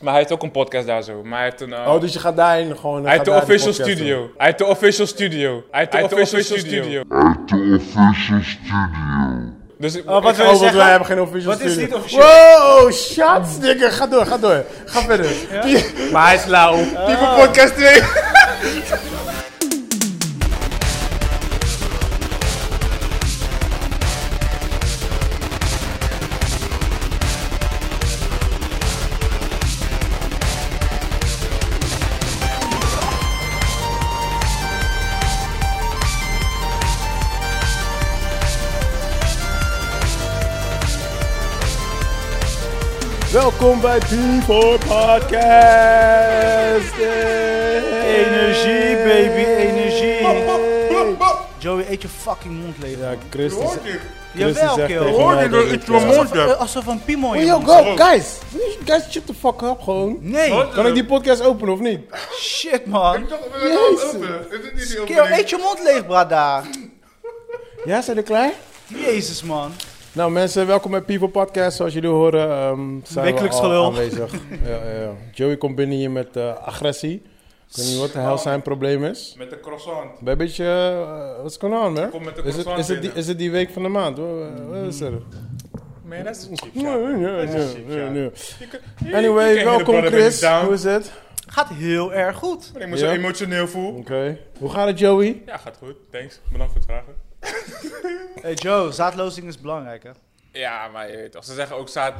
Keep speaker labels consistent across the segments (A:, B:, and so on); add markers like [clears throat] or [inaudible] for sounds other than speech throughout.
A: Maar hij heeft ook een podcast daar zo. Maar hij heeft een... eh,
B: Oh, dus je gaat daarheen gewoon.
A: hij heeft de official studio. Hij heeft de official studio. Hij heeft de official studio.
C: At the official studio.
A: Dus ik-
B: Oh,
A: ik-
B: wat wil
D: je
B: je zeggen?
D: zeggen?
B: Wij hebben geen official
D: Wat is
B: studio.
D: niet officieel?
B: Wow, shots, dikke. Ga door, ga door. Ga verder.
D: Maar hij is lauw. Oh.
A: People Podcast 2.
B: Welkom bij P4 Podcast.
D: Energie, baby, energie. Joey, eet je fucking mond leeg.
B: Ja, Christus.
D: Jawel,
B: zegt
D: kerel.
B: tegen
D: Hoor
B: mij
C: dit
B: dat
C: door
B: ik,
C: iets van
B: eh,
C: mond.
D: Alsof, eh, alsof een piemel in je
B: Yo,
D: mond zit.
B: go, guys. Guys, shut the fuck up gewoon.
D: Nee,
B: Kan ik die podcast openen of niet?
D: shit man.
C: dacht, we
B: Jezus.
C: Is het niet die
D: Kerel, eet je mond leeg, brada.
B: Ja, zijn jullie klaar?
D: Jezus man.
B: Nou mensen, welkom bij People Podcast. Zoals jullie horen ehm zijn
D: Wekelijks
B: we al
D: gelul.
B: aanwezig. ja, ja, ja. Joey komt binnen hier met eh, agressie. Ik weet niet wat de hel zijn probleem is.
A: Met de croissant.
B: Ben een beetje, eh, what's going on man?
A: Kom met de
B: Is het,
A: croissant
B: is, het die,
A: binnen.
B: is het die week van de maand? Wat- wat- Wat is er?
A: Man, dat is een cheap
B: Nee,
A: shot.
B: nee,
A: is
B: nee,
A: shit,
B: nee,
A: ja.
B: nee.
A: Je kan- je- je kan
B: Anyway,
A: hele
B: welkom
A: brother
B: Chris.
A: down.
B: Hoe is het?
D: Gaat heel erg goed.
A: Ik me
B: Ja.
A: zo emotioneel voel.
B: Oké. Hoe gaat het Joey?
A: Ja, gaat goed. Thanks. Bedankt voor het vragen.
D: Hey Joe, zaadlozing is belangrijk hè.
A: Ja, maar je weet toch. Ze zeggen ook zaad...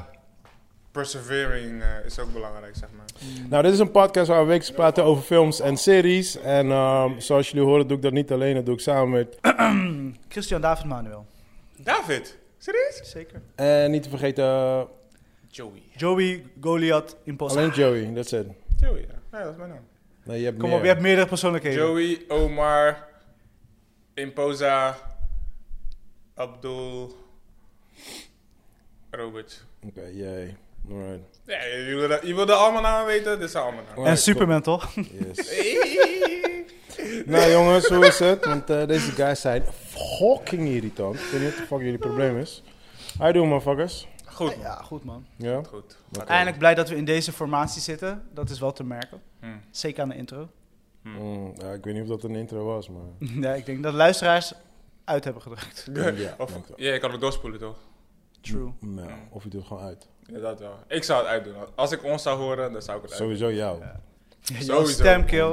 A: Persevering eh, is ook belangrijk, zeg maar.
B: Nou, dit is een podcast waar we wekelijks praten over films en series. En ehm, zoals jullie horen doe ik dat niet alleen, dat doe ik samen met...
D: Christian David Manuel.
A: David, serieus?
D: Zeker.
B: En niet te vergeten, eh,
A: Joey.
D: Joey, Goliath, Imposter.
B: alleen Joey, that's it.
A: Joey, ja. Ja, dat is mijn naam.
B: Nee, je hebt
D: Kom
B: meer.
D: op, je hebt meerdere persoonlijkheden.
A: Joey, Omar, Imposa, Abdul, Robert.
B: Oké, jij. Alright.
A: Ja, je wilde, je wilde allemaal namen weten, dit zijn allemaal namen.
D: En Superman toch?
B: Yes. [laughs] nou jongens, hoe is het? Want eh, deze guys zijn fucking irritant. Ik weet niet wat de fuck jullie probleem is. How you doing, motherfuckers?
A: Goed, man.
D: Ja, goed man.
B: Ja?
A: goed.
D: Eindelijk blij dat we in deze formatie zitten. Dat is wel te merken.
A: Hmm.
D: Zeker aan de intro. [laughs]
B: Mm, ja, ik weet niet of dat een intro was, maar...
D: Nee, ik denk dat luisteraars uit hebben gedrukt.
B: Ja,
A: Of, Hmm.
B: dank
A: [laughs]
B: je.
A: ja, je kan het doorspoelen toch?
D: True.
B: Nou, of je doet het gewoon uit.
A: Ja, dat wel. Ik zou het uitdoen. Als ik ons zou horen, dan zou ik het uitdoen.
B: Sowieso jou.
D: Jouw
A: Sowieso.
D: stemkill.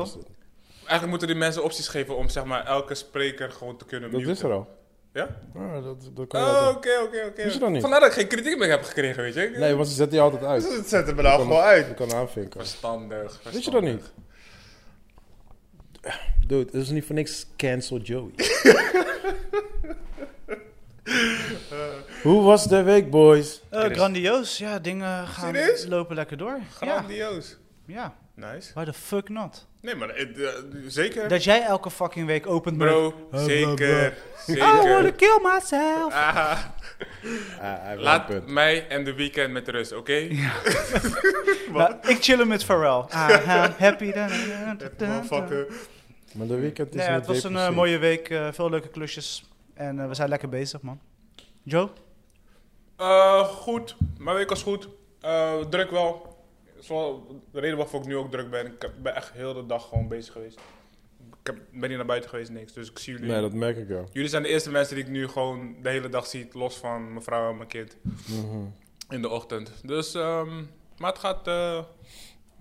A: Eigenlijk moeten die mensen opties geven om zeg maar elke spreker gewoon te kunnen
B: Dat
A: muten.
B: is er al.
A: Ja?
B: Ja, dat, dat kan je
A: Oh,
B: altijd.
A: oké, oké, oké.
B: Is er dan niet?
A: Vandaar dat ik geen kritiek meer heb gekregen, weet je. Ik-
B: Nee, want ze zetten je altijd uit.
A: het zetten we nou
B: kan-
A: gewoon uit.
B: Je kan aanvinken.
A: Verstandig,
B: Weet je
A: verstandig.
B: dat niet? Dude, het is niet voor niks Cancel [laughs] Joey. Hoe was de week, boys?
D: Eh,
A: Chris.
D: grandioos, ja, dingen gaan
A: Serieus?
D: lopen lekker door. Ja,
A: Grandioos.
D: ja,
A: Nice.
D: why the fuck not?
A: Nee, maar het, eh, zeker.
D: Dat jij elke fucking week opent met...
A: Bro, zeker.
D: I wanna
A: Zeker.
D: kill myself.
A: Ah, laat mij en de weekend met rust, oké?
D: [laughs]
A: [laughs]
D: Nou, ik chill hem met Pharrell. I'm happy. dan- dan- dan- dan-
A: Motherfucker.
B: Maar de weekend is
D: Nee,
B: net
D: het was een eh,
B: depressief.
D: mooie week, eh, veel leuke klusjes. En eh, we zijn lekker bezig, man. Joe?
A: Eh, goed, mijn week was goed. Eh, druk wel. Dat is wel de reden waarvoor ik nu ook druk ben. Ik heb- ben echt heel de dag gewoon bezig geweest. Ik heb- ben niet naar buiten geweest, niks. Dus ik zie jullie.
B: Nee, dat merk ik wel.
A: Jullie zijn de eerste mensen die ik nu gewoon de hele dag zie. Los van mijn vrouw en mijn kind.
B: Mhm.
A: In de ochtend. Dus, ehm, maar het gaat... eh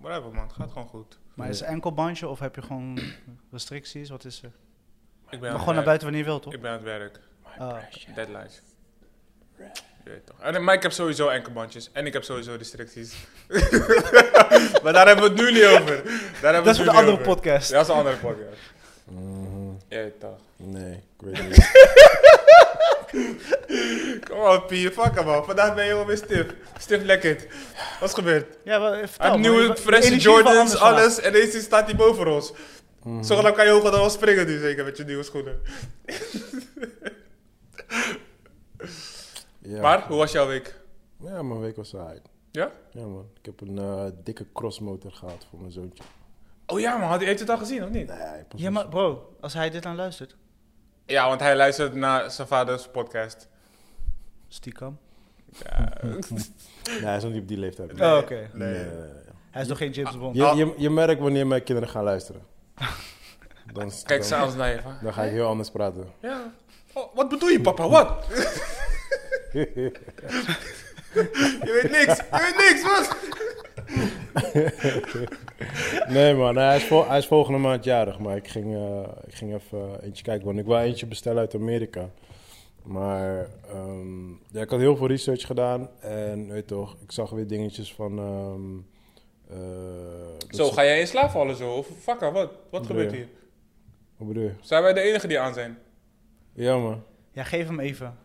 A: whatever man, het gaat gewoon goed.
D: Maar is het enkel bandje of heb je gewoon [clears throat] restricties? Wat is er?
A: Ik ben
D: Maar
A: aan
D: gewoon naar
A: het werk.
D: buiten wanneer je wilt, toch?
A: Ik ben aan het werk.
D: Ah,
A: Deadlines. Je weet toch. En, maar ik heb sowieso enkelbandjes. En ik heb sowieso
D: [laughs]
A: restricties. maar daar hebben we het nu niet over. Daar hebben
D: dat
A: we
D: is voor
A: het
D: de
A: nu
D: andere
A: niet over.
D: podcast.
A: Ja, dat is een andere podcast. Je weet toch.
B: Nee, ik weet het
D: [laughs]
B: niet.
A: Kom op, Pier. Fuck hem man. Vandaag ben je alweer stif. Stif lekker. Wat is gebeurd?
D: Ja, wel, eh,
A: Hij
D: vertel.
A: heeft
D: man.
A: nieuwe
D: Je-
A: frisse
D: energie van
A: Jordans,
D: anders vandaag.
A: alles. En deze staat hij boven ons. Zo dan kan je hoger dan wel springen nu zeker met je nieuwe schoenen.
B: Ja.
A: Maar, hoe was jouw week?
B: Ja, mijn week was uit.
A: Ja?
B: Ja, man. Ik heb een eh, dikke crossmotor gehad voor mijn zoontje.
A: Oh ja man, had- heeft u het al gezien of niet?
B: Nee, hij pas-
D: Ja, maar bro, als hij dit aan luistert,
A: Ja, want hij luistert naar zijn vaders podcast.
D: stiekem.
A: Ja,
B: [laughs] nee, hij is nog niet op die leeftijd.
D: Oh, oké.
B: Nee, nee, nee, nee.
D: Hij is nog geen James Bond.
B: Je, je, je merkt wanneer mijn kinderen gaan
D: [laughs]
B: luisteren. Dan,
A: Kijk
B: dan,
A: s'avonds naar je van.
B: dan ga ik heel anders praten.
A: Ja. Oh, wat bedoel je, papa?
B: [laughs]
A: Wat? je weet niks. Je weet niks, wat?
B: Nee man, hij is, vol- hij is volgende maand jarig, maar ik ging, eh, ik ging even eh, eentje kijken. Want ik wou eentje bestellen uit Amerika. Maar ehm, ja, ik had heel veel research gedaan en weet toch, ik zag weer dingetjes van... ehm, eh, dat
A: Zo,
B: ze-
A: ga jij in slaap vallen zo? Of fuck, off, wat? Wat gebeurt
B: Ja.
A: hier?
B: Wat bedoel je?
A: Zijn wij de enigen die aan zijn?
B: Ja man.
D: Ja, geef hem even.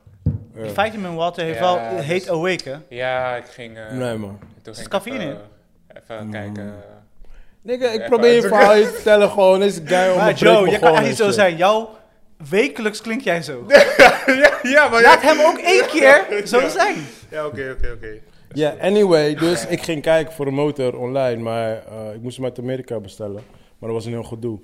B: Ja.
D: Die Vitamin Water heeft
A: Ja,
D: wel
A: dat
D: heet
A: is-
D: Awake, hè?
A: Ja, ik ging... eh,
B: Nee man.
A: toen
D: Is
A: ging
D: het
A: ik
D: cafeïne
A: Even, even kijken.
B: Nigga, ik
A: Even
B: probeer je
A: uit-
B: verhaal je te vertellen gewoon. Deze guy
D: Maar
B: onderbreekt
D: Joe,
B: me
D: je kan
B: gewoon
D: echt niet
B: en
D: zo
B: shit.
D: zijn. Jouw wekelijks klink jij zo.
A: [laughs] ja, ja, maar...
D: Laat hem ook één keer zo zijn.
A: Ja, oké, oké, oké.
B: Ja, anyway, dus ik ging kijken voor een motor online, maar eh, ik moest hem uit Amerika bestellen. Maar dat was een heel gedoe.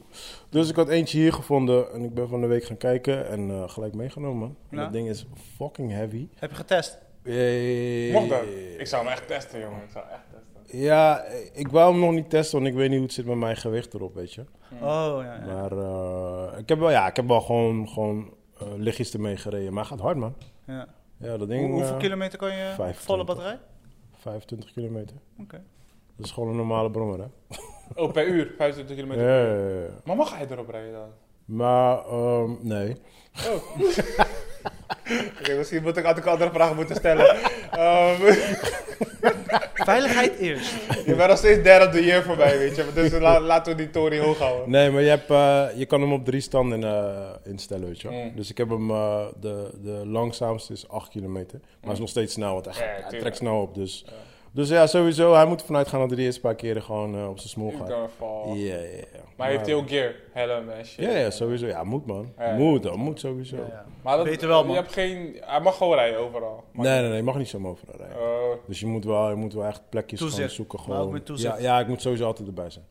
B: Dus ik had eentje hier gevonden en ik ben van de week gaan kijken en eh, gelijk meegenomen. man. En
D: Ja.
B: Dat ding is fucking heavy.
D: Heb je getest?
B: Eh,
A: Mocht dat? Ik zou hem echt testen, jongen. Ik zou echt testen.
B: Ja, ik wou hem nog niet testen, want ik weet niet hoe het zit met mijn gewicht erop, weet je.
D: Oh, ja. ja.
B: Maar eh, ik heb wel, ja, ik heb wel gewoon, gewoon eh, lichtjes ermee gereden. Maar hij gaat hard, man.
D: ja.
B: Ja, dat ding...
D: Hoe- hoeveel
B: eh,
D: kilometer kan je volle
B: 25.
D: batterij?
B: 25 kilometer.
D: Oké.
B: Dat is gewoon een normale brommer, hè?
A: Oh, per uur. 25 kilometer.
B: Ja, ja, ja, ja.
A: Maar mag hij erop rijden dan?
B: Maar, ehm, nee.
A: Oké, misschien moet ik, had ik andere vragen moeten stellen. Ehm, [laughs]
D: Veiligheid eerst.
A: je bent nog steeds derde op de year voorbij, weet je. Dus la- laten we die tory hoog houden.
B: Nee, maar je, hebt, eh, je kan hem op drie standen eh, instellen, weet je wel.
A: Mm.
B: Dus ik heb hem, eh, de, de langzaamste is 8 kilometer. Maar hij is nog steeds snel, want hij,
A: Mm. Ja,
B: hij
A: tuurlijk.
B: trekt snel op. Dus. dus ja, sowieso, hij moet ervan uitgaan dat hij de eerste paar keren gewoon eh, op zijn smoel
A: Ik
B: gaat.
A: kan vallen.
B: Ja, ja, ja.
A: Maar heeft hij ook gear, helm en shit.
B: Ja, ja, sowieso. Ja, moet man.
A: Ja, ja.
B: Moet, dat moet sowieso.
D: Ja, ja.
A: Maar dat,
D: Beter wel, man.
A: Je hebt geen, hij mag gewoon rijden overal. Mag-
B: Nee, nee, nee, je mag niet zo overal rijden.
A: Eh,
B: Dus je moet wel, je moet wel echt plekjes
D: Toezicht.
B: gaan zoeken.
D: Maar ook
B: Gewoon.
D: met toezicht.
B: Ja, ja, ik moet sowieso altijd erbij zijn.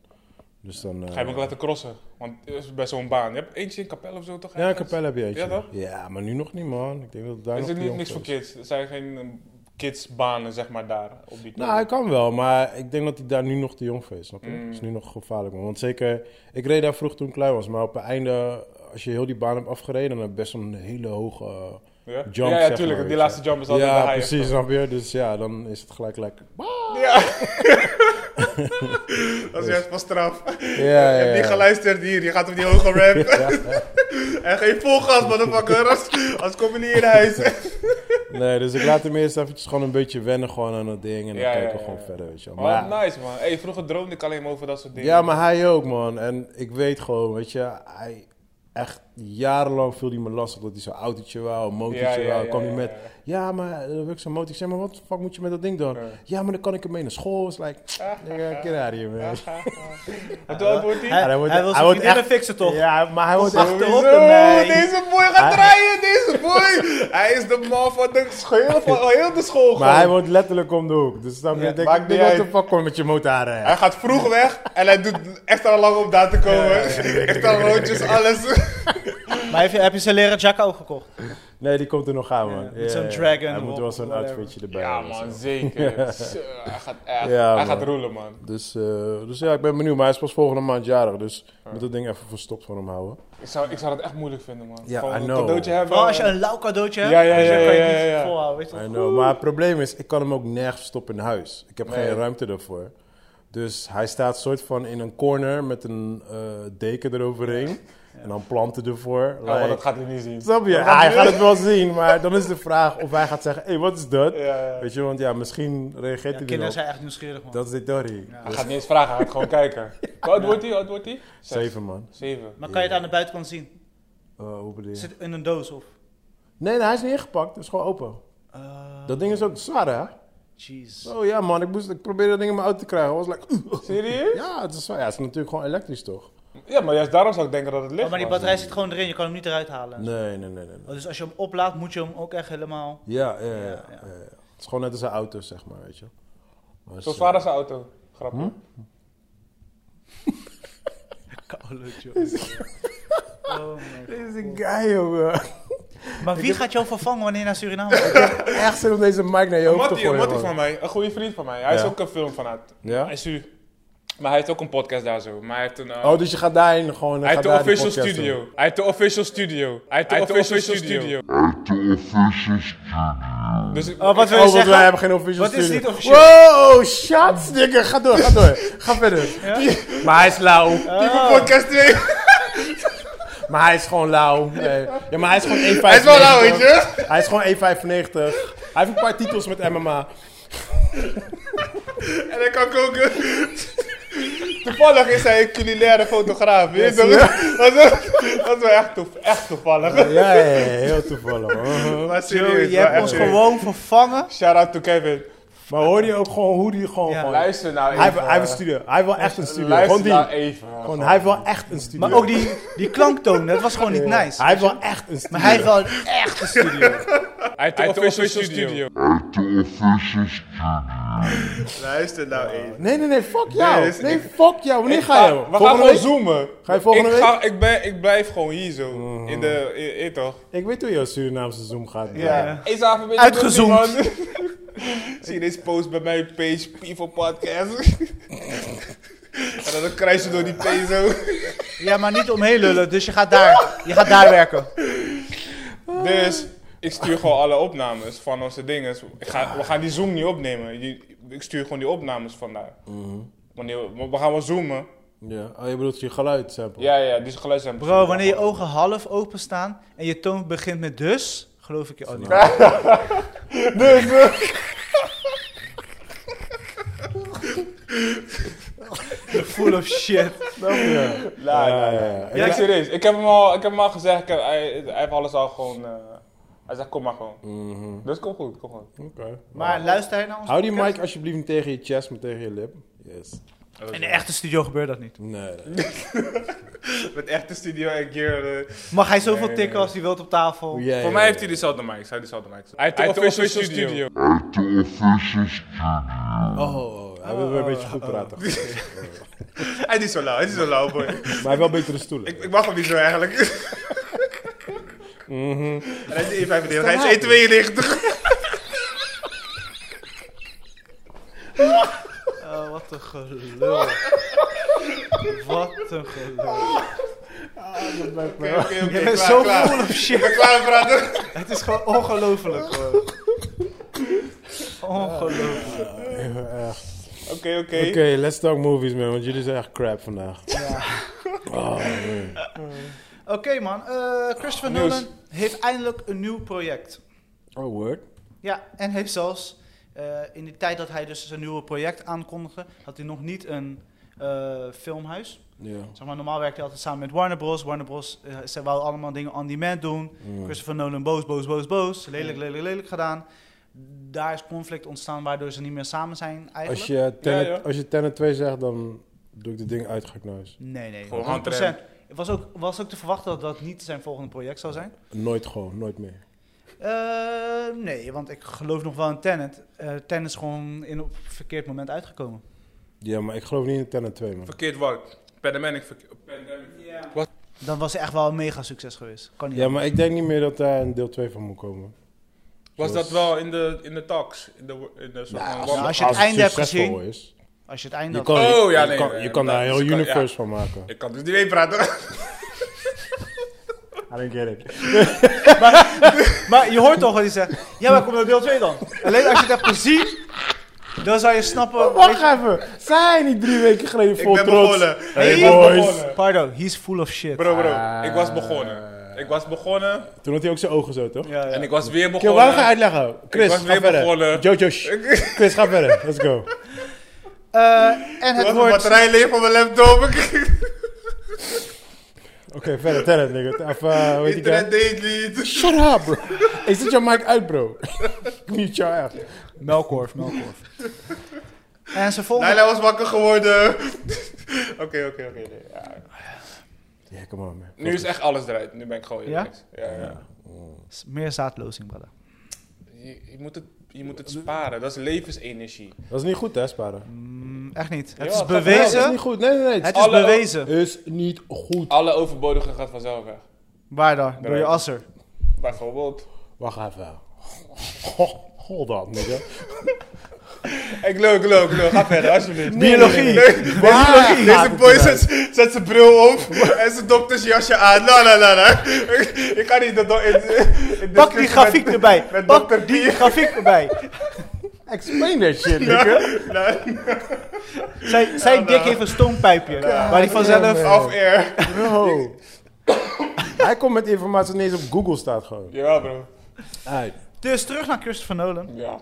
B: Dus dan, eh,
A: ga je hem ook laten crossen? Want het is bij zo'n baan. Je hebt eentje in Capelle of zo toch?
B: Ja,
A: ergens?
B: Capelle heb je eentje.
A: Ja, toch?
B: maar nu nog niet, man. Ik denk dat het daar
A: Er
B: nog
A: zit
B: te
A: niet,
B: jong
A: niks
B: voor
A: voor
B: is.
A: kids. Er zijn geen ehm, kidsbanen, zeg maar, daar. Op die
B: Nou, hij kan wel, maar ik denk dat hij daar nu nog te jong voor is, snap je?
A: Mm.
B: Dat is nu nog gevaarlijk, man. Want zeker, ik reed daar vroeg toen ik klein was, maar op het einde, als je heel die baan hebt afgereden, dan heb je best wel een hele hoge... eh,
A: ja?
B: jump,
A: ja, ja,
B: zeg
A: tuurlijk.
B: maar,
A: die
B: weet
A: laatste jump is altijd de
B: ja,
A: high.
B: precies, snap je? Dus ja, dan is het gelijk lekker.
A: Dat is juist van straf.
B: Ja, ja, ja.
A: geluisterd hier. Je gaat op die hoge
B: [laughs]
A: ramp. en geen vol gas, motherfucker. Als, als kom je niet in huis.
B: Nee, dus ik laat hem eerst eventjes gewoon een beetje wennen gewoon aan dat ding en dan
A: Ja, ja,
B: kijken we
A: ja,
B: gewoon
A: ja.
B: verder, weet je wel. Maar ja,
A: Oh, nice, man. Hey, vroeger droomde ik alleen maar over dat soort dingen.
B: Ja, maar hij ook, man. En ik weet gewoon, weet je, hij echt jarenlang viel hij me lastig dat hij zo'n autootje wou, een motortje
A: Ja, ja,
B: wou.
A: ja,
B: kwam hij
A: ja,
B: met,
A: ja,
B: ja,
A: ja.
B: maar eh, dan wil ik zo'n motor. Ik zeg, maar wat de fuck moet je met dat ding doen?
A: Ja.
B: Ja, maar dan kan ik hem mee naar school.
A: [laughs]
B: Is like, nigga, get out of here, man.
A: En toen had wordt die?
D: Hij,
B: hij wordt-
D: hij
B: hij
D: wil zijn
B: wordt
D: vriendinnen
B: echt-
D: fixen, toch?
B: Ja, maar hij wordt echt...
D: achterop
A: Zo,
D: ermee.
A: deze boy gaat
B: Hij-
A: rijden, deze boy! Hij is de man van de
B: [laughs]
A: school, van heel de school.
B: Maar hij
A: gewoon.
B: wordt letterlijk om de hoek. Dus dan
A: Ja,
B: denk
A: maakt
B: ik,
A: niet
B: nigga, what
A: uit.
B: the fuck kom je met je motor aan rijden?
A: Hij gaat vroeg weg en hij doet extra lang om daar te komen. Extra roodjes, alles.
D: Maar heb je, heb je zijn leren jacka ook gekocht?
B: Nee, die komt er nog aan, man.
D: met
B: Ja,
D: zo'n
B: ja, ja.
D: dragon
B: Hij moet
D: erop,
B: wel zo'n
D: whatever.
B: outfitje erbij
A: Ja,
B: hebben, zo.
A: man, zeker. Zo, Hij gaat echt, hij
B: Ja, man.
A: gaat roelen, man.
B: Dus, eh, dus ja, ik ben benieuwd. Maar hij is pas volgende maand jarig, dus
A: Ah.
B: ik moet dat ding even verstopt van hem houden.
A: Ik zou, ik zou dat echt moeilijk vinden, man.
B: Ja,
A: Gewoon
B: I
A: een
B: know.
A: cadeautje hebben.
D: Vooral als je een lauw cadeautje hebt,
A: Ja, ja,
D: dus dan
A: ja,
D: kan je
A: ja,
D: het
A: ja,
D: niet
A: ja.
D: volhouden, weet je
B: I
D: wel.
B: know, maar het probleem is, ik kan hem ook nergens verstoppen in huis. Ik heb
A: Nee.
B: geen ruimte daarvoor. Dus hij staat soort van in een corner met een eh, deken eroverheen. En dan planten ervoor.
A: Ja, Oh, maar
B: like-
A: dat gaat hij niet zien.
B: Snap je?
A: gaat
B: Ja, hij
A: hij
B: gaat het wel zien, maar dan is de vraag of hij gaat zeggen, hé, hey, wat is dat?
A: ja.
B: Weet je, want ja, misschien reageert hij
D: Ja, kinderen
B: erop.
D: zijn echt nieuwsgierig, man.
B: Dat is dit Dorry.
A: Hij gaat niet eens vragen, hij gaat gewoon
B: [laughs]
A: kijken. Hoe oud wordt hij? Hoe oud wordt hij? Zes.
B: Zeven, man.
A: Zeven.
D: Maar kan je het aan de buitenkant zien?
B: Eh, hoe bedoel je?
D: Zit in een doos of?
B: Nee, nee, hij is niet ingepakt. Het is gewoon open.
A: Eh.
D: Ah,
B: Dat ding is ook zwaar, hè?
D: Jeez.
B: Oh ja, man, ik, moest, ik probeerde dat ding in mijn auto te krijgen. I was like,
A: Serieus?
B: ja, het is, zwaar. ja, het is natuurlijk gewoon elektrisch, toch?
A: Ja, maar juist daarom zou ik denken dat het ligt.
D: Oh, maar die
A: man.
D: batterij zit gewoon erin, je kan hem niet eruit halen.
B: Nee, nee, nee, nee. nee.
D: Oh, dus als je hem oplaadt, moet je hem ook echt helemaal...
B: Ja, ja, ja, ja,
D: Ja, ja.
B: ja, ja. Het is gewoon net als een auto, zeg maar, weet je. Maar het
A: Zo
B: is,
A: zwaar als een auto. Grappig.
B: Hm?
D: Koude, joh. Oh my
B: eh, Deze guy, jongen.
D: Maar wie gaat jou vervangen wanneer je naar
B: [laughs]
D: Suriname gaat?
B: Echt zin om deze mic naar je hoofd te
A: Mattie,
B: gooien,
A: Mattie
B: man.
A: van mij, een goede vriend van mij. Hij is
B: Ja.
A: ook een filmfanaat.
B: Ja?
A: Hij is u. Maar hij heeft ook een podcast daar zo. Maar hij heeft een... eh,
B: Oh, dus je gaat daarheen gewoon.
A: hij heeft de
B: daar die
A: official
B: podcast doen.
A: studio. Hij heeft de official studio. Hij heeft de official studio.
C: At the official studio.
A: Dus
D: Oh, wat wil je
B: Oh, want
D: zeggen?
B: wij hebben geen official
D: Wat is
B: studio.
D: niet officieel?
B: Wow, shots, dikke. Ga door, ga door. Ga verder. Die- Maar hij is lauw.
E: Podcast 2.
B: Maar hij is gewoon lauw. Nee. Ja, maar hij is gewoon 1,95.
E: Hij is wel lauw, weet je?
B: Hij is gewoon 1,95. Hij heeft een paar titels met MMA.
E: En hij kan koken. Toevallig is hij een culinaire fotograaf. Weet je toch? Dat is- Dat is wel echt, toef- echt toevallig.
B: Ja, ja, ja, heel toevallig. man.
E: Maar
D: Joey,
E: serieus,
D: je
E: wel
D: hebt
E: echt
D: ons
E: serieus.
D: gewoon vervangen.
E: Shout out to Kevin.
B: Maar hoor je ook gewoon hoe die gewoon...
D: Ja.
B: gewoon hij,
A: Luister nou even.
B: heeft, hij heeft een studio. Hij heeft wel echt een studio. Gewoon
A: Luister
B: die.
A: nou even.
B: Gewoon, hij heeft wel echt een studio.
D: Maar ook die, die klanktoon, dat was gewoon niet nice.
B: Hij heeft wel echt een studio.
D: Maar hij heeft wel een echte studio.
A: Hij heeft de official studio.
C: At the official studio.
E: Luister nou even.
B: Nee, nee, nee. Fuck jou.
E: dit is-
B: Nee, fuck jou. Wanneer
A: Ik
B: ga je?
A: ga- we gaan
B: Volgende
A: gewoon
B: week?
E: Zoomen.
B: Ga je volgende
A: ik,
B: week?
A: ga, ik, ben, ik blijf gewoon hier zo. In de. in- in toch?
B: Ik weet hoe jouw Surinaamse Zoom gaat.
D: Ja.
A: Is daar verbinding
D: Uitgezoomd.
A: met iemand?
E: [laughs] Zie je deze post bij mijn page, People Podcast. [laughs] en dan kruis je door die page zo.
D: Ja, maar niet omheen lullen, dus je gaat daar, je gaat daar werken.
A: Dus ik stuur gewoon alle opnames van onze dingen. Ik ga, we gaan die Zoom niet opnemen. Die- ik stuur gewoon die opnames vandaar. Wanneer we, we gaan wel zoomen.
B: Ja. Oh, je bedoelt je geluid sample.
A: Ja, ja, die geluid zijn
D: Bro, wanneer je ogen half open staan en je toon begint met dus, geloof ik je
E: [laughs]
D: al niet.
E: Dus, eh.
D: Full of shit.
B: Snap je?
A: Ja, ja, ja.
B: ja.
A: Nee, serieus. Ik heb hem al, ik heb hem al gezegd. Ik heb, hij, hij heeft alles al gewoon. eh, hij zegt kom maar gewoon. Dus kom goed, kom goed.
B: Oké.
D: Maar
E: Oh.
D: luister hij naar ons?
B: Hou die mic alsjeblieft niet tegen je chest, maar tegen je lip. Yes.
D: In de echte studio gebeurt dat niet.
B: Nee. nee.
E: [laughs] Met echte studio en gear. eh,
D: Mag hij zoveel tikken als hij wilt op tafel?
E: Oh,
B: Ja, ja,
A: Voor mij heeft hij dus dezelfde mics. Hij heeft dezelfde mics. Hij heeft de official, studio.
C: At the official studio.
B: Oh, oh, oh, hij wil weer een beetje goed praten.
E: Hij is niet zo lauw, hij is niet zo lauw, boy.
A: [laughs]
B: Maar hij wil betere stoelen.
E: ik, ik mag hem niet zo eigenlijk.
A: Mhm.
E: En hij is E 1,95, hij is 1,92.
D: Oh, wat een gelul. wat een gelul.
E: Oké, oké,
D: [laughs]
E: oké,
D: Je bent
E: klaar,
D: zo
E: klaar.
D: full of shit.
E: Ik ben klaar met praten.
D: Het is gewoon ongelofelijk. hoor.
E: [laughs]
D: Ongelooflijk.
A: Oké,
B: Eh, Oké,
A: oké.
B: let's talk movies, man, want jullie zijn echt crap vandaag. Oh, man.
D: Oké man, Eh, Christopher
A: Nieuws.
D: Nolan heeft eindelijk een nieuw project.
B: Oh, word.
D: Ja, en heeft zelfs eh, in de tijd dat hij dus zijn nieuwe project aankondigde, had hij nog niet een eh, filmhuis.
B: Ja.
D: Zeg maar, normaal werkte hij altijd samen met Warner Bros. Warner Bros. eh, ze wou allemaal dingen on demand doen. Christopher Nolan boos, boos, boos, boos. Lelijk, lelijk, lelijk gedaan. Daar is conflict ontstaan waardoor ze niet meer samen zijn eigenlijk.
B: Als je Tenet,
A: Ja, ja.
B: Als je Tenet 2 zegt, dan doe ik dit ding uit, ga ik naar huis.
D: Nee, nee,
A: Gewoon
D: 100%.
A: handrem.
D: Het was ook, was ook te verwachten dat dat niet zijn volgende project zou zijn.
B: Nooit gewoon, nooit meer.
D: Eh, nee, want ik geloof nog wel in Tenet. Eh Tenet is gewoon in op verkeerd moment uitgekomen.
B: Ja, maar ik geloof niet in Tenet 2, man.
A: Verkeerd woord. Pandemic. verkeer- Pandemic.
D: Dan was hij echt wel een mega succes geweest. Kan niet.
B: Ja, maar ik denk niet meer dat daar een deel 2 van moet komen.
A: Was
B: Zoals-
A: dat wel in de, in de talks? In de, in de soort van
D: als-
A: warm-
D: als je het einde hebt
B: succesvol
D: gezien-
B: Is,
D: Als je het einde
B: je
D: had.
B: kan,
A: Oh, ja,
B: je
A: nee,
B: kan,
A: nee,
B: je kan
A: nee,
B: daar een
A: dat
B: heel
A: is- kan-
B: universe van maken.
A: Ik kan dus niet mee praten. [laughs]
B: I don't get it.
D: Maar je hoort toch wat hij zegt. Ja, maar komt er deel 2 dan? Alleen als je het hebt gezien, dan zou je snappen. weet
B: Wacht
D: je-
B: even, zijn niet drie weken geleden vol
E: ben
B: trots?
E: begonnen.
B: Hey,
D: Hij is
B: boys.
D: begonnen. Pardon, he's full of shit.
A: Bro, bro. Ik was begonnen. Ik was begonnen.
B: Toen had hij ook zijn ogen zo, toch?
D: Ja, ja.
A: En ik was weer
B: Oké, waarom ga je
A: begonnen.
B: uitleggen? Chris,
A: Oh, was
B: ga
A: weer
B: verder.
A: begonnen.
B: Jojo, shh. Chris, ga verder. Let's go.
D: Eh, en het
E: Wat een
D: woord.
E: batterij leeg van mijn laptop.
B: Oké, verder. Tell it, nigga. Of, eh, hoe heet die guy?
E: [laughs] Internet deed niet.
B: Shut up, bro. Hey, zet jouw mic uit, bro. [laughs] Niet jou echt.
D: Melkorf, melkorf. En zijn volgende.
E: Leila was wakker geworden. [laughs] Oké, oké, oké. nee, ja.
B: Ja, come on, man.
A: Nu is echt alles eruit. Nu ben ik gewoon relaxed. Ja? Ja,
D: Meer zaadlozing, brother.
A: Je, je moet het, je moet het sparen. Dat is levensenergie.
B: Dat is niet goed, hè, sparen.
D: Mm, echt niet. Het
A: Ja,
D: is
A: gaat wel.
B: Nee, dat is
D: bewezen.
B: niet goed. Nee, nee, nee.
D: Het is
A: Alle-
D: bewezen.
B: is niet goed.
A: Alle overbodige gaat vanzelf weg.
D: Waar dan? Door je
A: Bereid.
D: asser.
A: Bijvoorbeeld.
B: [laughs] Wacht even. Hold on, nigga.
F: Ik leuk, leuk, leuk. Ga verder, alsjeblieft.
B: Biologie.
F: Biologie. Deze boy zet, zet zijn bril op en zijn doktersjasje aan. Nou, nou, nou, nou. Ik kan niet dat do- in, in
D: Pak die grafiek
F: met,
D: erbij.
F: Met dokter
D: Pak
F: die.
D: die grafiek erbij.
B: Explain that shit, nigga.
D: Zijn, zijn dik heeft een stoompijpje. Waar hij vanzelf...
B: damn, man.
F: Off air.
B: Bro. Hij komt met informatie die niet eens op Google staat gewoon.
F: Ja, bro.
B: Aight.
D: Dus terug naar Christopher Nolan.
F: Ja.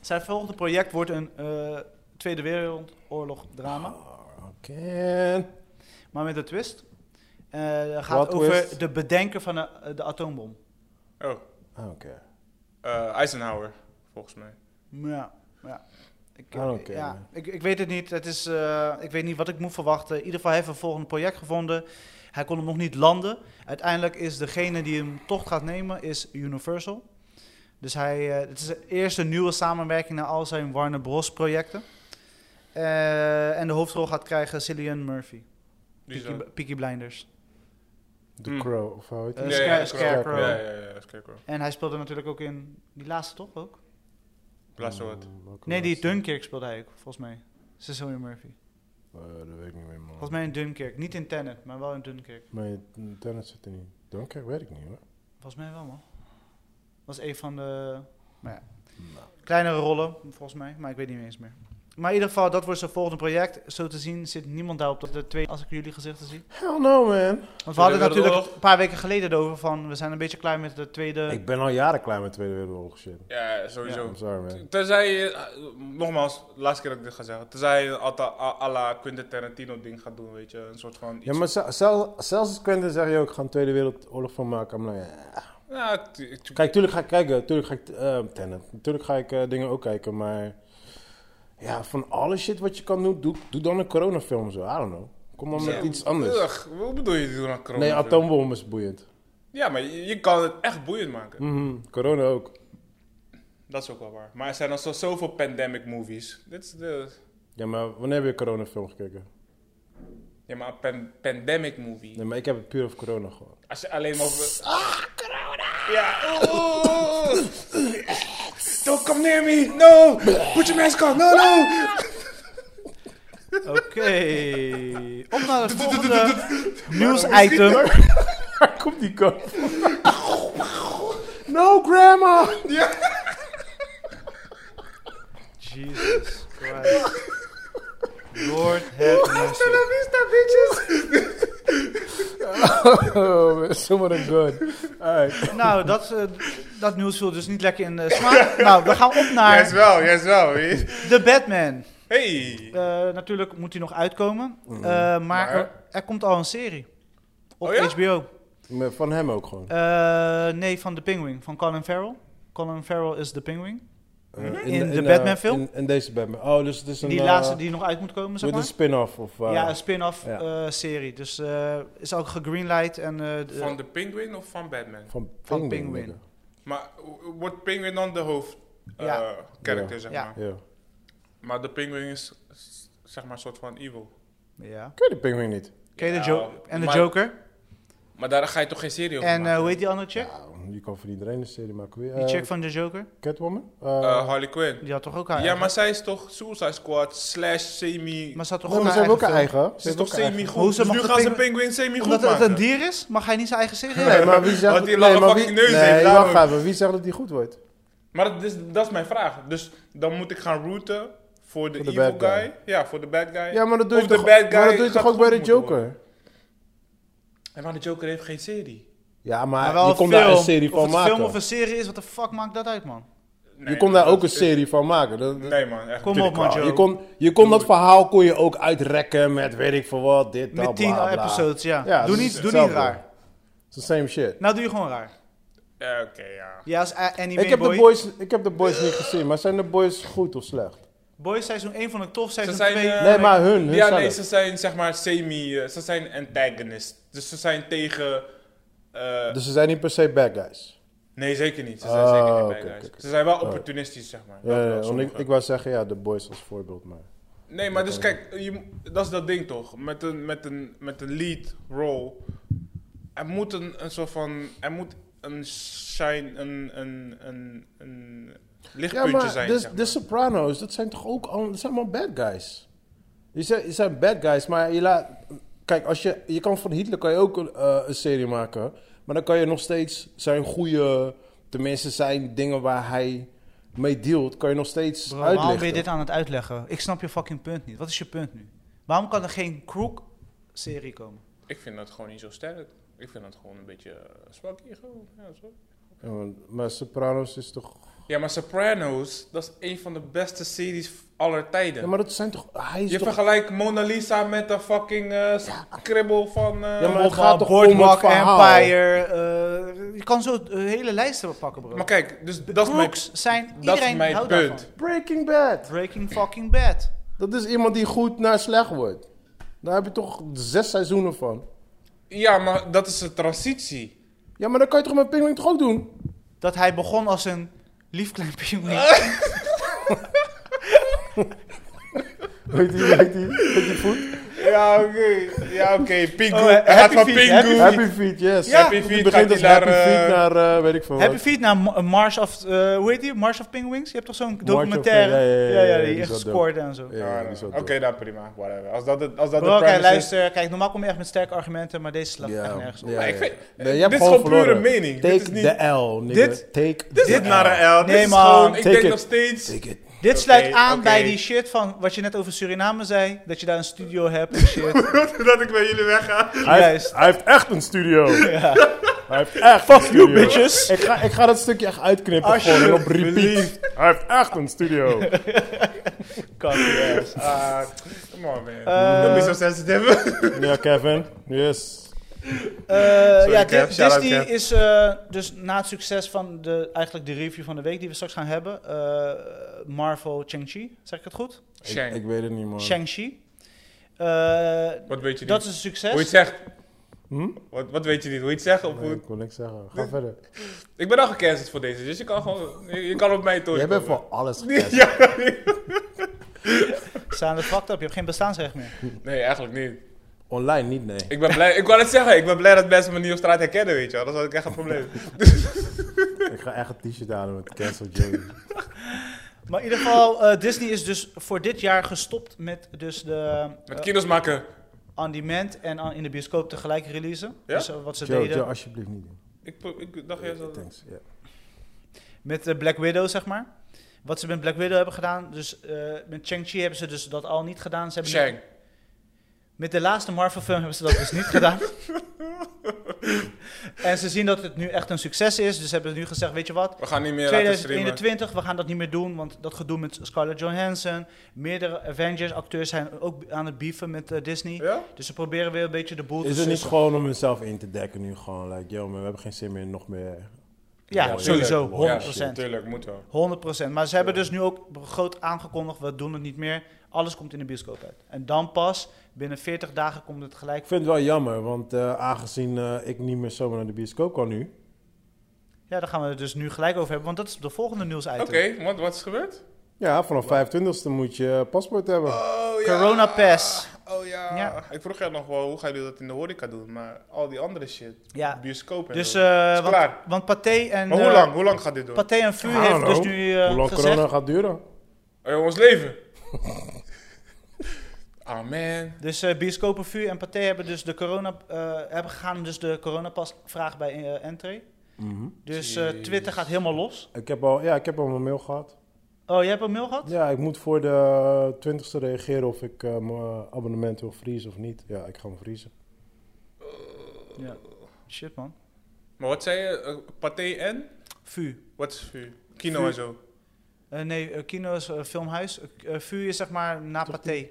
D: Zijn volgende project wordt een eh, Tweede Wereldoorlog drama.
B: Oh, Ken.
D: Maar met een twist. Eh, Het gaat
B: Wat
D: over
B: twist?
D: de bedenker van de, de atoombom.
A: Oh,
B: Oké. Okay.
A: eh, Eisenhower, volgens mij.
D: Ja, ja. Ik, eh,
B: I don't care,
D: ja
B: man.
D: ik, ik weet het niet. Het is, eh, ik weet niet wat ik moet verwachten. In ieder geval hij heeft een volgend project gevonden. Hij kon hem nog niet landen. Uiteindelijk is degene die hem toch gaat nemen, is Universal. Dus hij, eh, het is de eerste nieuwe samenwerking naar al zijn Warner Bros. projecten. Eh, en de hoofdrol gaat krijgen Cillian Murphy.
A: Die
D: Peaky,
A: zo-
D: Peaky Blinders.
B: The
A: Hmm.
B: Crow, of hoe heet
D: Eh,
B: het?
A: Ja,
D: Scar-
A: ja,
D: Scarecrow.
A: Ja, ja, ja, Scarecrow.
D: En hij speelde natuurlijk ook in die laatste toch ook?
A: Laatste wat.
B: Hmm, Welke
D: Nee, die
B: laatste?
D: Dunkirk speelde hij ook, volgens mij. Cecilia Murphy.
B: Eh, dat weet ik niet meer, man.
D: Volgens mij in Dunkirk. Niet in Tenet, maar wel in Dunkirk.
B: Mijn tennis zit er niet. Dunkirk weet ik niet, hoor.
D: Volgens mij wel, man. was een van de maar ja.
B: Nou.
D: kleinere rollen, volgens mij. Maar ik weet niet eens meer. Maar in ieder geval, dat wordt zijn volgende project. Zo te zien zit niemand daarop dat de twee, als ik jullie gezichten zie.
B: Hell no, man.
D: Want we hadden
A: Tweede
D: natuurlijk
A: Wereldoorlog.
D: een paar weken geleden erover van... we zijn een beetje klaar met de tweede...
B: Ik ben al jaren klaar met Tweede Wereldoorlog shit.
A: Ja,
B: I'm
A: sowieso.
B: sorry, man.
A: Tenzij je, eh, nogmaals, laatste keer dat ik dit ga zeggen. Tenzij je een atta- a à la Quentin Tarantino ding gaat doen, weet je. Een soort van iets.
B: Ja, maar zel- zel- zelfs als Quentin zeg je ook, gaan Tweede Wereldoorlog van maken. I'm like, eh.
A: Ja, t- t-
B: Kijk, tuurlijk ga ik kijken. Tuurlijk ga ik, eh Tenet. Tuurlijk ga ik eh, dingen ook kijken, maar... Ja, van alle shit wat je kan doen, doe, doe dan een coronafilm zo. I don't know. Kom dan met
A: Ja,
B: iets anders.
A: ugh, wat bedoel je doen aan corona?
B: Nee, atoombom is boeiend.
A: Ja, maar je, je kan het echt boeiend maken.
B: Mhm, corona ook.
A: Dat is ook wel waar. Maar er zijn al zo, zoveel pandemic movies. Dit is de...
B: Ja, maar wanneer heb je een coronafilm gekeken?
A: Ja, maar een pan- pandemic movie.
B: Nee, maar ik heb het puur over corona gehad.
A: Als je alleen maar over... Ah, corona! Ja. oeh, oeh, oeh. Don't come near me! No! Put your mask on! No, no!
D: Oké, op naar het volgende nieuwsitem.
B: [laughs] Waar komt die kant? no, grandma!
D: Jesus Christ. Lord have mercy.
B: Oh, [laughs] zomaar een god. Alright.
D: Nou, dat, eh, dat nieuws viel dus niet lekker in de smaak. Nou, we gaan op naar...
F: Yes wel, yes
B: [laughs]
F: wel. weet je.
D: De Batman.
A: Hey!
D: Eh, natuurlijk moet hij nog uitkomen.
B: Mm.
D: Eh, maar er, er komt al een serie. Op
A: Oh ja?
D: HBO.
B: Maar Van hem ook gewoon.
D: Eh, nee, van de Penguin. Van Colin Farrell. Colin Farrell is de Penguin.
B: Eh,
D: In de
B: eh,
D: Batman-film?
B: In, in deze Batman. Oh, dus het is een...
D: Die
B: eh,
D: laatste die nog uit moet komen, zeg
B: Met een
D: maar.
B: spin-off of... eh,
D: ja, een spin-off
B: ja.
D: eh, serie. Dus eh, is ook gegreenlight. En, eh, de-
A: Van de Penguin of van Batman?
B: van
D: van
B: Penguin.
D: Penguin.
B: nigga.
A: Maar w- wordt Penguin dan de hoofd eh,
D: Ja.
A: character,
B: Ja.
A: zeg
D: Ja.
A: maar?
B: Ja.
A: Maar de Penguin is, s- zeg maar, een soort van evil.
D: ja.
B: Ken je de Penguin niet?
D: Ken je de
A: Ja,
D: Jo- en de
A: maar-
D: Joker.
A: Maar daar ga je toch geen serie over
D: En eh,
A: maken?
D: hoe heet die andere chick?
B: Ja, je kan voor iedereen een serie maken. Wie,
D: Die
B: eh,
D: chick van de Joker.
B: Catwoman? Eh,
A: Eh, Harley Quinn.
D: Die had toch ook
A: Ja,
D: haar
A: maar zij is toch Suicide Squad slash semi...
D: maar ze had toch
B: nee,
D: ook
B: maar
D: haar
B: ze hebben ook een
D: eigen
B: eigen.
A: ze
B: Ze
A: is
B: hebben
A: toch
B: ook een eigen-
A: semi-goed?
D: Hoe ze
A: Dus nu
D: mag de
A: gaan ze
D: Penguin-
A: Penguin
D: film?
A: semi-goed
D: Omdat het
A: maken.
D: een dier is, mag hij niet zijn eigen serie
B: Nee,
D: hebben?
B: maar wie zegt...
A: Want die
B: nee,
A: lange
B: maar wie,
A: fucking neus
B: nee,
A: heeft,
B: wacht
A: daarom.
B: even. Wie zegt dat die goed wordt?
A: Maar dat is, dat is mijn vraag. Dus dan moet ik gaan routen voor de,
B: Voor de
A: evil
B: bad
A: guy.
B: guy.
A: Ja, voor de bad guy.
B: Ja, maar dat doe je
A: Of de
B: toch,
A: bad
B: maar dat
A: guy
B: doe je toch
A: gaat
B: ook bij de
A: goed moeten
B: Joker?
A: worden. En maar de Joker heeft geen serie.
B: Ja, maar,
D: Maar wel
B: je
D: een
B: kon daar
D: film.
B: een serie
D: of
B: van
D: het
B: maken.
D: film of een serie is, wat de fuck maakt dat uit, man?
A: Nee,
B: je kon daar
A: dat
B: ook een
A: is-
B: serie van maken. Dat, dat-
A: Nee man, echt.
D: Kom op, man, Joe.
B: je, kon, je kon dat verhaal kon je ook uitrekken met weet ik veel wat, dit, dat,
D: Met tien
B: bla, bla.
D: episodes, ja.
B: Ja,
D: doe
B: dat is
D: niet, doe niet
B: hetzelfde.
D: raar.
B: It's the same shit.
D: Nou, doe je gewoon raar.
A: Ja, Oké, ja.
D: Ja, als a- anime
B: Ik heb,
D: boy.
B: de boys, ik heb de boys niet gezien, maar zijn de boys goed of slecht?
D: Boys seizoen 1 vond ik tof,
A: Ze
D: seizoen
A: zijn...
D: 2.
A: eh,
B: Nee, maar hun, hun
A: ja,
B: zelf.
A: nee, ze zijn zeg maar semi... eh, ze zijn antagonist. Dus ze zijn tegen... eh,
B: Dus ze zijn niet per se bad guys.
A: nee, zeker niet. Ze zijn
B: Ah,
A: zeker niet bij
B: oké,
A: guys.
B: oké, oké.
A: Ze zijn wel opportunistisch, zeg maar. Dat
B: Ja,
A: wel,
B: ja, Eh, want ik,
A: sommigen.
B: ik wou zeggen, ja, de boys als voorbeeld, maar...
A: Nee, maar dus kijk, je, m- dat is dat ding toch. Met een, met een, met een lead role. Er moet een, een soort van. Er moet een shine. Een, een, een, een, Lichtpuntjes
B: Ja, maar dus-
A: zijn.
B: de,
A: zeg
B: de
A: maar.
B: Sopranos, dat zijn toch ook al, dat zijn allemaal bad guys. Die zijn, die zijn bad guys, maar je laat... Kijk, als je, je kan van Hitler kan je ook een, eh, een serie maken. Maar dan kan je nog steeds zijn goede... Tenminste, zijn dingen waar hij mee dealt, kan je nog steeds
D: Bro, waarom ben je
B: uitleggen.
D: dit aan het uitleggen? Ik snap je fucking punt niet. Wat is je punt nu? Waarom kan er geen Crook-serie komen?
A: Ik vind dat gewoon niet zo sterk. Ik vind dat gewoon een beetje eh, zwak hier gewoon. Ja, zo.
B: Ja, want- maar Sopranos is toch...
A: ja, maar Sopranos, dat is een van de beste series aller tijden.
B: Ja, maar dat zijn toch... Hij is
A: je
B: toch...
A: vergelijkt Mona Lisa met een fucking eh scribbel van... eh,
B: Ja, maar
A: maar...
B: het gaat toch om het
D: Boardwalk
B: verhaal.
D: Empire. eh, je kan zo een hele lijsten pakken, bro.
A: kijk, dus dat is mijn,
D: Crooks zijn
A: dat is
D: iedereen
A: mijn
D: houdt
A: punt.
D: daarvan.
B: Breaking Bad.
D: Breaking fucking bad.
B: Dat is iemand die goed naar slecht wordt. Daar heb je toch zes seizoenen van.
A: Ja, maar dat is een transitie.
B: Ja, maar dat kan je toch met Penguin toch ook doen?
D: Dat hij begon als een lief klein
A: [laughs]
D: pinguïn.
B: Weet je, weet je, weet je voet?
A: Ja, oké. Ja, oké. [laughs] Pingu.
D: Oh,
A: Hij gaat
D: Happy
A: van
D: Feet, Happy
A: Pingu.
B: Happy Feet, yes.
A: Ja. Happy Feet
B: Je
A: gaat
B: begint als
A: hij
B: Happy
A: naar,
B: Feet
A: eh,
B: naar, eh, weet ik veel
D: Heb je
B: wat.
D: feed naar Ma- Marsh of, eh hoe heet die? Marsh of Penguins? Je hebt toch zo'n
B: of-
D: documentaire?
B: ja, ja, ja, ja, ja, die
D: die
B: is
D: echt
B: wel dope.
D: gescoord en zo.
B: Ja,
A: Ja,
B: die is wel
A: Oké,
B: dope.
A: nou prima. Whatever. Als dat, het- als dat
D: Bro,
A: de
D: oké,
A: premise is...
D: luister, kijk, normaal kom je echt met sterke argumenten, maar deze slaat
B: Ja,
D: echt nergens op.
B: ja,
A: Maar ik
B: ja.
A: vind-
B: Nee, je
A: dit
B: hebt
A: is
B: gewoon
A: gewoon pure
B: verloren.
A: mening. Dit
B: Take
A: is niet-
B: the L, nigga.
D: Dit-
B: Take
A: Dit
B: the
A: is naar
B: L.
A: een L.
D: Nee,
A: Dit is
D: man.
A: gewoon... Ik
B: Take
A: denk
B: it.
A: nog steeds...
B: Take it.
D: Dit sluit
A: Oké,
D: aan bij
A: oké.
D: die shit van wat je net over Suriname zei, dat je daar een studio hebt en shit.
B: [laughs]
A: [laughs] dat ik bij jullie [laughs] wegga.
B: Hij,
D: Juist.
B: hij heeft echt een
A: [laughs]
B: studio. Hij heeft echt Fuck you,
D: bitches.
B: Ik ga, ik ga dat stukje echt uitknippen gewoon en op repeat. Hij heeft echt een studio.
A: [laughs]
D: Kan niet, yes.
A: Ah, come on, man.
D: Eh,
A: Don't be so [laughs] sensitive.
B: ja, Kevin. Yes.
D: Eh, ja, Di-
A: Kev. Shout-out,
D: Disney
A: Kev.
D: is eh, dus na het succes van de, eigenlijk de review van de week die we straks gaan hebben, eh, Marvel Shang-Chi, zeg ik het goed?
A: Shang.
B: Ik, ik weet het niet, man.
D: Shang-Chi. Eh,
A: Wat weet je niet?
D: dat is een
A: Hoe je het
D: succes.
A: zegt.
B: Hm?
A: Wat, wat weet je niet? Hoe je het zegt? Of
B: Nee,
A: hoe...
B: ik wil niks zeggen. Ga verder.
A: Ik ben al gecanceld voor deze, dus je kan gewoon... Je, je kan op mij toe.
B: Jij bent voor alles
A: Nee, [laughs]
B: gepest.
A: ja,
D: Staan de fucked up, je hebt geen bestaansrecht meer.
A: nee, eigenlijk niet.
B: Online niet, nee.
A: Ik ben blij... Ik wou het zeggen. Ik ben blij dat mensen me niet op straat herkennen, weet je wel. Dat had ik echt een probleem.
B: Ik ga echt een t-shirt halen met Cancel Joey.
D: Maar in ieder geval, eh, Disney is dus voor dit jaar gestopt met dus de
A: Met kino's maken.
D: on-demand en aan- in de bioscoop tegelijk releasen.
A: Ja?
D: Dus eh, wat ze
B: Joe,
D: deden
B: Joe, alsjeblieft niet doen.
A: Ik, pro- ik dacht eerst dat...
B: Thanks. ja.
D: met eh, Black Widow, zeg maar. Wat ze met Black Widow hebben gedaan, dus eh, met Shang-Chi hebben ze dus dat al niet gedaan. Ze hebben
A: Shang.
D: Met de laatste Marvel-film hebben ze dat dus niet
A: [laughs]
D: gedaan. en ze zien dat het nu echt een succes is, dus hebben ze nu gezegd, weet je wat,
A: We gaan niet meer laten streamen.
D: 2021, we gaan dat niet meer doen, want dat gedoe met Scarlett Johansson, meerdere Avengers-acteurs zijn ook aan het beefen met eh, Disney.
A: Ja?
D: Dus ze proberen weer een beetje de
B: Is
D: boel te
B: het niet
D: sussen.
B: gewoon om mezelf in te dekken nu? Gewoon, like, yo, man, we hebben geen zin meer, nog meer.
D: Ja,
B: Ja,
D: sowieso,
B: tuurlijk.
D: 100%.
A: Ja, tuurlijk, moet wel.
D: 100%. Maar ze hebben dus nu ook groot aangekondigd, we doen het niet meer. Alles komt in de bioscoop uit. En dan pas, binnen 40 dagen komt het gelijk.
B: Ik vind het wel jammer, want eh, aangezien eh, ik niet meer zomaar naar de bioscoop kan nu.
D: Ja, daar gaan we het dus nu gelijk over hebben, want dat is de volgende nieuwsitem.
A: Oké, wat, wat is gebeurd?
B: Ja, Ah, vanaf 25e moet je eh, paspoort hebben.
A: Oh
D: Corona pass.
A: Oh ja.
D: Ja.
A: Ik vroeg jou nog wel, hoe gaan jullie dat in de horeca doen? Maar al die andere shit,
D: Ja.
A: bioscoop en
D: Dus,
A: zo.
D: eh,
A: Is
D: want,
A: klaar.
D: want Pathé en...
A: Maar hoe
D: eh,
A: lang? Hoe lang gaat dit door?
D: Pathé en Vu
B: I
D: heeft
B: don't
D: dus
B: know.
D: nu eh,
B: Hoe lang
D: gezegd...
B: corona gaat duren?
A: Oh, ons [laughs] leven. Ah man.
D: Dus eh bioscopen VU en Pathé hebben dus de corona, eh, hebben gaan dus de coronapas vragen bij eh Entree.
B: Mhm.
D: Dus eh, Twitter gaat helemaal los.
B: Ik heb al, ja, ik heb al mijn mail gehad.
D: Oh, jij hebt een mail gehad?
B: Ja, ik moet voor de 20e reageren of ik eh, mijn abonnement wil vriezen of niet. Ja, ik ga hem vriezen.
D: Ja. Shit man.
A: Maar wat zei je? Eh, Pathé en?
D: VU.
A: Wat is vuur? Kino
D: Vuur.
A: en zo.
D: Eh, nee, eh, kino's, eh, filmhuis. Eh, eh, VU is zeg maar na Pathé.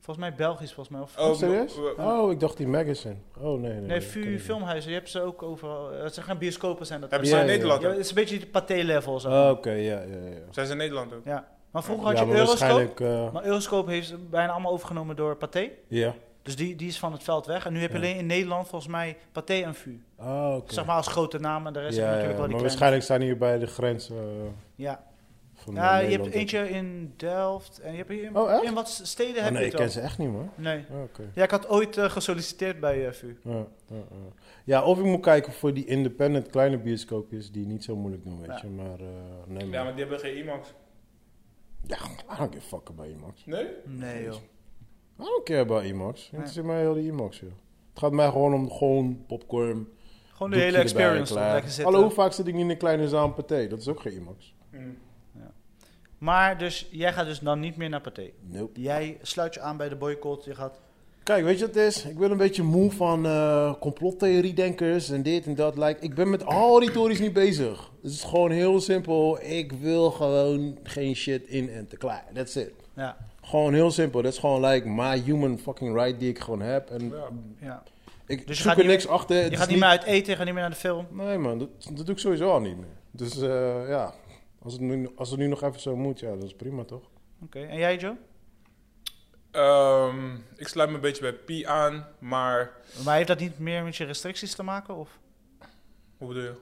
D: Volgens mij Belgisch, volgens mij. Of,
A: Oh,
B: Oh, serieus?
A: we- we-
B: Oh, ik dacht die magazine. Oh, nee, nee.
D: nee,
B: dat kan
D: VU
B: niet.
D: filmhuizen. Je hebt ze ook overal. eh, Het zijn geen bioscopen zijn dat.
A: Hebben
D: Ja,
A: ze in
B: ja, ja.
A: Nederland? ook?
D: het is een beetje de Pathé-level. zeg
B: Ah,
D: maar.
B: Oké, ja, ja, ja. ja.
A: Zijn ze in Nederland ook?
D: Ja. Maar vroeger had
B: Ja,
D: je
B: maar
D: Euroscope.
B: waarschijnlijk... eh,
D: Maar Euroscope heeft ze bijna allemaal overgenomen door Pathé.
B: Ja.
D: Dus die, die is van het veld weg. En nu heb je
B: Ja.
D: alleen in Nederland volgens mij Pathé en VU.
B: Ah, oké.
D: Zeg maar als grote namen. De rest
B: Ja,
D: heb je
B: ja,
D: natuurlijk wel
B: maar
D: die kleine.
B: waarschijnlijk zijn hier bij de grens eh,
D: Ja.
B: Van
D: Ja, je hebt
B: Nederland.
D: eentje in Delft en je hebt hier in,
B: Oh, echt?
D: in wat steden
B: Oh,
D: heb
B: nee,
D: je
B: ik
D: het wel.
B: ken ze echt niet, man.
D: Nee.
B: Oh, oké.
D: Ja, ik had ooit eh, gesolliciteerd bij eh VU.
B: Ja, ja, ja. ja, of ik moet kijken voor die independent kleine bioscoopjes die niet zo moeilijk doen, weet
D: Ja.
B: je. Maar eh nee,
A: Ja,
B: man.
A: maar die hebben geen IMAX.
B: Ja, I don't give a fuck about IMAX.
A: Nee?
D: Nee joh.
B: I don't care about IMAX. Het is mij heel die IMAX, joh. Het gaat mij gewoon om gewoon popcorn.
D: Gewoon de hele experience. toch? Lekker zitten.
B: Hallo, hoe vaak zit ik niet in een kleine zaal aan Pathé? Dat is ook geen IMAX.
A: Hm.
D: Maar dus, jij gaat dus dan niet meer naar Pathé.
B: Nope.
D: Jij sluit je aan bij de boycott. Je gaat...
B: Kijk, weet je wat het is? Ik ben een beetje moe van eh, complottheoriedenkers en dit en dat. Like, ik ben met al die theories niet bezig. Het is gewoon heel simpel. Ik wil gewoon geen shit in en te klaar. That's it.
D: Ja,
B: Gewoon heel simpel. Dat is gewoon like my human fucking right die ik gewoon heb. En
A: Ja.
D: ja.
B: ik
D: Dus je
B: zoek
D: gaat
B: er
D: niet-
B: niks achter. Het
D: Je
B: is
D: gaat niet meer uit eten, je gaat niet meer naar de film.
B: Nee man, dat, dat doe ik sowieso al niet meer. Dus eh, ja, als het, nu, als het nu nog even zo moet, ja, dat is prima toch?
D: Oké, en jij Joe?
A: Ehm, ik sluit me een beetje bij P aan, maar...
D: Maar heeft dat niet meer met je restricties te maken? Of
A: Hoe bedoel je?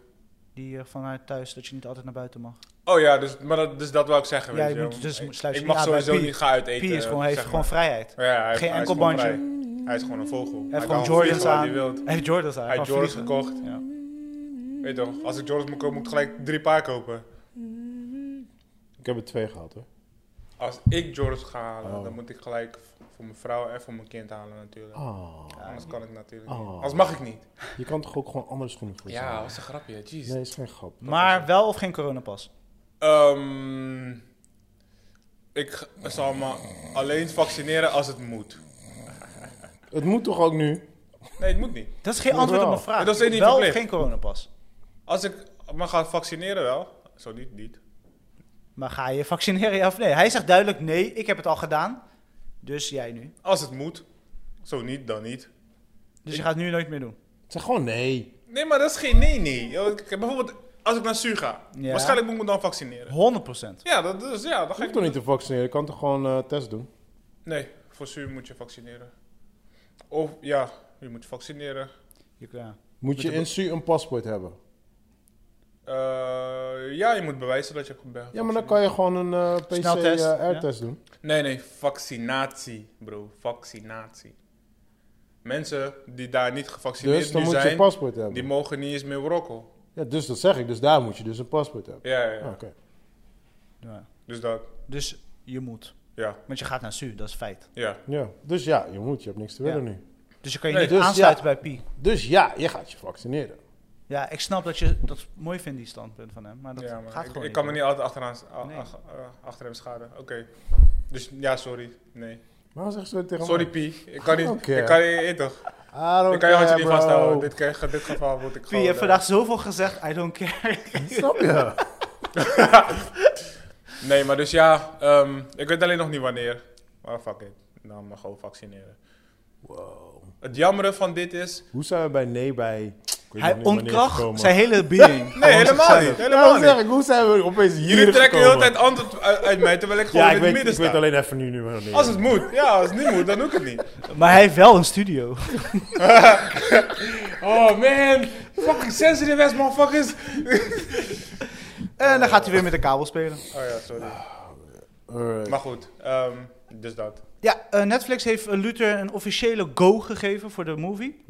D: die eh, vanuit thuis, dat je niet altijd naar buiten mag?
A: Oh ja, dus, maar dat, dus dat wil ik zeggen.
D: Ja,
A: weet
D: je
A: wel.
D: moet dus-
A: Ik-
D: sluit je
A: Ik
D: niet
A: mag
D: aan bij
A: sowieso
D: P.
A: niet gaan uit eten.
D: Piers is gewoon,
A: eh,
D: heeft
A: zeg
D: gewoon
A: maar.
D: vrijheid.
A: Ja, hij,
D: geen
A: hij is
D: enkel
A: gewoon
D: bandje.
A: vrij. Hij is gewoon een vogel.
D: Hij heeft
A: kan
D: gewoon Jordans
A: vliegen waar
D: aan.
A: Hij, wil.
D: Hij heeft Jordans aan.
A: hij heeft Jordans
D: vliegen.
A: gekocht.
D: Ja.
A: Weet je toch, als ik Jordans moet kopen, moet ik gelijk drie paar kopen.
B: Ik heb er twee gehad hoor.
A: Als ik Jordans ga halen,
B: Oh.
A: dan moet ik gelijk voor mijn vrouw en voor mijn kind halen natuurlijk.
D: Oh.
B: Ah,
A: Anders kan ik natuurlijk niet.
B: Oh.
A: Anders mag ik niet.
B: je kan toch ook gewoon andere schoenen voor ze
A: Ja,
B: hebben?
A: was een grapje, jeez.
B: Nee, is geen grap.
D: Maar wel of geen coronapas?
A: Ehm, ik g- zal me alleen vaccineren als het moet.
B: Het moet toch ook nu?
A: Nee, het moet niet.
D: Dat is geen antwoord op
B: wel.
D: mijn vraag.
A: Dat is niet
D: wel of
A: verplicht.
D: geen coronapas?
A: Als ik me ga vaccineren wel. Zo niet, niet.
D: Maar ga je vaccineren ja of nee? Hij zegt duidelijk nee, ik heb het al gedaan. Dus jij nu.
A: Als het moet. Zo niet, dan niet.
D: Dus je gaat het nu nooit meer doen.
B: Zeg gewoon nee.
A: Nee, maar dat is geen nee, nee. Yo, ik- Bijvoorbeeld, als ik naar Su ga.
D: Ja.
A: Waarschijnlijk moet ik me dan vaccineren.
D: 100%.
A: Ja, dat, dus, ja, dan ga
B: Je
A: ik...
B: hoeft toch niet te vaccineren? Je kan toch gewoon eh, test doen?
A: Nee, voor Su moet je vaccineren. Of, ja, je moet vaccineren.
D: Je- Ja.
B: Moet je in SU een paspoort hebben?
A: Eh, ja, je moet bewijzen dat je goed bent.
B: Ja, maar dan kan je gewoon een eh
D: Sneltest, ja.
B: PCR-test doen.
A: Nee, nee, vaccinatie, bro. Vaccinatie. Mensen die daar niet gevaccineerd
B: Dus dan
A: nu
B: moet je
A: zijn,
B: een paspoort hebben.
A: die mogen niet eens meer rocken.
B: Ja, dus dat zeg ik. Dus daar moet je dus een paspoort hebben.
A: Ja, ja, ja.
B: Ah, Oké.
D: Ja.
A: Dus dat,
D: Dus je moet.
A: ja,
D: Want je gaat naar SU, dat is feit.
A: ja.
B: Ja. Dus ja, je moet. Je hebt niks te willen
D: Ja.
B: nu.
D: Dus je kan je
A: Nee,
D: niet
B: dus
D: aansluiten bij Pi.
B: Dus ja, je gaat je vaccineren.
D: Ja, ik snap dat je dat mooi vindt, die standpunt van hem. Maar dat
A: ja maar
D: gaat
A: ik,
D: gewoon
A: ik kan me
D: hoor.
A: niet altijd achteraan, a-
D: Nee.
A: ach- eh, achter hem schaden. Oké. Dus ja, sorry. Nee.
B: Waarom zeg je zo tegen
A: Sorry,
B: mij?
A: P. Ik kan niet.
B: Oké.
A: Ik kan niet. eh, toch?
B: I don't
A: Ik kan je handje
B: care,
A: niet
B: bro.
A: vasthouden. Dit, ke- dit geval moet ik
D: Pi,
A: gewoon.
D: je hebt
A: eh,
D: vandaag zoveel gezegd, I don't care.
B: Snap je?
A: Nee, maar dus ja, ehm, ik weet alleen nog niet wanneer. Maar fuck it. Dan maar gewoon vaccineren.
B: Wow.
A: Het jammere van dit is.
B: Hoe zijn we bij nee bij... Ik weet nog
D: Hij
B: niet wanneer
D: ontkracht
B: gekomen.
D: zijn
A: [laughs]
D: hele being.
A: Nee, helemaal niet. Helemaal
B: Daarom zeg
A: niet.
B: ik, hoe zijn we opeens hier
A: Jullie trekken de hele
B: gekomen?
A: tijd antwoord uit uit mij terwijl ik gewoon
B: Ja,
A: in
B: ik
A: het
B: weet,
A: midden
B: ik weet
A: sta.
B: alleen even nu nu wanneer.
A: Als het moet, ja, als het niet moet, dan doe ik het niet.
D: Maar hij heeft wel een studio.
A: Oh man, fucking sensitive ass motherfuckers.
D: En dan gaat hij weer met de kabel spelen.
A: Oh ja, sorry.
B: Alright.
A: Maar goed, ehm, dus dat.
D: Ja, eh, Netflix heeft eh, Luther een officiële go gegeven voor de movie.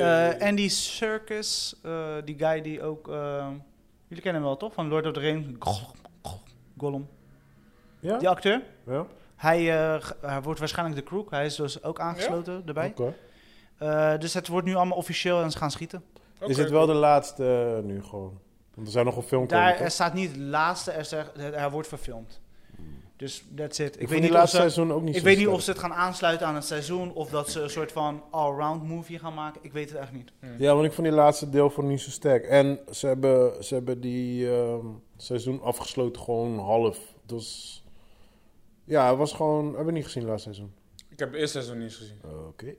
D: Eh, Andy Serkis, eh, die guy die ook... eh, jullie kennen hem wel, toch? Van Lord of the Rings. Gollum.
B: Ja?
D: Die acteur.
B: Ja?
D: Hij, eh, g- hij wordt waarschijnlijk de crook. Hij is dus ook aangesloten erbij.
B: Oké.
D: Eh, dus het wordt nu allemaal officieel en ze gaan schieten.
B: Is het wel de laatste eh, nu gewoon? Want er zou nog een film komen,
D: Daar
B: toch?
D: er staat niet laatste, er, zegt, er er wordt verfilmd. Dus that's it. Ik,
B: vond
D: weet
B: die
D: niet of
B: laatste
D: ze,
B: seizoen ook niet
D: ik
B: zo
D: weet niet
B: sterk.
D: of ze het gaan aansluiten aan het seizoen of dat ze een soort van all-round movie gaan maken. Ik weet het echt niet.
B: Ja, want ik vond die laatste deel van niet zo sterk. En ze hebben, ze hebben die ehm, seizoen afgesloten gewoon half. Dus ja, het was gewoon... Hebben we niet gezien laatste seizoen.
A: Ik heb het eerste seizoen niet eens gezien.
B: Oké.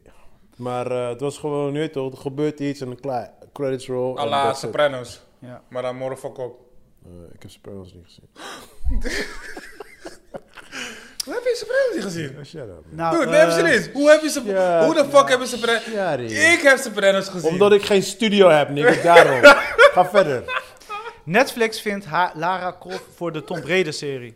B: Maar eh, het was gewoon, nu toch, er gebeurt iets en dan klaar. Credits roll. en
A: Alla
B: that's it.
A: Sopranos.
D: Ja.
A: Maar dan morgen fuck op.
B: Eh, ik heb Sopranos niet gezien.
A: Hoe heb je Sopranos niet gezien?
B: shut up. man.
D: Nou,
A: Dude, neem
D: eh,
A: serieus. Hoe heb je Sop-
B: ja,
A: Hoe de fuck hebben Sopranos...
B: Ja, die-
A: Ik heb Sopranos gezien.
B: [laughs] Omdat ik geen studio heb, nigga, daarom. Ga verder.
D: Netflix vindt ha- Lara Croft voor de Tomb Raider serie.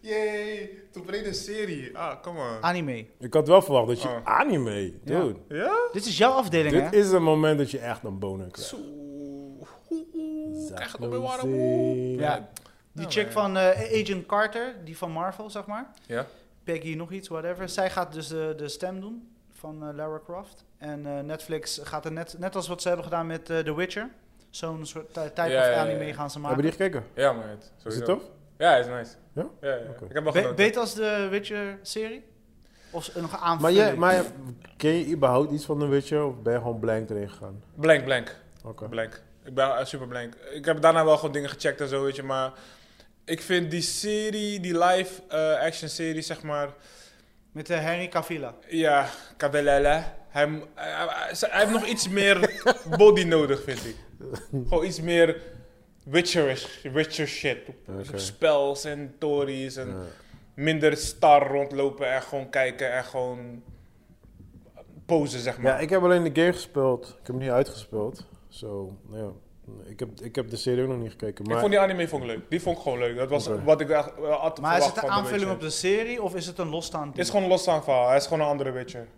A: Yay, Tomb Raider serie. Ah, come on.
D: Anime.
B: Ik had wel verwacht dat je
A: Oh.
B: anime, dude.
A: Ja?
D: Dit is jouw afdeling,
B: Dit
D: hè?
B: is een moment dat je echt een boner krijgt.
A: Oeh, oeh, oeh, ik krijg het op mijn warm. oeh.
B: Zalonzee.
D: Ja. Die
A: Nou,
D: chick
A: ja.
D: van eh, Agent Carter, die van Marvel, zeg maar.
A: Ja?
D: Peggy nog iets, whatever. Zij gaat dus de, de stem doen van eh, Lara Croft. En eh, Netflix gaat er net, net als wat ze hebben gedaan met eh, The Witcher. Zo'n soort ty- type
A: Ja,
D: of
A: ja, ja,
D: anime
A: ja.
D: gaan ze
B: Hebben
D: maken.
B: die gekeken?
A: Ja, maar het.
B: Is
A: sowieso.
B: het tof?
A: Ja, is nice.
B: Ja?
A: Ja, ja.
B: Oké.
A: Ik heb wel
D: Be-
A: genoten.
D: beter als de Witcher-serie? Of s- nog een aanvulling?
B: Maar, jij, maar ken je überhaupt iets van The Witcher of ben je gewoon blank erin gegaan?
A: Blank, blank.
B: Oké.
A: Blank. Ik ben eh, super blank. Ik heb daarna wel gewoon dingen gecheckt en zo, weet je. Maar ik vind die serie, die live eh, action serie, zeg maar.
D: Met eh, Henry Cavilla.
A: Ja, Cabellele. Hij, m- hij, hij- hij heeft nog iets
B: [laughs]
A: meer body nodig, vind ik. Gewoon iets meer witcherish, witcher shit.
B: Oké.
A: Spells en tories en
B: Ja.
A: minder star rondlopen en gewoon kijken en gewoon posen, zeg maar.
B: Ja, ik heb alleen de game gespeeld. Ik heb hem niet uitgespeeld. Zo, nou ja. Ik heb, ik heb de serie ook nog niet gekeken.
A: Ik
B: Maar
A: vond die anime vond ik leuk. Die vond ik gewoon leuk. Dat was
B: Oké.
A: wat ik echt, wel had
D: Maar is
A: verwacht
D: het een
A: van de
D: aanvulling
A: Witcher.
D: op de serie of is het een losstaand
A: Het is
D: ding?
A: gewoon een losstaand verhaal. Hij is gewoon een andere Witcher.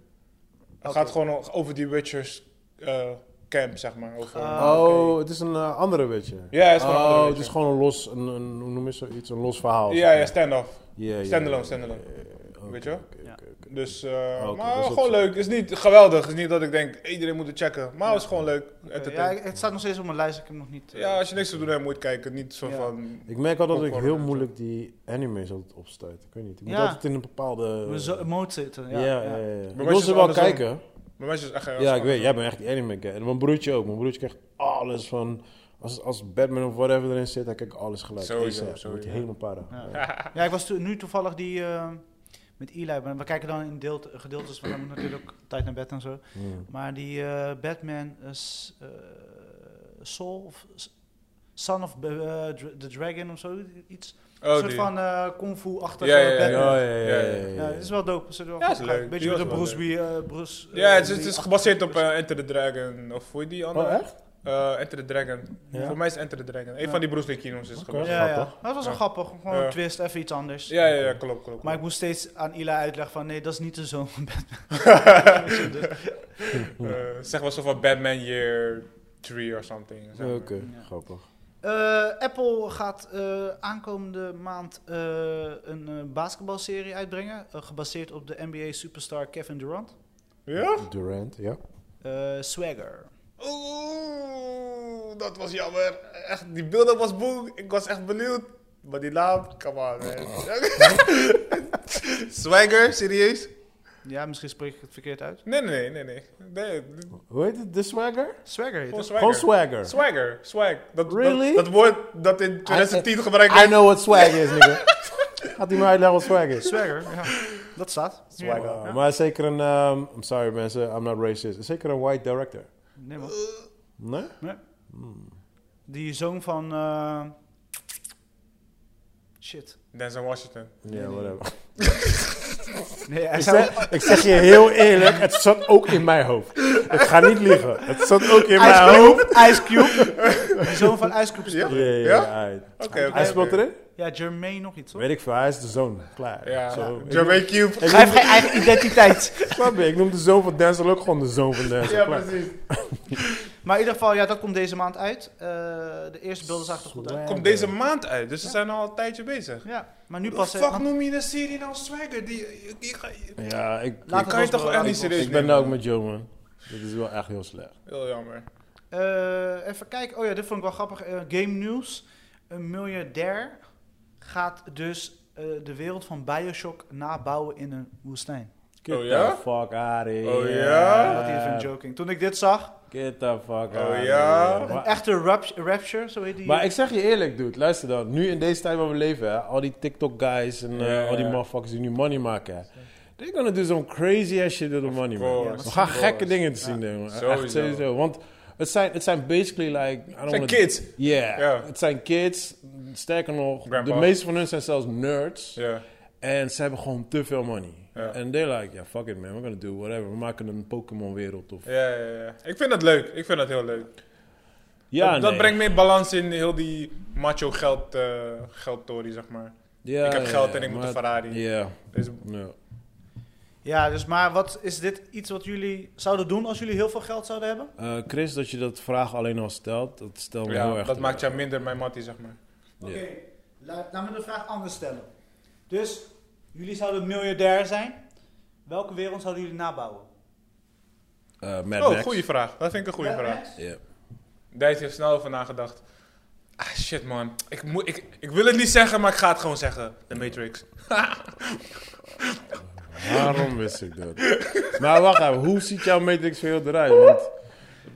A: Het
D: Oké.
A: gaat gewoon over die Witchers eh, camp, zeg maar. Over,
D: Ah.
B: Oh, het is een eh, andere Witcher.
A: Ja, het is gewoon een andere
B: Oh, het
A: Witcher.
B: is gewoon een los, een, een, hoe noem je zoiets? Een los verhaal.
A: Ja, ja, stand-off.
B: Ja, ja,
A: Standalone,
B: ja,
A: standalone.
B: ja, ja, Eh, oké,
A: Weet je wel?
B: oké,
D: Ja.
B: oké, oké.
A: Dus, eh,
B: Ah, oké,
A: maar
B: dat is ook
A: gewoon
B: zo.
A: leuk. Het is niet geweldig. Het is niet dat ik denk, iedereen moet het checken. Maar Eh, het is gewoon leuk.
D: Oké,
A: Entertain.
D: ja,
A: ja,
D: ik- het staat nog steeds op mijn lijst, ik heb hem nog niet... eh,
A: als je niks te doen hebt, moet je het kijken. Niet zo
D: Ja.
A: van...
B: Ik merk altijd dat ik
A: Popcorn en
B: heel
A: zo.
B: moeilijk die anime's altijd opstuit. Ik weet niet. Ik moet
D: Ja.
B: altijd in een bepaalde...
D: we zo mode zitten.
B: Eh, ja,
D: Ja,
B: ja,
D: ja.
B: ja. ja. Ik
A: mij
B: wil
A: is
B: ze
A: het
B: wel
A: andersom.
B: kijken.
A: Mijn meisje is echt... erg
B: Ja, ik
A: spannend.
B: weet. Jij bent echt die anime guy. En mijn broertje ook. Mijn broertje krijgt alles van... Als, als Batman of whatever erin zit, dan kijk ik alles gelijk.
A: Sowieso,
B: ASAP. Dan
A: sowieso.
B: word je helemaal para.
D: Ja. Ja, ik was to- nu toevallig die eh, met Eli. maar We kijken dan in deelt, gedeeltes, want dan moet natuurlijk ook tijd naar bed en zo.
B: Hmm.
D: Maar die eh, Batman eh, s- eh, Soul of s- Son of eh, Dra- the Dragon of zo, iets.
A: Oh,
D: een soort
A: die.
D: van eh kung fu achtige
A: Ja, ja, ja,
B: Ja,
D: Batman.
B: ja,
D: Ja,
B: ja, ja, ja, ja.
D: het is wel dope. Zit er wel
A: Ja,
D: goed
A: is
D: in.
A: leuk.
D: Een
A: Die
D: beetje met de
A: was wel
D: Bruce Lee. eh, Bruce,
A: Ja,
D: eh,
A: het is, het
D: Lee
A: is
D: achtige-
A: gebaseerd op eh, Enter the Dragon. Of hoe heet die andere?
B: Oh, echt?
A: Eh, Enter the Dragon.
B: Ja.
A: Voor mij is Enter the Dragon. Een
D: Ja.
A: van die Bruce Lee kino's is gebaseerd.
D: Ja, ja.
B: Grappig.
D: Dat was wel
A: Ja.
D: grappig. Gewoon
A: Ja.
D: een twist, even iets anders.
A: Ja, ja, ja, klopt, klopt.
D: Maar ik moest steeds aan Eli uitleggen van nee, dat is niet de zoon van Batman. [laughs]
A: Eh, zeg wel zo van Batman Year 3 or something. zeg maar.
B: Oké,
D: Ja.
B: grappig.
D: Eh, Apple gaat eh, aankomende maand eh, een eh, basketbalserie uitbrengen. eh, gebaseerd op de NBA-superstar Kevin Durant.
A: Ja?
B: Durant, ja.
D: Eh, Swagger.
A: Oeh, dat was jammer. Echt, die beelden was boe. Ik was echt benieuwd. Maar die naam, come on, man.
B: [laughs]
A: Swagger, serieus?
D: Ja, misschien spreek ik het verkeerd uit.
A: Nee, nee, nee, nee. nee. nee
B: Hoe heet het? De Swagger?
D: Swagger heet
A: gewoon
D: het.
A: swagger.
B: Gewoon Swagger.
A: Swagger, swag. Dat,
B: Really?
A: dat, dat woord dat in 2010 gebruikt
B: I
A: werd.
B: know what swag is, nigga. Gaat hij maar uitleggen wat swag is?
D: Swagger, ja. [laughs] Dat staat.
B: Swagger. Maar is zeker een... ehm, I'm sorry mensen, I'm not racist. Is zeker een white director.
D: Nee, man.
B: Nee?
D: Nee. Die zoon van... eh, Shit.
A: Denzel Washington.
B: Ja, whatever.
D: Nee, hij
B: Ik
D: zou...
B: zeg, ik zeg je heel eerlijk, het zat ook in mijn hoofd. Ik ga niet liegen. Het zat ook in mijn
D: Ice
B: hoofd.
D: Cube. Ice Cube. Die [laughs] zoon van Ice Cube.
A: Ja?
D: speelt.
B: Ja, ja,
A: Ja?
B: ja, ja.
A: Oké, oké,
B: Hij speelt
A: oké.
B: erin?
D: Ja, Jermaine nog iets, hoor.
B: Weet ik veel, hij is de zoon. Klaar.
A: Ja,
B: Zo, ik-
A: Jermaine Cube.
D: Hij heeft geen eigen identiteit.
B: Snap je? Ik noem de zoon van Denzel ook gewoon de zoon van Denzel.
A: Ja,
B: Klaar.
A: precies.
D: [laughs] Maar in ieder geval, ja, dat komt deze maand uit. Eh, de eerste beelden zagen er goed uit.
B: Swagger.
A: Komt deze maand uit, dus ze zijn al een tijdje bezig.
D: Ja, maar nu
A: Hoe
D: pas... eh, ah.
A: fuck noem je de serie nou Swagger? Die, ik, ik ga,
B: Ja, ik,
D: Laat
B: ik-
D: het
A: kan je
D: ons
A: toch
D: bewaren.
A: echt niet serieus
B: ik ben
A: nemen?
B: daar ook met Joe, man. Dit is wel echt heel slecht.
A: Heel jammer.
D: Eh, even kijken. Oh ja, dit vond ik wel grappig. Eh, game nieuws. Een miljardair gaat dus eh, de wereld van Bioshock nabouwen in een woestijn.
B: Get
A: Oh, ja?
B: the fuck out of here.
A: Oh,
B: Eh.
A: ja?
D: Dat is even joking. Toen ik dit zag,
B: Get the fuck out
A: Oh, ja?
B: here.
D: een
B: Maar,
D: echte rapt- rapture, zo heet die.
B: maar ik zeg je eerlijk, dude. Luister dan. Nu in deze tijd waar we leven, hè, al die TikTok-guys en eh,
A: Ja.
B: al die motherfuckers die nu money maken, hè. They're gonna do some crazy ass shit with the money, man.
A: course,
B: we gaan
A: of
B: gekke
A: course.
B: dingen te zien, doen, man. Echt
A: Sowieso.
B: sowieso. Want het zijn, het zijn basically like... I don't
A: zijn
B: wanna-
A: kids.
B: Yeah.
A: Ja.
B: Het zijn kids. Sterker nog,
A: Grandpa.
B: de meeste van hun zijn zelfs nerds.
A: Ja.
B: En ze hebben gewoon te veel money.
A: Ja.
B: En they're like, yeah, fuck it man, we're gonna do whatever. We maken een Pokémon wereld of...
A: Ja, ja, ja. Ik vind dat leuk. Ik vind dat heel leuk. Ja,
G: Ja,
A: dat, dat
G: nee.
A: brengt meer balans in heel die macho geld, eh geldtory, zeg maar.
G: Ja,
A: ik heb
G: ja,
A: geld
G: ja,
A: en ik moet
G: maar-
A: een Ferrari.
G: Ja,
A: Dus
G: ja.
D: Ja, dus maar wat is dit iets wat jullie zouden doen als jullie heel veel geld zouden hebben?
G: Eh, Chris, dat je dat vraag alleen al stelt, dat stelt me heel
A: ja,
G: erg
A: dat maakt
G: je
A: jou minder mijn mattie, zeg maar.
G: Ja.
D: Oké, laat, laat me de vraag anders stellen. Dus jullie zouden miljardair zijn. Welke wereld zouden jullie nabouwen?
B: Eh,
G: Mad
A: Oh,
G: Max.
A: goede vraag. Dat vind ik een goede
D: Mad
A: vraag.
D: Max?
G: Ja.
A: Daar heeft hij snel over nagedacht. Ah, shit man. Ik, moet, ik, ik wil het niet zeggen, maar ik ga het gewoon zeggen. The Matrix.
B: Waarom wist ik dat? [laughs] Maar wacht even, hoe ziet jouw Matrix wereld eruit? Want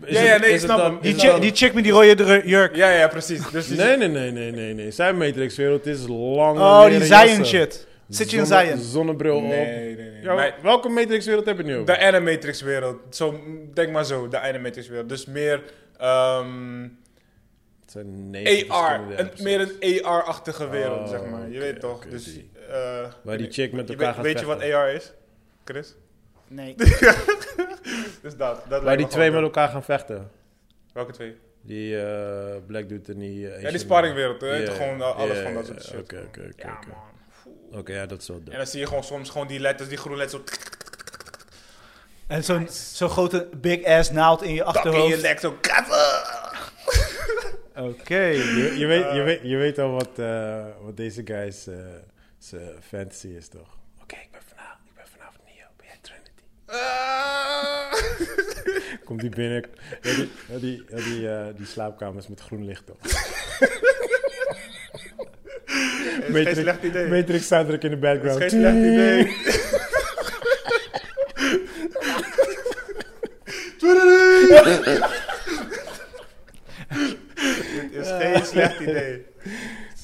B: is
A: Ja,
B: het-
A: ja, nee, ik
B: is het
A: snap
B: dan-
A: hem.
B: is
D: Die,
B: het
D: chick-
B: dan-
D: die chick met die rode dru- jurk.
A: Ja, ja, precies. Dus die-
B: Nee, nee, nee, nee, nee, nee. Zijn Matrix wereld is lang.
D: Oh, die Zion shit. Zit je in
B: Zonne-
D: Zion?
B: Zonnebril op.
A: Nee, nee, nee.
B: Ja,
A: Mijn-
B: welke Matrix wereld heb je nu?
A: de animatrix wereld. Zo, denk maar zo, de animatrix wereld. Dus meer ehm,
B: Het zijn negen
A: AR.
B: verschillende
A: Een,
B: episodes.
A: meer een AR-achtige wereld,
B: Oh,
A: zeg maar. Je
B: oké,
A: weet toch?
B: oké,
A: dus,
B: die.
A: eh,
B: Waar die chick met
A: je
B: elkaar
A: weet,
B: gaat
A: weet je wat
B: vechten.
A: AR is, Chris?
D: Nee.
A: Dus dat. dat
B: Waar
A: lijkt
B: die
A: me
B: twee met
A: gewoon-
B: elkaar gaan vechten.
A: Welke twee?
B: Die eh, Black Dude en die... eh,
A: Ja, die
B: Asian-
A: sparringwereld. hè?
B: Ja, ja,
A: Gewoon eh, alles
B: ja,
A: van dat
B: ja,
A: soort shit.
B: Oké, oké, oké,
A: Ja,
B: oké.
A: man.
B: Oké, ja, dat is wel dope.
A: En dan zie je gewoon soms gewoon die letters, die groene letters, zo
D: [laughs] En zo'n zo'n grote big ass naald in je
A: tak in je
D: achterhoofd.
A: lek, zo ah. katten.
D: Oké.
B: Je, je weet,
A: Eh,
B: je, weet, je weet al wat, eh, wat deze guy's eh, zijn fantasy is, toch? Oké, ik ben vanavond, ik ben vanavond Neo, ben jij Trinity? Komt die binnen, ja, die, ja, die, ja, die, eh, die slaapkamers met groen licht op.
A: Geen slecht idee.
B: Matrix soundtrack in de
A: Dat
B: background.
A: is geen slecht idee. Dit is geen slecht idee.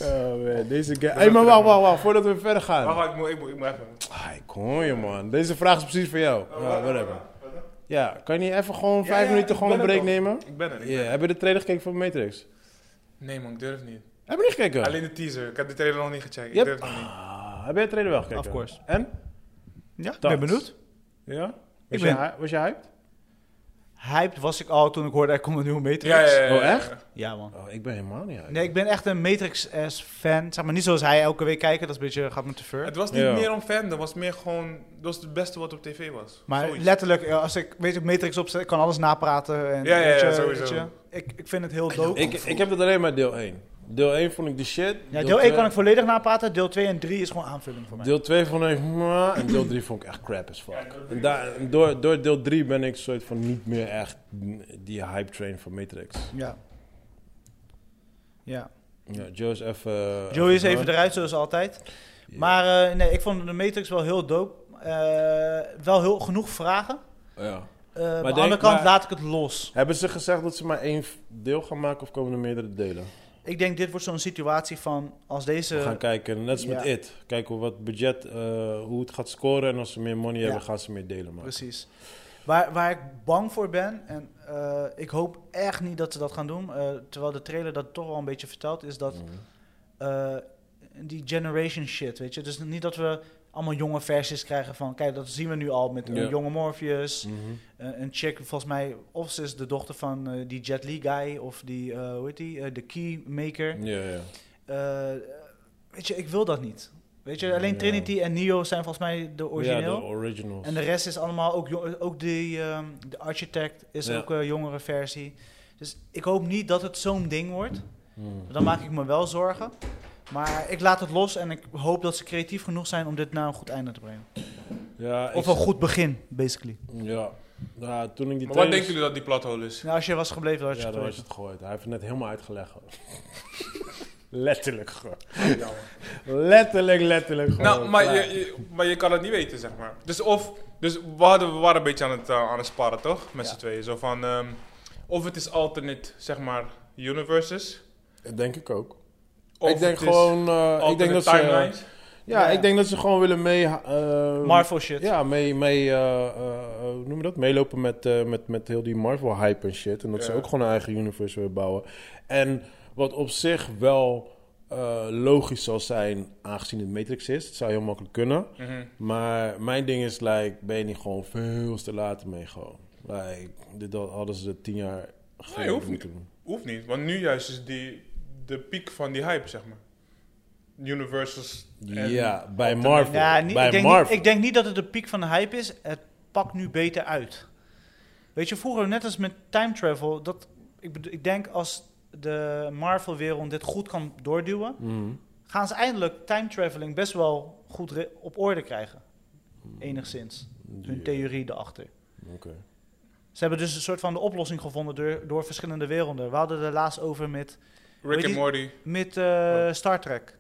B: Oh man, deze guy. Hey, maar wacht, wacht, wacht, voordat we verder gaan.
A: Wacht, Oh, ik moet, ik moet, ik moet even.
B: Ah, ik hoor je man, deze vraag is precies voor jou. Ja, whatever. Ja, kan je niet even gewoon vijf
A: ja,
B: minuten
A: ik
B: gewoon een
A: ben er
B: break
A: toch.
B: nemen?
A: Ik ben er.
B: Ja, heb je de trailer gekeken van Matrix?
A: Nee man, ik durf niet.
B: Heb je niet gekeken?
A: Alleen de teaser. Ik heb de trailer nog niet gecheckt. Ik
B: Yep.
A: durf nog niet.
B: Ah, heb jij de trailer wel gekeken?
D: Of course.
B: En?
D: Ja, ik
B: Dat.
D: ben benieuwd.
B: Ja? Was,
D: Ik
B: je,
D: ben-
B: hy- was je hyped?
D: Hyped was ik al toen ik hoorde er komt een nieuwe Matrix.
A: Ja, ja, ja, ja.
B: Oh, echt?
D: Ja, man.
B: Oh, ik ben helemaal niet hyped.
D: Nee, ik ben echt een Matrix ass fan. Zeg maar niet zoals hij elke week kijken. Dat is een beetje gaat me te ver.
A: Het was niet
B: Ja.
A: meer om fandom. Het was meer gewoon... Dat was het beste wat op tv was.
D: Maar
A: Zoiets.
D: letterlijk, eh, als ik weet ik Matrix opzet, ik kan alles napraten. En,
A: Ja, ja,
D: weet
A: ja,
D: je,
A: sowieso.
D: weet je. ik, ik vind het heel dope.
B: Ik, ik heb het alleen maar deel 1. Deel 1 vond ik de shit.
D: ja, deel 1 kan ik
B: voor.
D: volledig napraten. Deel 2 en 3 is gewoon aanvulling voor mij.
B: Deel 2 vond ik... mwah, En deel 3 vond ik echt crap as fuck. En daar- en door, door deel 3 ben ik soort van niet meer echt die hype train van Matrix.
D: Ja. Ja.
B: Ja, Joe is even... eh,
D: Joey is
B: gone.
D: even eruit, zoals altijd.
B: Ja.
D: Maar eh, nee, ik vond de Matrix wel heel dope. Eh, wel heel genoeg vragen.
B: Ja.
D: Eh, maar aan de
B: denk-
D: andere kant
B: maar-
D: laat ik het los.
B: Hebben ze gezegd dat ze maar één f- deel gaan maken of komen er meerdere delen?
D: Ik denk, dit wordt zo'n situatie van als
B: We gaan
D: deze.
B: kijken, net als met
D: Eh, ja.
B: It. Kijken wat budget, eh, hoe het gaat scoren. En als ze meer money
D: Ja.
B: hebben, gaan ze meer delen maken.
D: Precies. Waar, waar ik bang voor ben, en eh, ik hoop echt niet dat ze dat gaan doen, eh, terwijl de trailer dat toch wel een beetje vertelt, is dat
B: Mhm.
D: eh, die generation shit, weet je. Dus niet dat we allemaal jonge versies krijgen van, kijk, dat zien we nu al met een
B: Ja.
D: jonge Morpheus,
B: Mhm.
D: eh, een chick, volgens mij, of ze is de dochter van eh, die Jet Li guy, of die, eh, hoe heet die, Eh, de Keymaker.
B: Ja, ja.
D: Eh, weet je, ik wil dat niet. Weet je, alleen
B: Ja.
D: Trinity en Neo zijn volgens mij de origineel.
B: Ja, de originals.
D: En de rest is allemaal ook, jong- ook die, ehm, de Architect is
B: Ja.
D: ook een jongere versie. Dus ik hoop niet dat het zo'n ding wordt.
B: Hmm.
D: Dan maak ik me wel zorgen. Maar ik laat het los en ik hoop dat ze creatief genoeg zijn om dit naar een goed einde te brengen.
B: Ja, ik-
D: Of een goed begin, basically.
B: Ja. Ja, toen ik
A: Maar
B: die
A: wat
B: trailers-
A: denken jullie dat die plathole is?
D: Nou, als je was gebleven, had je
B: Ja,
D: het
B: dan had je
D: geweten.
B: het gegooid. Hij heeft het net helemaal uitgelegd. gewoon. [laughs] letterlijk gewoon. Letterlijk, letterlijk gewoon.
A: Nou, maar
B: Klaar.
A: je, je- maar je kan het niet weten, zeg maar. Dus of, dus we, hadden, we waren een beetje aan het, eh, aan het sparren, toch? Met z'n tweeën. Zo van, ehm, of het is alternate, zeg maar, universes.
B: Dat denk ik ook.
A: Of
B: ik denk
A: het is
B: gewoon... eh, ik
A: alternate
B: denk dat
A: timelines.
B: ze... Ja,
D: Ja.
B: ik denk dat ze gewoon willen mee... eh,
D: Marvel shit.
B: Ja, mee, mee eh, eh, hoe noem je dat? Meelopen met, eh, met, met heel die Marvel-hype en shit. En dat ze
A: Ja.
B: ook gewoon een eigen universe willen bouwen. En wat op zich wel eh, logisch zal zijn, aangezien het Matrix is. Het zou heel makkelijk kunnen.
A: Mhm.
B: Maar mijn ding is, like, ben je niet gewoon veel te laat mee gewoon? Like, dit al- hadden ze tien jaar geleden
A: hoeft niet.
B: moeten doen.
A: Hoeft niet, want nu juist is die, de piek van die hype, zeg maar. Universal's. en-
B: ja, bij Marvel.
D: Ja, niet,
B: bij
D: ik, denk niet,
B: Marvel.
D: ik denk niet dat het de piek van de hype is. Het pakt nu beter uit. Weet je, vroeger, net als met time travel, dat, ik, bedo- ik denk als de Marvel-wereld dit goed kan doorduwen,
B: Mhm.
D: gaan ze eindelijk time traveling best wel goed re- op orde krijgen. Enigszins. Hun
B: Ja,
D: theorie erachter.
B: oké.
D: Ze hebben dus een soort van de oplossing gevonden door, door verschillende werelden. We hadden het er laatst over met,
A: Rick
D: Weet
A: and
D: je-
A: Morty.
D: met eh, Star Trek.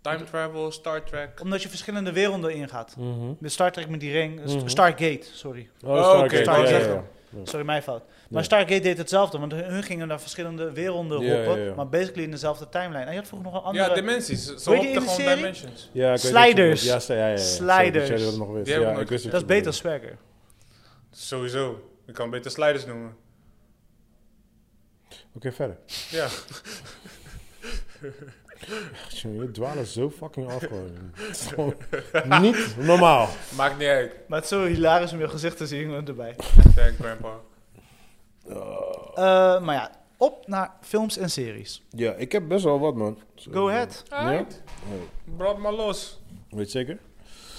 A: Time travel, Star Trek.
D: Omdat je verschillende werelden ingaat.
B: Mhm.
D: Met Star Trek met die ring. eh,
B: Mhm.
D: Stargate, sorry.
A: Oh,
B: Oh, Stargate,
A: oké,
B: ja,
D: wou ik
B: ja,
D: zeggen.
B: ja.
D: Sorry, mijn fout. Maar
B: Ja.
D: Stargate deed hetzelfde, want hun hun gingen naar verschillende werelden
B: Ja,
D: roepen,
B: ja, ja.
D: maar basically in dezelfde timeline. En je had vroeger nog een andere...
A: Ja, dimensies. Ze
D: Weet je in
A: hopten
D: de
A: gewoon
D: serie?
A: dimensions.
B: Ja, ik weet
D: Sliders.
B: dat je- Ja, sta- ja, ja, ja.
D: Sliders.
B: Sorry dat jij dat nog wist.
A: Die heb ik
B: Ja,
A: nooit
B: ik wist
D: dat is beter swagger.
A: Sowieso. Ik kan beter sliders noemen.
H: Oké, verder.
A: Ja.
H: Echt, jongen, je dwalen zo fucking af gewoon. Het is gewoon niet normaal.
A: Maakt niet uit.
D: Maar het is zo hilarisch om je gezicht te zien erbij.
A: Thank grandpa.
D: Eh, maar ja, op naar films en series.
H: Ja, ik heb best wel wat, man.
B: Oh,
D: Go ahead.
H: Ja?
A: Brand maar los.
B: Weet je zeker?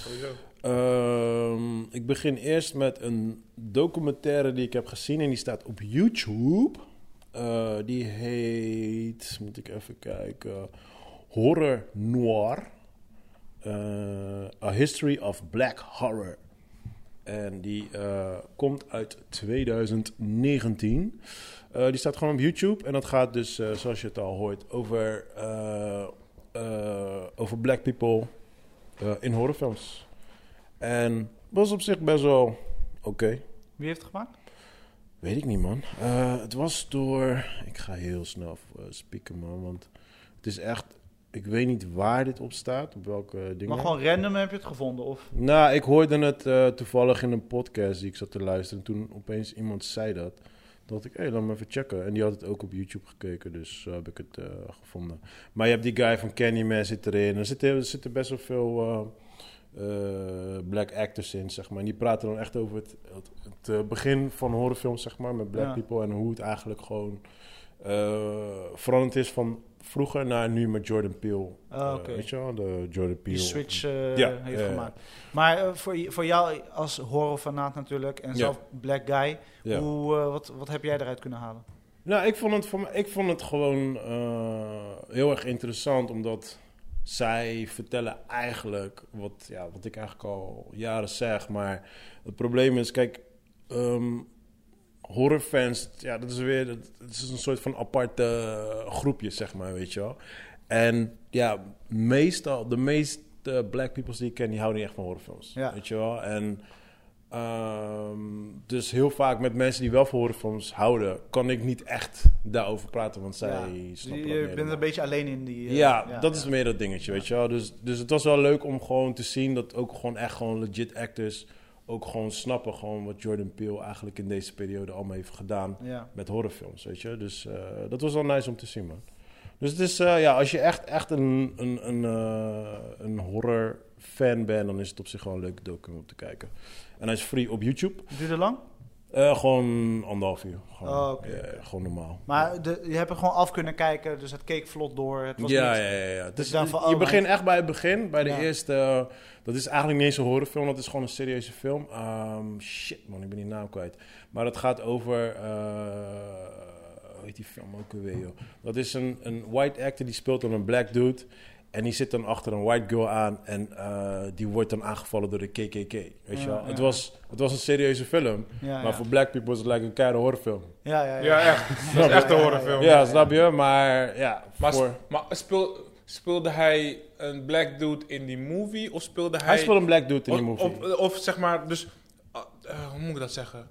A: Sowieso.
B: Ehm, ik begin eerst met een documentaire die ik heb gezien en die staat op YouTube. Eh, die heet, moet ik even kijken, Horror Noir. Eh, A History of Black Horror. En die eh, komt uit 2019. Eh, die staat gewoon op YouTube. En dat gaat dus, eh, zoals je het al hoort, over, eh, eh, over black people eh, in horrorfilms. En was op zich best wel oké.
D: Wie heeft het gemaakt?
B: Weet ik niet, man. Eh, het was door. Ik ga heel snel eh spieken, man. Want het is echt. Ik weet niet waar dit op staat. Op welke eh, dingen.
D: Maar gewoon random heb je het gevonden, of?
B: Nou, ik hoorde het eh, toevallig in een podcast die ik zat te luisteren. Toen opeens iemand zei dat. Toen dacht ik, hé, laat me even checken. En die had het ook op YouTube gekeken, dus zo heb ik het eh, gevonden. Maar je hebt die guy van Candyman zit erin. Er zitten, er zitten best wel veel eh, eh, black actors in, zeg maar. En die praten dan echt over het, het, het, eh, begin van horrorfilms, zeg maar, met black
D: Ja.
B: people. En hoe het eigenlijk gewoon eh, veranderd is van vroeger naar nu met Jordan Peele.
D: Ah,
B: Eh,
D: oké.
B: weet je wel, de Jordan
D: Die
B: Peele.
D: Switch eh,
B: Ja,
D: heeft
B: ja, ja.
D: gemaakt. Maar eh, voor, j- voor jou als horrorfanaat natuurlijk, en
B: Ja.
D: zelf black guy,
B: Ja.
D: hoe, eh, wat, wat heb jij eruit kunnen halen?
B: Nou, ik vond het, voor mij, ik vond het gewoon eh, heel erg interessant, omdat zij vertellen eigenlijk wat, ja, wat ik eigenlijk al jaren zeg. Maar het probleem is, kijk, ehm, horrorfans, ja, dat is weer dat, dat is een soort van aparte eh, groepje, zeg maar, weet je wel. En ja, meestal, de meeste black peoples die ik ken, die houden niet echt van horrorfilms,
D: Ja.
B: weet je wel. En Ehm, dus heel vaak met mensen die wel van horrorfilms houden, kan ik niet echt daarover praten, want zij
D: Ja. eh,
B: snappen
D: je
B: dat niet
D: je bent
B: helemaal.
D: een beetje alleen in die... eh,
B: ja, dat is meer dat dingetje, weet je wel. Dus, dus het was wel leuk om gewoon te zien dat ook gewoon echt gewoon legit actors ook gewoon snappen gewoon wat Jordan Peele eigenlijk in deze periode allemaal heeft gedaan
D: Ja.
B: met horrorfilms, weet je. Dus eh, dat was wel nice om te zien, man. Dus het is, eh, ja, als je echt, echt een, een, een, eh, een horror fan bent, dan is het op zich gewoon een leuke docu om te kijken. En hij is free op YouTube.
D: Duurde lang?
B: Eh, gewoon anderhalf uur. Gewoon,
D: Oh, oké,
B: ja, gewoon normaal.
D: Maar de, je hebt er gewoon af kunnen kijken, dus het keek vlot door. Het was
B: ja,
D: niks.
B: ja, ja, ja. Dus
D: dan van, oh,
B: je
D: man.
B: begint echt bij het begin, bij de
D: Ja.
B: eerste. eh, dat is eigenlijk niet eens een horrorfilm, dat is gewoon een serieuze film. Ehm, shit, man, ik ben die naam kwijt. Maar dat gaat over. eh, hoe heet die film ook alweer, joh? Dat is een, een white actor die speelt dan een black dude. En die zit dan achter een white girl aan. En eh, die wordt dan aangevallen door de KKK. Weet je
D: Ja,
B: wel?
D: ja.
B: Het, was, het was een serieuze film.
D: Ja,
B: maar
D: ja.
B: voor black people is het like een keiharde horrorfilm.
D: Ja, ja, ja.
A: Ja,
B: [laughs]
A: echt. Dat is echt een horrorfilm.
B: Eh, Ja, snap je? Maar ja,
A: Maar,
B: voor...
A: sp- maar speel- speelde hij een black dude in die movie? Of speelde hij...
B: Hij speelt een black dude in
A: of,
B: die movie.
A: Of, of zeg maar, dus... ah, eh, hoe moet ik dat zeggen?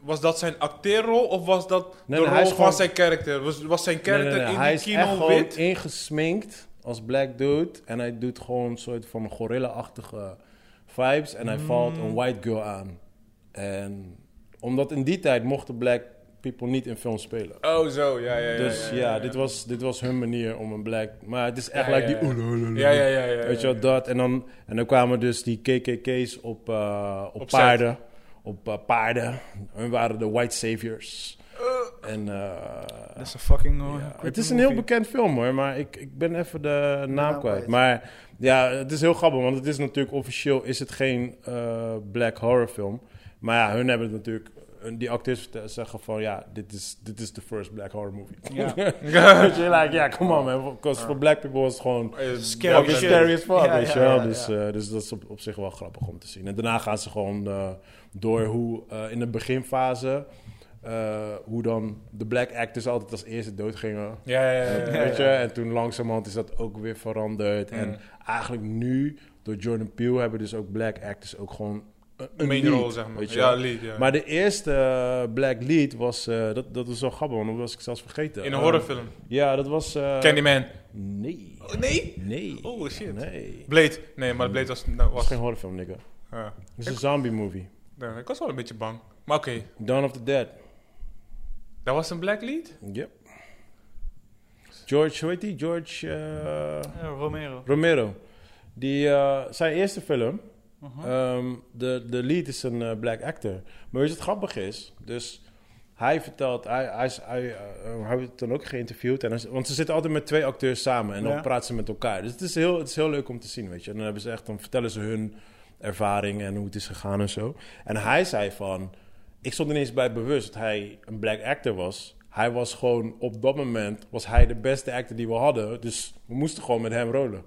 A: Was dat zijn acteerrol of was dat
B: nee,
A: de
B: hij
A: rol
B: is
A: van
B: gewoon-
A: zijn karakter? Was, was zijn
B: Nee, nee,
A: karakter
B: nee,
A: in
B: Hij
A: die
B: is echt
A: kino
B: gewoon
A: wit?
B: ingesminkt als black dude. En hij doet gewoon een soort van gorilla-achtige vibes. En hij
A: Mm.
B: valt een white girl aan. En omdat in die tijd mochten black people niet in films spelen.
A: Oh, zo. Ja, ja, ja.
B: Dus ja,
A: ja, ja,
B: Dit, was, dit was hun manier om een black... Maar het is echt
A: Ja,
B: like
A: ja,
B: die...
A: ja.
B: oele, oele, oele.
A: Ja, ja, ja. ja, ja,
B: Weet je
A: [laughs]
B: wel, dat. En dan, en dan kwamen dus die KKK's op, eh, op,
A: Op set.
B: paarden. Op eh, paarden. Hun waren de white saviors. En, eh,
D: Dat is een fucking...
B: ja,
D: eh, hoor.
B: Het is een heel bekend film hoor, maar ik, ik ben even de naam
D: naam
B: kwijt.
D: kwijt.
B: Maar ja, het is heel grappig, want het is natuurlijk officieel is het geen eh, black horror film. Maar ja, hun hebben het natuurlijk, hun- die acteurs verte- zeggen van ja, dit is, dit is de first black horror movie. [laughs]
D: Ja.
B: Weet je, like, ja, come on man, because for black people was het gewoon...
D: Scary
B: Scary,
D: shit.
B: scary as fuck,
D: Ja,
B: weet
D: ja,
B: je wel.
D: ja,
B: dus,
D: ja.
B: eh, dus dat is op, op zich wel grappig om te zien. En daarna gaan ze gewoon eh, door hoe eh, in de beginfase... eh, hoe dan de black actors altijd als eerste dood gingen.
A: Ja, ja, ja.
B: Eh, Weet je? En toen langzamerhand is dat ook weer veranderd. En eigenlijk nu, door Jordan Peele, hebben dus ook black actors ook gewoon een- een
A: Main
B: lead,
A: role, zeg maar.
B: weet je
A: ja,
B: wel.
A: lead, ja.
B: Maar de eerste eh, black lead was, eh, dat, dat was wel grappig, want dat was ik zelfs vergeten.
A: In een
B: Eh,
A: horrorfilm.
B: Ja, dat was... eh,
A: Candyman.
B: Nee.
A: nee?
B: Nee.
A: Oh, shit.
B: Nee.
A: Blade. Nee, maar Blade was... nou,
B: Dat is
A: was
B: geen horrorfilm, nigga.
A: ja.
B: Het is een zombie movie.
A: Nee, ik was wel een beetje bang. Maar oké,
B: Dawn of the Dead.
A: dat was een black lead?
B: Yep. George, hoe heet die? George eh,
D: Ja, Romero.
B: Romero. Die, eh, zijn eerste film, ehm, de, de lead is een eh, black actor. Maar weet je wat grappig is? Dus hij vertelt, hij, hij, is- hij, eh, eh, hij wordt dan ook geïnterviewd. En hij, is- want ze zitten altijd met twee acteurs samen en dan
D: Ja.
B: praten ze met elkaar. Dus het is, heel, het is heel leuk om te zien, weet je. En dan, hebben ze echt, dan vertellen ze hun ervaring en hoe het is gegaan en zo. En hij zei van, ik stond er niet eens bij bewust dat hij een black actor was. Hij was gewoon, op dat moment was hij de beste actor die we hadden. Dus we moesten gewoon met hem rollen.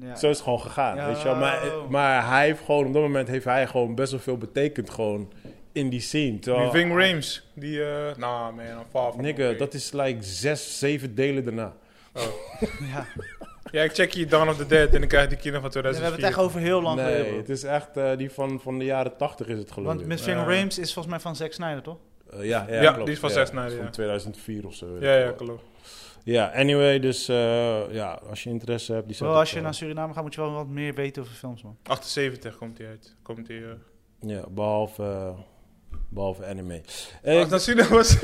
D: Ja.
B: Zo is het gewoon gegaan,
D: Ja.
B: weet je wel. Maar, maar hij heeft gewoon, op dat moment heeft hij gewoon best wel veel betekend gewoon in die scene.
A: Die
B: Terwijl,
A: Ving Rames. Die, eh nah man, I'm far from
B: nigga,
A: okay.
B: dat is like zes, zeven delen daarna.
D: Ja.
A: Ja, ik check hier Dawn of the Dead en dan krijg ik die kinderen van
D: We hebben
A: 2004.
D: het echt over heel lang
B: Nee,
D: geleden.
B: het is echt eh, die van, van de jaren tachtig is het geloof
D: Want
B: ik.
D: Miss Ving Rames is volgens mij van Zack Snyder, toch?
B: Eh, ja, ja,
A: Ja,
B: klopt.
A: die is van
B: Ja,
A: zes naar-
B: van
A: ja.
B: 2004 of zo. weet
A: Ja,
B: ik
A: ja,
B: wel.
A: klopt.
B: Ja, anyway, dus eh, ja, als je interesse hebt, die
D: Wel,
B: staat op,
D: als je
B: eh,
D: naar Suriname gaat, moet je wel wat meer weten over films, man.
A: 78 komt die uit. Komt die... eh.
B: Ja, behalve, eh, behalve anime. Eh,
A: [laughs] Hey,
B: ik,
A: dan zien we was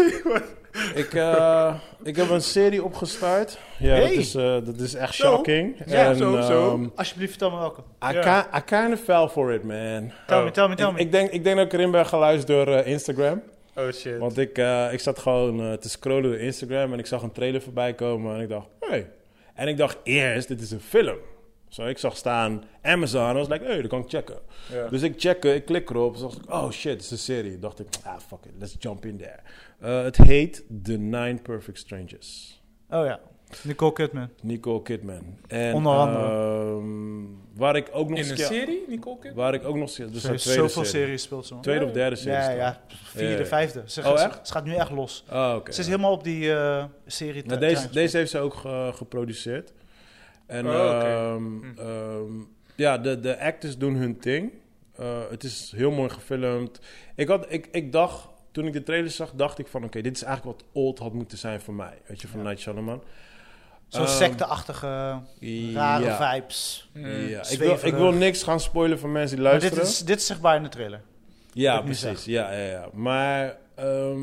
B: ik, eh, ik heb een serie opgestart. Ja, dat,
D: Hey.
B: is, eh, dat is echt
A: Zo.
B: shocking.
A: Ja,
B: En,
A: zo, zo.
B: ehm,
D: Alsjeblieft, vertel me welke.
B: I,
A: Ja.
B: ki- I kinda fell for it, man.
D: Tell
A: Oh.
D: me, tell me, tell
B: Ik,
D: me.
B: ik denk, ik denk dat ik erin ben geluisterd door eh, Instagram.
A: Oh shit.
B: Want ik, eh, ik zat gewoon eh, te scrollen door Instagram en ik zag een trailer voorbij komen en ik dacht, hey. En ik dacht eerst, dit is een film. Zo, ik zag staan Amazon en was like, hey, dat kan ik checken.
A: Ja.
B: Dus ik check, ik klik erop. Dus dacht ik, oh shit, het is een serie. Dacht ik, ah fuck it, let's jump in there. Eh, het heet The Nine Perfect Strangers.
D: Oh ja, Nicole Kidman.
B: Nicole Kidman. En,
D: Onder andere.
B: ehm, waar ik ook nog
A: In een
B: keer-
A: serie, Nicole Kidman?
B: Waar ik ook nog... Dus
D: Ze
B: haar
D: heeft
B: tweede
D: zoveel
B: serie.
D: series speelt ze, man.
B: Tweede of derde serie.
D: Ja,
B: is dat.
D: ja, vierde,
B: Ja, ja.
D: vijfde. Ze,
B: Oh,
D: gaat, ze-
B: echt?
D: ze gaat nu echt los.
B: Oh, oké.
D: Ze is helemaal op die eh, serie.
B: Nou,
D: te-
B: deze,
D: te-
B: deze heeft ze ook ge- geproduceerd. En
A: Oh, oké. Hm.
B: ehm, ehm, ja, de, de actors doen hun ding. Eh, het is heel mooi gefilmd. Ik, had, ik, ik dacht, toen ik de trailer zag, dacht ik van... Oké, dit is eigenlijk wat old had moeten zijn voor mij. Weet je, van Night Shyamalan.
D: Zo'n
B: Ehm,
D: secteachtige, rare vibes.
A: Hmm.
B: Ja, ik, wil,
D: zweverig.
B: ik wil niks gaan spoilen voor mensen die
D: Maar
B: luisteren.
D: dit is, dit is zichtbaar in de trailer.
B: Ja,
D: Dat moet
B: precies. Ja, ja, ja. Maar ehm,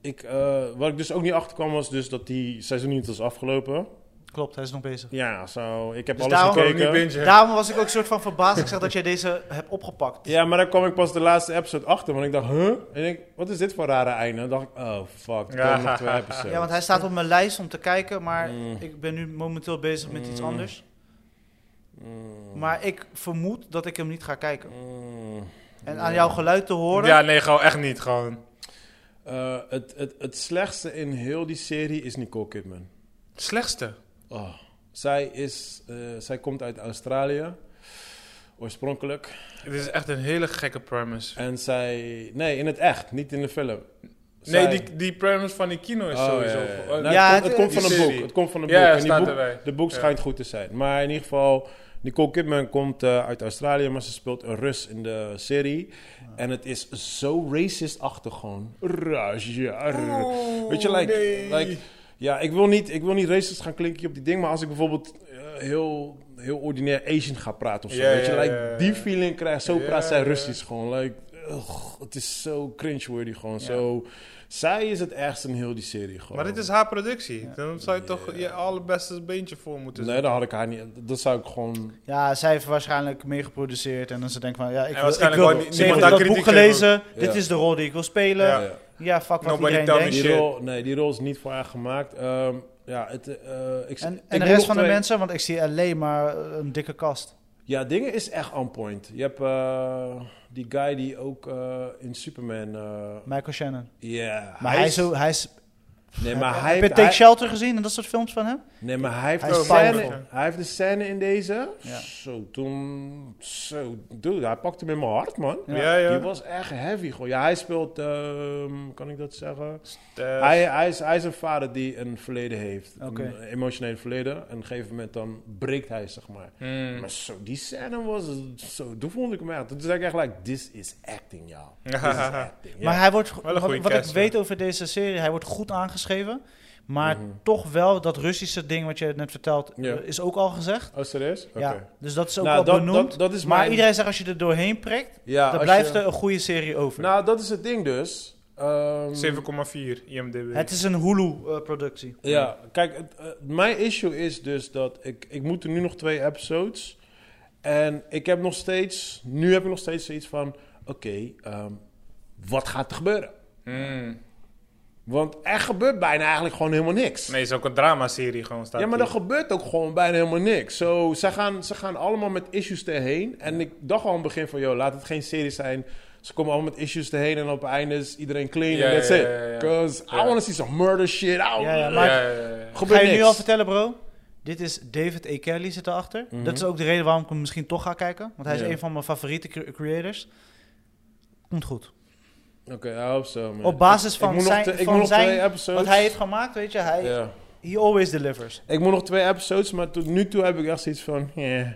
B: ik, eh, wat ik dus ook niet achterkwam was dus dat die seizoen niet was afgelopen.
D: Klopt, hij is nog bezig.
B: Ja, zo. ik heb
D: Dus
B: alles
D: daarom-
A: Kan ik niet
B: gekeken.
A: bingen.
D: Daarom was ik ook soort van verbaasd. Ik zag dat jij deze hebt opgepakt.
B: Ja, maar dan kwam ik pas de laatste episode achter. Want ik dacht, huh? En ik, wat is dit voor rare einde? En dacht ik, oh fuck, er komen nog twee episodes.
D: Ja, want hij staat op mijn lijst om te kijken, maar
B: Mm.
D: ik ben nu momenteel bezig met iets anders. Maar ik vermoed dat ik hem niet ga kijken.
B: Mm.
D: En aan jouw geluid te horen,
A: Ja, nee, gewoon echt niet. Gewoon.
B: Eh, het, het, het slechtste in heel die serie is Nicole Kidman.
A: Slechtste.
B: Oh. Zij, is, eh, zij komt uit Australië, oorspronkelijk.
A: Dit is echt een hele gekke premise.
B: En zij... Nee, in het echt, niet in de film. Zij-
A: Nee, die, die premise van die kino is
B: Oh,
A: sowieso...
B: ja, ja, ja.
A: Eh,
B: Nou,
A: nee,
D: Ja,
B: het, komt- het
D: het-
B: komt
A: die
B: van een
A: serie.
B: boek. Het komt van een boek.
A: Ja,
B: en
A: het
B: die
A: staat
B: boek,
A: erbij.
B: De boek
A: Ja.
B: schijnt goed te zijn. Maar in ieder geval, Nicole Kidman komt eh, uit Australië, maar ze speelt een Rus in de serie. En het is zo racist-achtig gewoon. Rus, ja. rr. Weet je, like, like, ja, ik wil, niet, ik wil niet racist gaan klinken op die ding, maar als ik bijvoorbeeld eh, heel, heel ordinair Asian ga praten of zo,
A: Ja,
B: weet je,
A: ja,
B: like,
A: ja, ja.
B: die feeling krijg zo
A: Ja,
B: praat zij
A: ja.
B: Russisch gewoon, like, ugh, het is zo cringe-worthy gewoon, zo... Zij is het ergste in heel die serie gewoon.
A: Maar
D: Oh.
A: dit is haar productie. Dan zou je toch je allerbeste beentje voor moeten
B: Nee, daar had ik haar niet. Dat zou ik gewoon.
D: ja, zij heeft waarschijnlijk meegeproduceerd. En dan ze denkt van, ja, ik, wil- ik
A: waarschijnlijk
D: wil,
A: gewoon
D: ze
A: niemand
D: heeft
A: daar
D: dat
A: kritiek
D: boek
A: geven.
D: gelezen. Dit
B: Ja.
D: is de rol die ik wil spelen.
A: Ja.
B: Ja.
D: Ja, fuck wat
A: Nobody
D: iedereen
A: tell me
D: denkt.
A: shit.
B: Die rol, nee, die rol is niet voor haar gemaakt. Ehm, ja, het, eh, ik,
D: En,
B: ik
D: en de
B: noem
D: rest
B: nog
D: van de
B: twee-
D: mensen, want ik zie alleen maar eh, een dikke kast.
B: Ja, dingen is echt on point. Je hebt eh, die guy die ook eh, in Superman... eh,
D: Michael Shannon.
B: yeah.
D: Maar hij is... zo- Hij is
B: Nee, maar hij
D: heb je
B: heeft...
D: Take
B: hij-
D: Shelter gezien en dat soort films van hem?
B: Nee, maar hij heeft,
D: Hij
B: de
D: is
B: scène,
D: powerful.
B: hij heeft de scène in deze.
D: Ja.
B: Zo, toen... Zo, dude, hij pakte hem in mijn hart, man.
D: Ja.
A: Ja, ja.
B: Die was echt heavy, gewoon. Ja, hij speelt... ehm, kan ik dat zeggen?
A: Eh,
B: Hij, hij, is, hij is een vader die een verleden heeft.
D: Oké.
B: Een emotioneel verleden. En op een gegeven moment dan breekt hij, zeg maar.
D: Hmm.
A: mm.
B: Maar zo, die scène was... Zo, toen vond ik hem echt... Toen zei ik echt, like, this is acting, y'all. This is
A: [laughs]
B: acting. ja.
D: [laughs] Maar hij wordt,
A: Wel
D: wat,
A: een goede
D: wat ik
A: cast, ja.
D: weet over deze serie, hij wordt goed aangeschreven. Maar toch wel dat Russische ding wat je net vertelt,
B: Mhm. Ja.
D: eh, is ook al gezegd.
B: Oh, serieus? Oké.
D: Ja, dus dat is ook
B: Nou,
D: al
B: dat-
D: benoemd.
B: dat- dat is
D: maar
B: mijn-
D: iedereen zegt als je er doorheen prikt,
B: Ja,
D: dan
B: als
D: blijft
B: je-
D: er een goede serie over.
B: Nou, dat is het ding dus. Ehm,
A: 7,4 IMDb.
D: het is een eh, Hulu-productie.
B: Ja, kijk, het, eh, mijn issue is dus dat ik, ik moet er nu nog twee episodes. En ik heb nog steeds, nu heb ik nog steeds zoiets van, oké, ehm, wat gaat er gebeuren?
A: Mm.
B: Want er gebeurt bijna eigenlijk gewoon helemaal niks.
A: Nee, het is ook een dramaserie gewoon. Staat
B: Ja, maar
A: hier.
B: er gebeurt ook gewoon bijna helemaal niks. Zo, ze, gaan, ze gaan allemaal met issues erheen. En ik dacht al aan het begin van, joh, laat het geen serie zijn. Ze komen allemaal met issues erheen en op het einde is iedereen clean
A: Ja,
B: en that's
A: ja,
B: it.
A: ja, ja, ja.
B: Cause I
A: Ja.
B: wanna see some murder shit. I
D: Ja, ja,
A: Ja,
D: maar-
A: ja, ja, ja.
B: gebeurt
D: Ga je
B: niks.
D: nu al vertellen, bro? Dit is David E. Kelly zit erachter. Dat is ook de reden waarom ik hem misschien toch ga kijken. Want hij is
B: Mhm. Ja.
D: een van mijn favoriete cre- creators. Komt goed.
B: Oké, I hope so, man.
D: Op basis
B: Ik
D: van
B: moet nog
D: zijn-
B: twee- ik
D: van
B: moet nog
D: zijn-
B: twee episodes.
D: Wat hij heeft gemaakt, weet je, hij
B: Ja.
D: he always delivers.
B: Ik moet nog twee episodes, maar tot nu toe heb ik echt zoiets van... eh,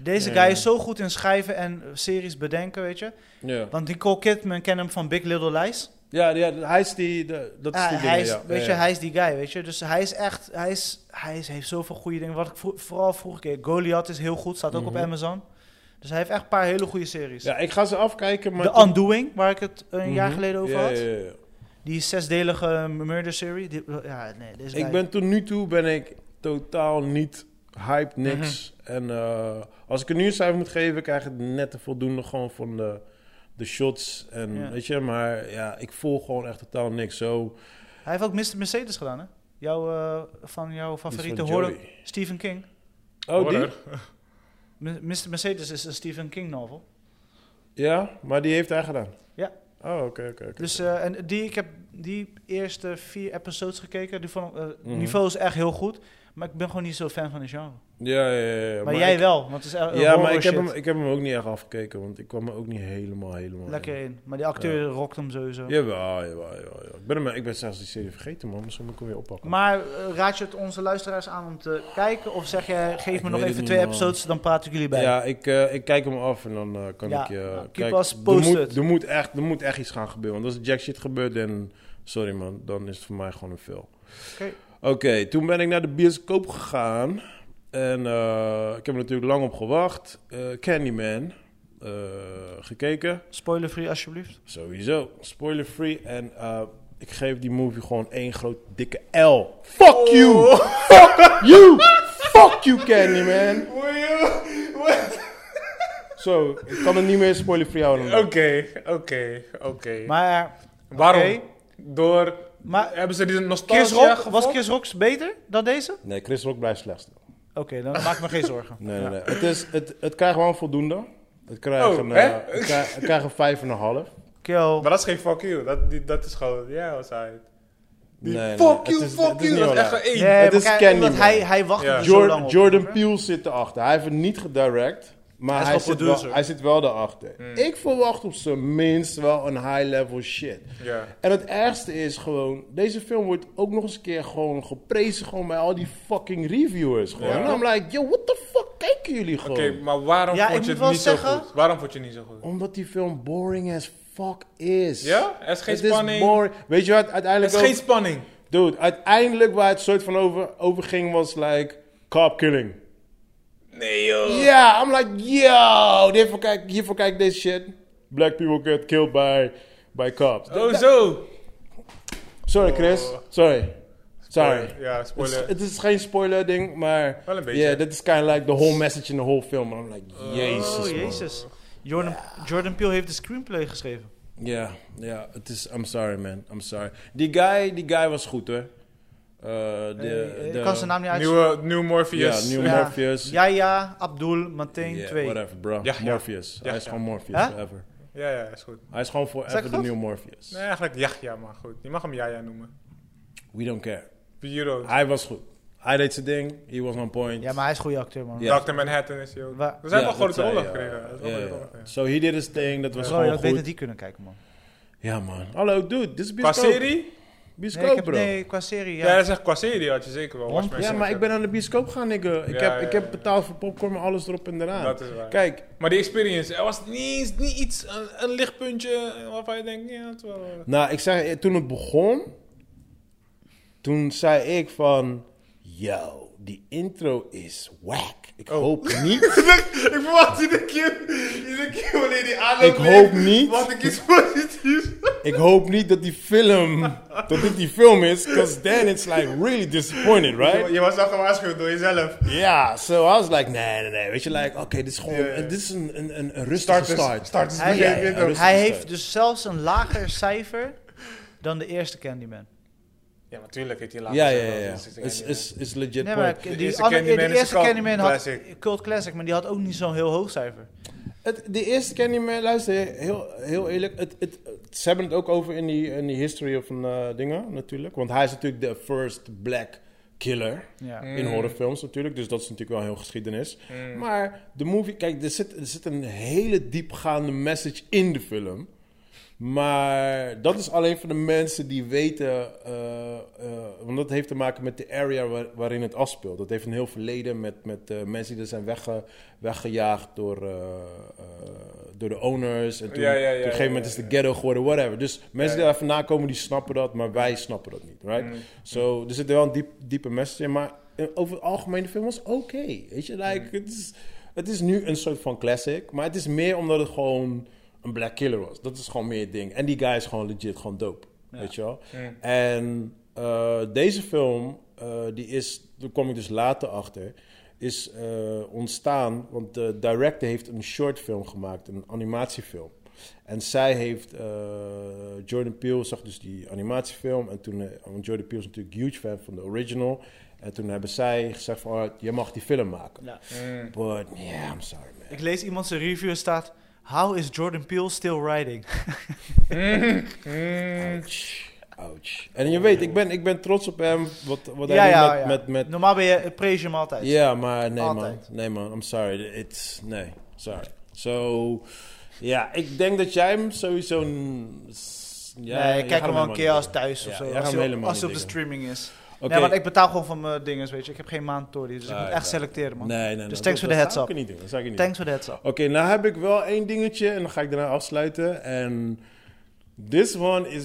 D: Deze
B: Ja.
D: guy is zo goed in schrijven en eh, series bedenken, weet je.
B: Ja,
D: Want Nicole Kidman kent hem van Big Little Lies.
B: ja, ja, hij is die... de- dat is
D: Ah,
B: die
D: hij
B: ding,
D: is,
B: ja.
D: weet
B: Ja,
D: je,
B: ja.
D: hij is die guy, weet je. Dus hij is echt, hij, is, hij is, heeft zoveel goede dingen. Wat ik vro- vooral vroeg keer, Goliath is heel goed, staat ook op Amazon. Dus hij heeft echt een paar hele goede series.
B: Mhm. Ja, ik ga ze afkijken, maar...
D: The
B: tot- Mhm.
D: Undoing, waar ik het een jaar geleden over
B: Ja,
D: had.
B: ja, ja, ja.
D: Die zesdelige murder serie. Die, ja, nee, deze
B: Ik
D: guy-
B: ben tot nu toe ben ik totaal niet hyped, niks. En eh, als ik er nu een cijfer moet geven, krijg ik net de voldoende gewoon van de, de shots. En
D: Ja.
B: weet je, maar ja, ik voel gewoon echt totaal niks. Zo,
D: Hij heeft ook Mr. Mercedes gedaan, hè? Jouw, eh, van jouw favoriete
B: van
D: horror,
B: Joey.
D: Stephen King.
B: oh, die?
A: Horror.
D: M- Mr. Mercedes is een Stephen King novel.
B: Ja, maar die heeft hij gedaan.
D: Ja.
B: Oh, oké, oké. oké.
D: Dus, eh, en die, ik heb die eerste vier episodes gekeken. Die vond, ik- eh, niveau is echt heel goed. Maar ik ben gewoon niet zo fan van de genre.
B: Mhm. Ja, ja, ja. ja.
D: Maar, jij
B: ik-
D: wel, want het is echt
B: Ja, maar ik heb,
D: shit.
B: hem, ik heb hem ook niet echt afgekeken, want ik kwam er ook niet helemaal, helemaal
D: Lekker
B: in.
D: in. Maar die acteur rokt hem sowieso.
B: Jawel, jawel, jawel. jawel. Ik, ben hem, ik ben zelfs die serie vergeten, man. Misschien moet ik hem weer oppakken.
D: Maar eh, raad je het onze luisteraars aan om te kijken? Of zeg jij, geef me
B: weet
D: nog
B: het
D: even
B: niet,
D: twee
B: man.
D: episodes, dan praat ik jullie bij.
B: Ja, ik, eh, ik kijk hem af en dan eh, kan
D: Ja,
B: ik je...
D: nou, keep
B: kijk,
D: us
B: er
D: posted.
B: moet, er, moet echt, er moet echt iets gaan gebeuren. Want als jack shit gebeurt, dan... Sorry man, dan is het voor mij gewoon een film.
D: Oké.
B: Oké, toen ben ik naar de bioscoop gegaan. En eh, ik heb er natuurlijk lang op gewacht. Eh, Candyman. eh, gekeken.
D: Spoiler-free alsjeblieft.
B: Sowieso. Spoiler free. En eh, ik geef die movie gewoon één groot dikke L.
A: Oh.
B: Fuck you! Fuck you! Fuck you, Candyman! Zo, ik kan het niet meer spoiler free houden. man.
A: Oké, oké, oké.
D: Maar,
A: Waarom?
D: oké.
A: Door...
D: maar
A: Hebben ze die nostalgia
D: Chris Rock, was
A: gevolgd?
D: Chris Rock beter dan deze?
B: Nee, Chris Rock blijft slechtste.
D: Oké, dan maak ik me geen
B: [laughs]
D: zorgen.
B: Nee, nee, nee. Het, is, het, het krijgt wel een voldoende. Het krijgt
A: Oh,
B: een,
A: hè?
B: eh, het krijgt- het krijgt een vijf en een half.
D: Kill.
A: Maar dat is geen fuck you. Dat, die, dat is gewoon... Ja, was hij.
B: Nee, nee,
A: fuck
B: het
A: you,
B: is-
A: fuck
B: het is
A: you. Dat
B: niet
A: is echt
B: heel
A: een
B: erg.
A: één.
D: Nee,
B: Het
D: maar
B: is
D: kijk,
B: Candyman.
D: omdat hij, hij wacht
A: Ja.
D: er zo lang
B: Jordan,
D: op.
B: Jordan
D: hoor.
B: Peele zit erachter. Hij heeft het niet gedirect, maar hij,
D: gewoon
B: zit, wel,
D: producer.
B: hij zit wel erachter.
A: Hmm.
B: Ik verwacht op zijn minst wel een high-level shit.
A: Ja.
B: En het ergste is gewoon, deze film wordt ook nog eens een keer gewoon geprezen gewoon bij al die fucking reviewers. Gewoon.
A: Ja.
B: En I'm like, yo, what the fuck kijken jullie gewoon?
A: Oké, maar waarom
D: Ja, ik
A: vond je
D: moet
A: het
D: wel
A: niet
D: zeggen-
A: zo goed? Waarom vond je het niet zo goed?
B: Omdat die film boring as fuck is.
A: Ja? Er is geen
B: Het
A: spanning.
B: boring. Weet je wat,
A: Het
B: uiteindelijk
A: is
B: ook-
A: geen spanning.
B: Dude, uiteindelijk waar het soort van over, over ging was like, cop killing.
A: Nee, joh.
B: Ja, I'm like, yo, hiervoor kijk, hiervoor kijk deze shit. Black people get killed by, by cops.
A: Oh, zo.
B: Sorry, Chris. Sorry. Sorry.
A: Ja,
B: Het is-
A: spoiler.
B: Het is geen spoiler ding, maar...
A: Wel een beetje.
B: Ja, dit is kind of like the whole message in the whole film. And I'm like, jezus.
D: Oh,
B: man.
D: jezus. Jordan, Jordan Peele heeft de screenplay geschreven.
B: Ja, ja, het is. I'm sorry, man. I'm sorry. Die guy, die guy was goed, hoor. Eh, de,
D: Eh,
B: de-
D: ik kan zijn naam niet uit.
A: Nieuwe, nieuw Morpheus.
B: Ja, nieuwe
D: Ja.
B: Morpheus.
D: Ja, ja, Abdul, Meteen
B: Yeah,
D: 2.
B: whatever, bro.
A: Ja, ja.
B: Morpheus.
A: Ja,
B: Hij is
A: ja.
B: gewoon Morpheus,
D: Huh?
B: forever.
A: Ja, ja, is goed.
B: Hij is gewoon forever de
D: goed?
B: nieuwe Morpheus.
A: Nee, eigenlijk Yahya, maar goed. Je mag hem Yahya noemen.
B: We don't care.
A: Bureau.
B: Hij was goed. Hij deed zijn ding. He was on point.
D: Ja, maar hij is een goede acteur, man.
B: Ja.
A: Dr. Manhattan is hij ook.
D: Waar-
A: We zijn
B: Ja,
A: wel grote
B: dat
A: rollen
B: zei,
A: gekregen.
B: eh,
A: Dat is wel
B: ja,
A: grote
B: ja.
A: rollen, ja.
B: So he did his thing. Dat was
D: Bro, je
B: gewoon
D: had beter
B: goed.
D: die kunnen kijken, man.
B: Ja, man. Hallo, dude. Dit is
A: Qua
B: bioscoop.
A: serie?
B: Bioscoop,
D: Nee, ik heb,
B: bro.
D: nee qua serie, ja.
A: Ja, dat is echt qua serie had je zeker wel. Watchmen
B: Ja,
A: is
B: maar
A: zeker.
B: ik ben aan de bioscoop gaan, nigga. Ik,
A: Ja,
B: heb, ik
A: ja,
B: heb
A: ja.
B: betaald voor popcorn en alles erop en eraan.
A: Dat is waar.
B: Kijk,
A: Maar die experience, er was niet, eens- niet iets, een, een lichtpuntje waarvan je denkt, ja, het is wel...
B: nou, ik zeg, eh, toen het begon, toen zei ik van, yo, die intro is whack. Ik
A: Oh. [laughs]
B: hoop niet,
I: Ik verwacht iedere keer, iedere keer wanneer die aanloop
B: ik hoop
I: Wat
B: niet,
I: ik iets positiefs.
B: ik hoop niet dat die film, dat dit die film is, because then it's like really disappointed, right?
I: Je was al gewaarschuwd door jezelf.
B: Ja, so I was like, nee, nee, nee, weet je, like, oké, dit is gewoon,
I: Ja, ja.
B: dit is een, een, een, een rustige start.
I: Start is
D: Hij,
B: Ja,
I: begin.
B: ja,
I: dit ook.
B: rustig
D: hij
B: start.
D: heeft dus zelfs een lager cijfer dan de eerste Candyman.
A: Ja, natuurlijk heeft hij later
B: Ja, ja,
A: zelf
B: ja,
A: wel
B: ja.
A: iets gezien.
B: Is, is, is legit
D: Nee,
B: point.
D: maar die,
A: eerste
D: andere-
A: Candyman
D: de
A: is
D: eerste
A: een cult
D: Candyman had
A: classic.
D: Cult Classic, maar die had ook niet zo'n heel hoog cijfer.
B: Het, de eerste Candyman, luister, heel, heel eerlijk. Het, het, ze hebben het ook over in die, in die history of een, eh, dingen natuurlijk. Want hij is natuurlijk de first black killer
D: Ja.
B: in horrorfilms natuurlijk. Dus dat is natuurlijk wel een heel geschiedenis. Maar de movie, kijk, er zit, er zit een hele diepgaande message in de film. Maar dat is alleen voor de mensen die weten, eh, eh, want dat heeft te maken met de area waar- waarin het afspeelt. Dat heeft een heel verleden met, met eh, mensen die er zijn wegge, weggejaagd door, eh, eh, door de owners. En toen,
A: Ja, ja, ja,
B: op een gegeven
A: ja,
B: moment
A: ja,
B: is de ghetto geworden, whatever. Dus mensen die daar vandaan komen, die snappen dat, maar wij snappen dat niet, right? So, er zit wel een diep, diepe message in, maar eh, over het algemeen, de film was oké, weet je? Like, het, is, het is nu een soort van classic, maar het is meer omdat het gewoon een black killer was. Dat is gewoon meer het ding. En die guy is gewoon legit, gewoon dope, weet je wel? En eh, deze film, eh, die is, daar kom ik dus later achter... Is eh, ontstaan, want de director heeft een shortfilm gemaakt, een animatiefilm. En zij heeft, eh, Jordan Peele zag dus die animatiefilm. En toen, eh, want Jordan Peele is natuurlijk huge fan van de original. En toen hebben zij gezegd van, "Alright, je mag die film maken.
D: Ja.
B: But, yeah, I'm sorry man.
D: Ik lees iemand zijn review en staat... How is Jordan Peele still riding? Mm.
B: Ouch. Ouch. En je weet, ik ben, ik ben trots op hem, wat, wat hij
D: Ja,
B: doet
D: ja,
B: met,
D: ja.
B: met, met...
D: Normaal ben je, prees je hem altijd.
B: Ja, maar nee man.
D: Altijd.
B: Nee man, I'm sorry. It's, nee, sorry. So, ja, ik denk dat jij hem sowieso... een- s- Ja,
D: nee,
B: je
D: ik
B: gaat
D: kijk hem wel een
B: helemaal
D: keer
B: niet
D: als
B: doen.
D: thuis
B: Ja,
D: of zo.
B: jij gaat
D: Als
B: hem
D: hij op-
B: helemaal
D: Als hij op
B: niet
D: de streaming is.
B: Oké.
D: Nee, want ik betaal gewoon van mijn dinges, weet je. Ik heb geen maandtory, dus ik
B: Ah,
D: moet
B: ja.
D: echt selecteren, man.
B: Nee, nee, nee.
D: Dus
B: dat-
D: thanks voor
B: dat
D: de heads
B: zou
D: up.
B: ik niet doen, dat zou ik niet doen.
D: Thanks voor de heads up.
B: Oké, nou heb ik wel één dingetje en dan ga ik daarna afsluiten. En this one is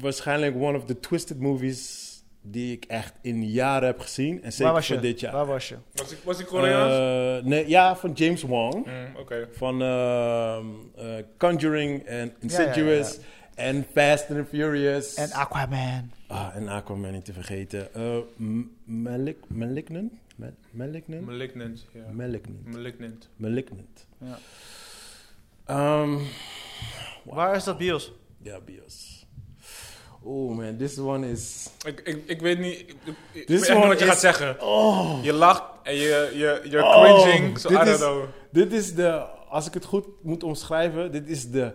B: waarschijnlijk one of the twisted movies die ik echt in jaren heb gezien. En
D: Waar
B: zeker
D: was je?
B: voor dit jaar.
D: Waar was je?
A: Was ik, was ik Koreaans?
B: Eh, nee, ja, van James Wong.
A: Mm, Oké.
B: Van ehm, eh, Conjuring en Insidious. En Fast and Furious.
D: En Aquaman.
B: ah, en Aquaman niet te vergeten. Eh, M- Malik, Malignant? Ma- Malignant?
A: Malignant, ja.
B: Mm. Malignant.
A: Malignant.
B: Malignant.
D: Ja.
B: Ehm,
D: Waar is dat bios?
B: ja, bios. Oh man, this one is...
A: Ik, ik, ik weet niet, ik, ik- ik weet
B: This
A: echt niet
B: one
A: wat je
B: is-
A: gaat zeggen.
B: Oh,
A: Je lacht en je, je, you're
B: Oh,
A: cringing, so I
B: dit
A: don't
B: is-
A: know.
B: dit is de... Als ik het goed moet omschrijven, dit is de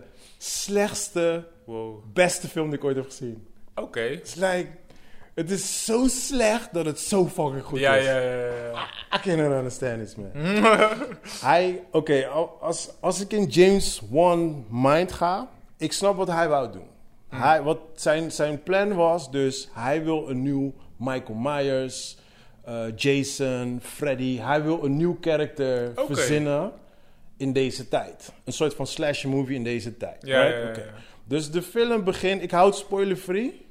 B: slechtste,
A: Wow.
B: beste film die ik ooit heb gezien.
A: Oké.
B: It's like... Het is zo slecht dat het zo fucking goed dus.
A: Ja,
B: is.
A: ja, ja, ja, ja. [laughs]
B: I cannot understand this man. hij, oké, al- als, als ik in James Wan mind ga, ik snap wat hij wou doen. Hij, wat zijn, zijn plan was dus, hij wil een nieuw Michael Myers, eh, Jason, Freddy. Hij wil een nieuw karakter
A: Oké.
B: verzinnen in deze tijd. Een soort van slasher movie in deze tijd.
A: Ja,
B: right?
A: ja, ja,
B: Oké.
A: ja.
B: Dus de film begint, ik houd spoiler free.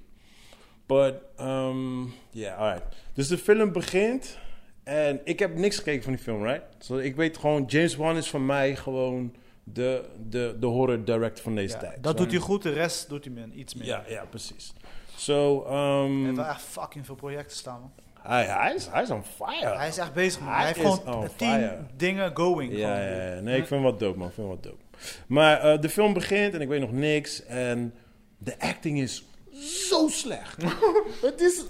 B: But, um, yeah, alright. Dus de film begint. En ik heb niks gekeken van die film, right? So, ik weet gewoon, James Wan is voor mij gewoon de, de, de horror director van deze
D: Ja,
B: tijd.
D: dat
B: Zo.
D: doet hij goed, de rest doet hij min, iets meer.
B: Ja, ja, precies. So,
D: Hij
B: um,
D: heeft wel echt fucking veel projecten staan, man.
B: hij, hij, is, hij is on fire.
D: Hij is echt bezig, man.
B: Hij
D: Hij heeft
B: is
D: gewoon
B: on
D: tien
B: fire.
D: dingen going.
B: ja,
D: gewoon.
B: ja, ja. Nee, ik vind hem wat dope, man. Ik vind hem wat dope. Maar eh, de film begint en ik weet nog niks. En de acting is zo slecht. het is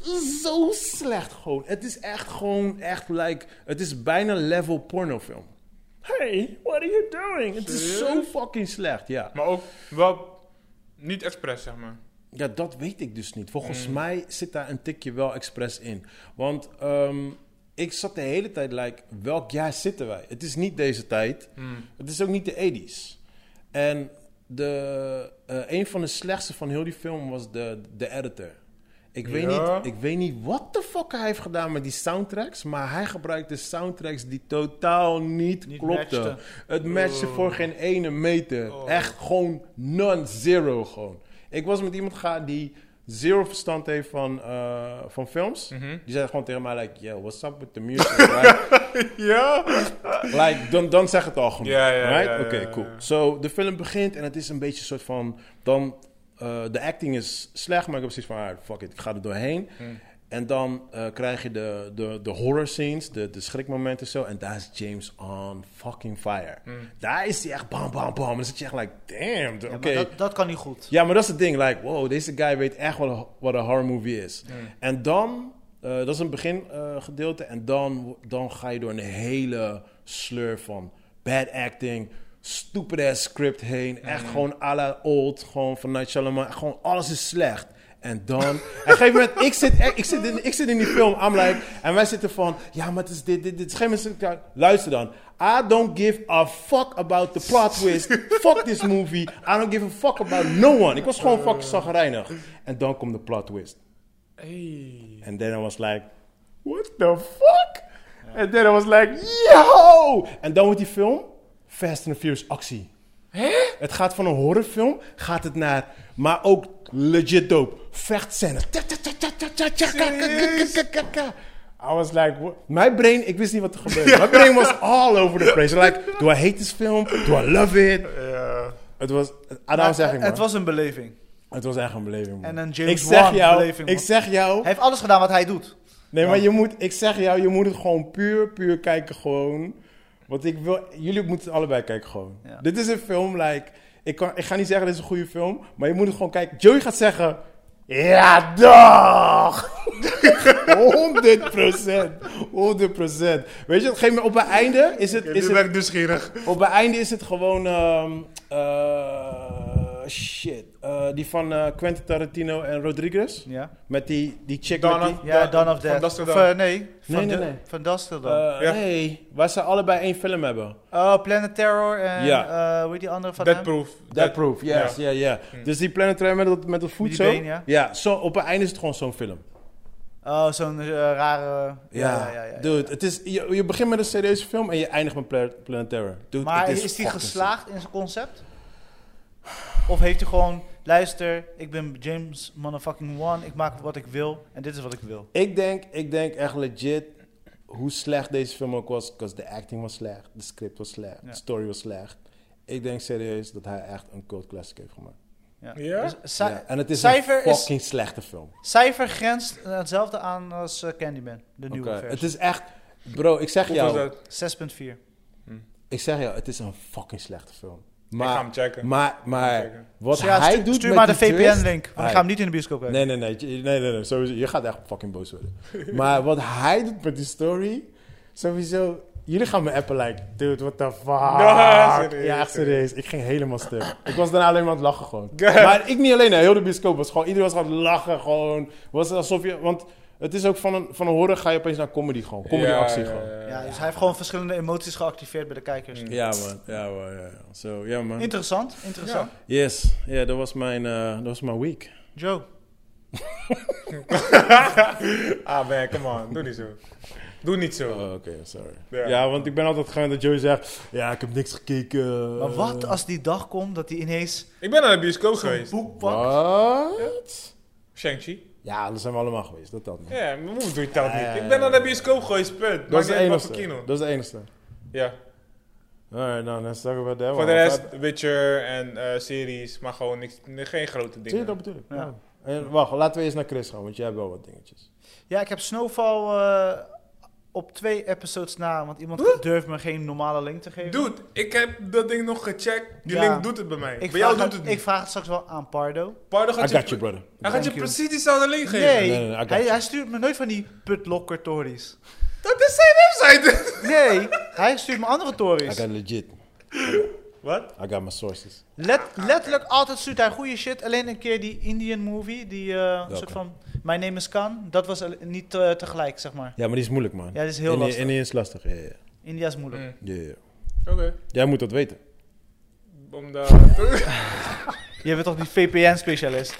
B: zo slecht gewoon. Het is echt gewoon, echt like... Het is bijna level pornofilm. Hey, what are you doing? Het is zo fucking slecht, ja.
A: Maar ook wel niet expres, zeg maar.
B: Ja, dat weet ik dus niet. Volgens mij zit daar een tikje wel expres in. Want ehm, ik zat de hele tijd, like, welk jaar zitten wij? Het is niet deze tijd.
A: Hmm.
B: Het is ook niet de 80s. En de, eh, een van de slechtste van heel die film was de, de editor. Ik weet,
A: Ja.
B: niet, ik weet niet wat de fuck hij heeft gedaan met die soundtracks. Maar hij gebruikte soundtracks die totaal niet,
D: Niet
B: klopten.
D: matchten.
B: Het matchte voor geen ene meter. Echt gewoon non-zero gewoon. Ik was met iemand gaan die zero verstand heeft van, eh, van films. Die zei gewoon tegen mij, like, yo, what's up with the music? Like,
A: Ja!
B: like, dan, dan zeg het al genoeg.
A: Ja, ja,
B: right?
A: ja, ja,
B: Oké,
A: ja.
B: cool. So, de film begint en het is een beetje een soort van... Dan, eh, de acting is slecht, maar ik heb precies van... ah, fuck it, ik ga er doorheen.
A: Hmm.
B: En dan eh, krijg je de, de, de horror scenes, de, de schrikmomenten en zo. En daar is James on fucking fire.
A: Hmm.
B: Daar is hij echt bam, bam, bam. En dan zit je echt like, damn. Oké,
D: Ja, maar dat, dat kan niet goed.
B: ja, maar dat is het ding. Like, wow, deze guy weet echt wat een, wat een horror movie is. En dan, eh, dat is een begingedeelte. en dan, dan ga je door een hele sleur van bad acting, stupid ass script heen. Echt gewoon à la old, gewoon van Night Shyamalan. Gewoon alles is slecht. En dan, op een gegeven moment, ik zit, echt- ik, zit in, ik zit in die film, I'm like, en wij zitten van, ja, maar het is dit, dit, dit. Op een gegeven moment zit ik daar, luister dan. I don't give a fuck about the plot twist. fuck this movie. I don't give a fuck about no one. Ik was gewoon fucking zagrijnig. En dan komt de plot twist. And then I was like, what the fuck? And then I was like, yo! En dan wordt die film Fast and Furious actie. Het gaat van een horrorfilm, gaat het naar, maar ook legit dope. Vechtscènes. I was like, what? mijn brain, ik wist niet wat er gebeurde. Mijn brain was all over the place. Like, do I hate this film? Do I love it? Het was, ah, daarom zeg ik man.
D: het was een beleving.
B: het was echt een beleving. man.
D: En een James
B: ik zeg
D: Wan
B: jou,
D: beleving,
B: ik
D: man.
B: zeg jou,
D: Hij heeft alles gedaan wat hij doet.
B: Nee, maar je moet, ik zeg jou, je moet het gewoon puur, puur kijken gewoon. Want ik wil, jullie moeten het allebei kijken gewoon.
D: Ja.
B: Dit is een film, like, ik, kan, ik ga niet zeggen dit is een goede film, maar je moet het gewoon kijken. Joey gaat zeggen, ja dag! 100%, 100%. Weet je, op een gegeven moment, op het einde is het... Is
A: Nu
B: het
A: ben ik nieuwsgierig.
B: op het einde is het gewoon. ehm, eh, shit. Eh, die van eh, Quentin Tarantino en Rodriguez.
D: Ja,
B: Met die, die chick.
A: Dawn
B: met die,
A: of-
D: ja
A: Da-
D: Dawn of
A: van
D: Death.
A: Dusk Till
D: Of,
A: Dawn.
D: eh, nee, van
B: Nee, nee,
D: Du-
B: nee.
D: Van Dusk Till Dawn.
B: Eh,
A: Ja.
B: Nee, waar ze allebei één film hebben.
D: oh, Planet Terror en
B: Ja.
D: eh, hoe heet die andere van hem?
A: Deadproof.
B: That Proof, yes,
A: ja.
B: ja, ja. Dus die Planet Terror met, dat- met het voet
D: Hm. die
B: zo.
D: been, ja.
B: zo, op het einde is het gewoon zo'n film.
D: Oh, zo'n eh, rare...
B: Ja,
D: ja, ja, ja.
B: dude, Het is, je, je begint met een serieuze film en je eindigt met Pla- Planet Terror. Dude,
D: Maar
B: het
D: is, hij
B: fucking
D: geslaagd in zijn concept? Of heeft hij gewoon, luister, ik ben James motherfucking one, ik maak wat ik wil en dit is wat ik wil.
B: sick. Ik denk, ik denk echt legit hoe slecht deze film ook was. Because de acting was slecht, de script was slecht,
D: Ja.
B: de story was slecht. Ik denk serieus dat hij echt een cult classic heeft gemaakt.
D: Ja.
A: Ja?
D: Dus ci-
B: ja, en het is
D: cijfer
B: een
D: is-
B: fucking slechte film.
D: Cijfer grenst eh, hetzelfde aan als eh, Candyman, de nieuwe
B: Oké, Het
D: versie.
B: is echt... Bro, ik zeg
A: Hoe
B: jou...
A: was dat?
D: 6.4.
B: Ik zeg jou, het is een fucking slechte film.
A: Ik ga
B: Maar,
A: hem checken.
B: maar,
A: Ik ga hem
B: maar
A: checken.
B: wat
D: Dus ja,
B: hij
D: stu-
B: doet
D: stuur
B: met
D: maar de
B: die twist-
D: VPN-link, want ik
B: Ai.
D: ga hem niet in de bioscoop kijken.
B: Nee, nee, nee, nee, nee, nee, nee, sowieso. Je gaat echt fucking
A: [laughs]
B: boos worden. maar wat hij doet met die story, sowieso... Jullie gaan me appen like, dude,
A: [laughs]
B: what the fuck.
A: serieus,
B: ja,
A: serieus.
B: echt serieus. Ik ging helemaal stuk. ik was daarna alleen maar aan het lachen
A: [laughs]
B: gewoon. maar ik niet alleen, hè. heel de bioscoop was gewoon... Iedereen was aan het lachen gewoon. Was het alsof je... Want het is ook van een, van een horror ga je opeens naar comedy gewoon. Comedy actie
A: ja,
B: gewoon.
A: ja, ja.
D: Ja, dus hij heeft gewoon verschillende emoties geactiveerd bij de kijkers.
B: Ja man, ja man, ja. ja. Zo, ja man.
D: Interessant, interessant.
B: Yes, ja, dat was mijn, eh, dat was mijn week.
D: Joe,
A: [laughs] Ah man, come on. Doe niet zo. Doe niet zo.
B: Oh, Oké, sorry. Ja.
A: Ja.
B: want ik ben altijd gewend dat Joey zegt, ja, ik heb niks gekeken. eh."
D: maar wat Oh, als die dag komt dat hij ineens
A: Ik ben naar de bioscoop
D: zo'n
A: geweest.
D: boek pakt?
B: Wat?
A: Shang-Chi.
B: Ja, daar zijn we allemaal geweest, dat dat. man.
A: Ja, mijn moeder doet dat
B: Ja, ja,
A: niet.
B: ja.
A: Ik ben naar de bioscoop geweest, punt.
B: Dat is
A: Maakt
B: de
A: niet uit wat voor
B: enigste.
A: kino.
B: Dat is de enigste.
A: Ja.
B: Alright, nou, let's talk about that
A: Voor
B: one.
A: de rest, Witcher en eh, series, maar gewoon niks, nee, geen grote
B: Zie je,
A: dingen.
B: dat bedoel ik.
D: Ja.
B: Ja. En wacht, laten we eerst naar Chris gaan, want jij hebt wel wat dingetjes.
D: Ja, ik heb Snowfall eh, op twee episodes na, want iemand durft me geen normale link te geven.
A: Dude, ik heb dat ding nog gecheckt. Die
D: Ja.
A: link doet het bij mij.
D: ik
A: bij jou
D: vraag
A: doet het niet.
D: Ik vraag het straks wel aan Pardo.
A: Pardo
B: I
A: gaat
B: got
A: je,
B: you, brother.
A: hij gaat je
D: Thank you.
A: precies diezelfde link geven.
D: Nee,
B: Nee, nee, nee, I got
D: hij,
B: you.
D: hij stuurt me nooit van die putlocker tories.
A: Dat is zijn
D: [laughs]
A: website.
D: Nee, hij stuurt me andere
B: I
D: tories.
B: got legit.
A: Wat?
B: I got my sources.
D: Let, letterlijk altijd stuurt hij goede shit. Alleen een keer die Indian movie, die eh, een soort van My Name is Khan. Dat was al- niet eh, tegelijk, zeg maar.
B: Ja, maar die is moeilijk, man.
D: Ja, dat is heel
B: Indië-
D: lastig.
B: Indië is lastig, ja, ja.
D: India is moeilijk.
A: Mm.
B: ja, ja.
A: Oké.
B: Jij moet dat weten.
A: Om daar-
D: Je bent toch die VPN-specialist?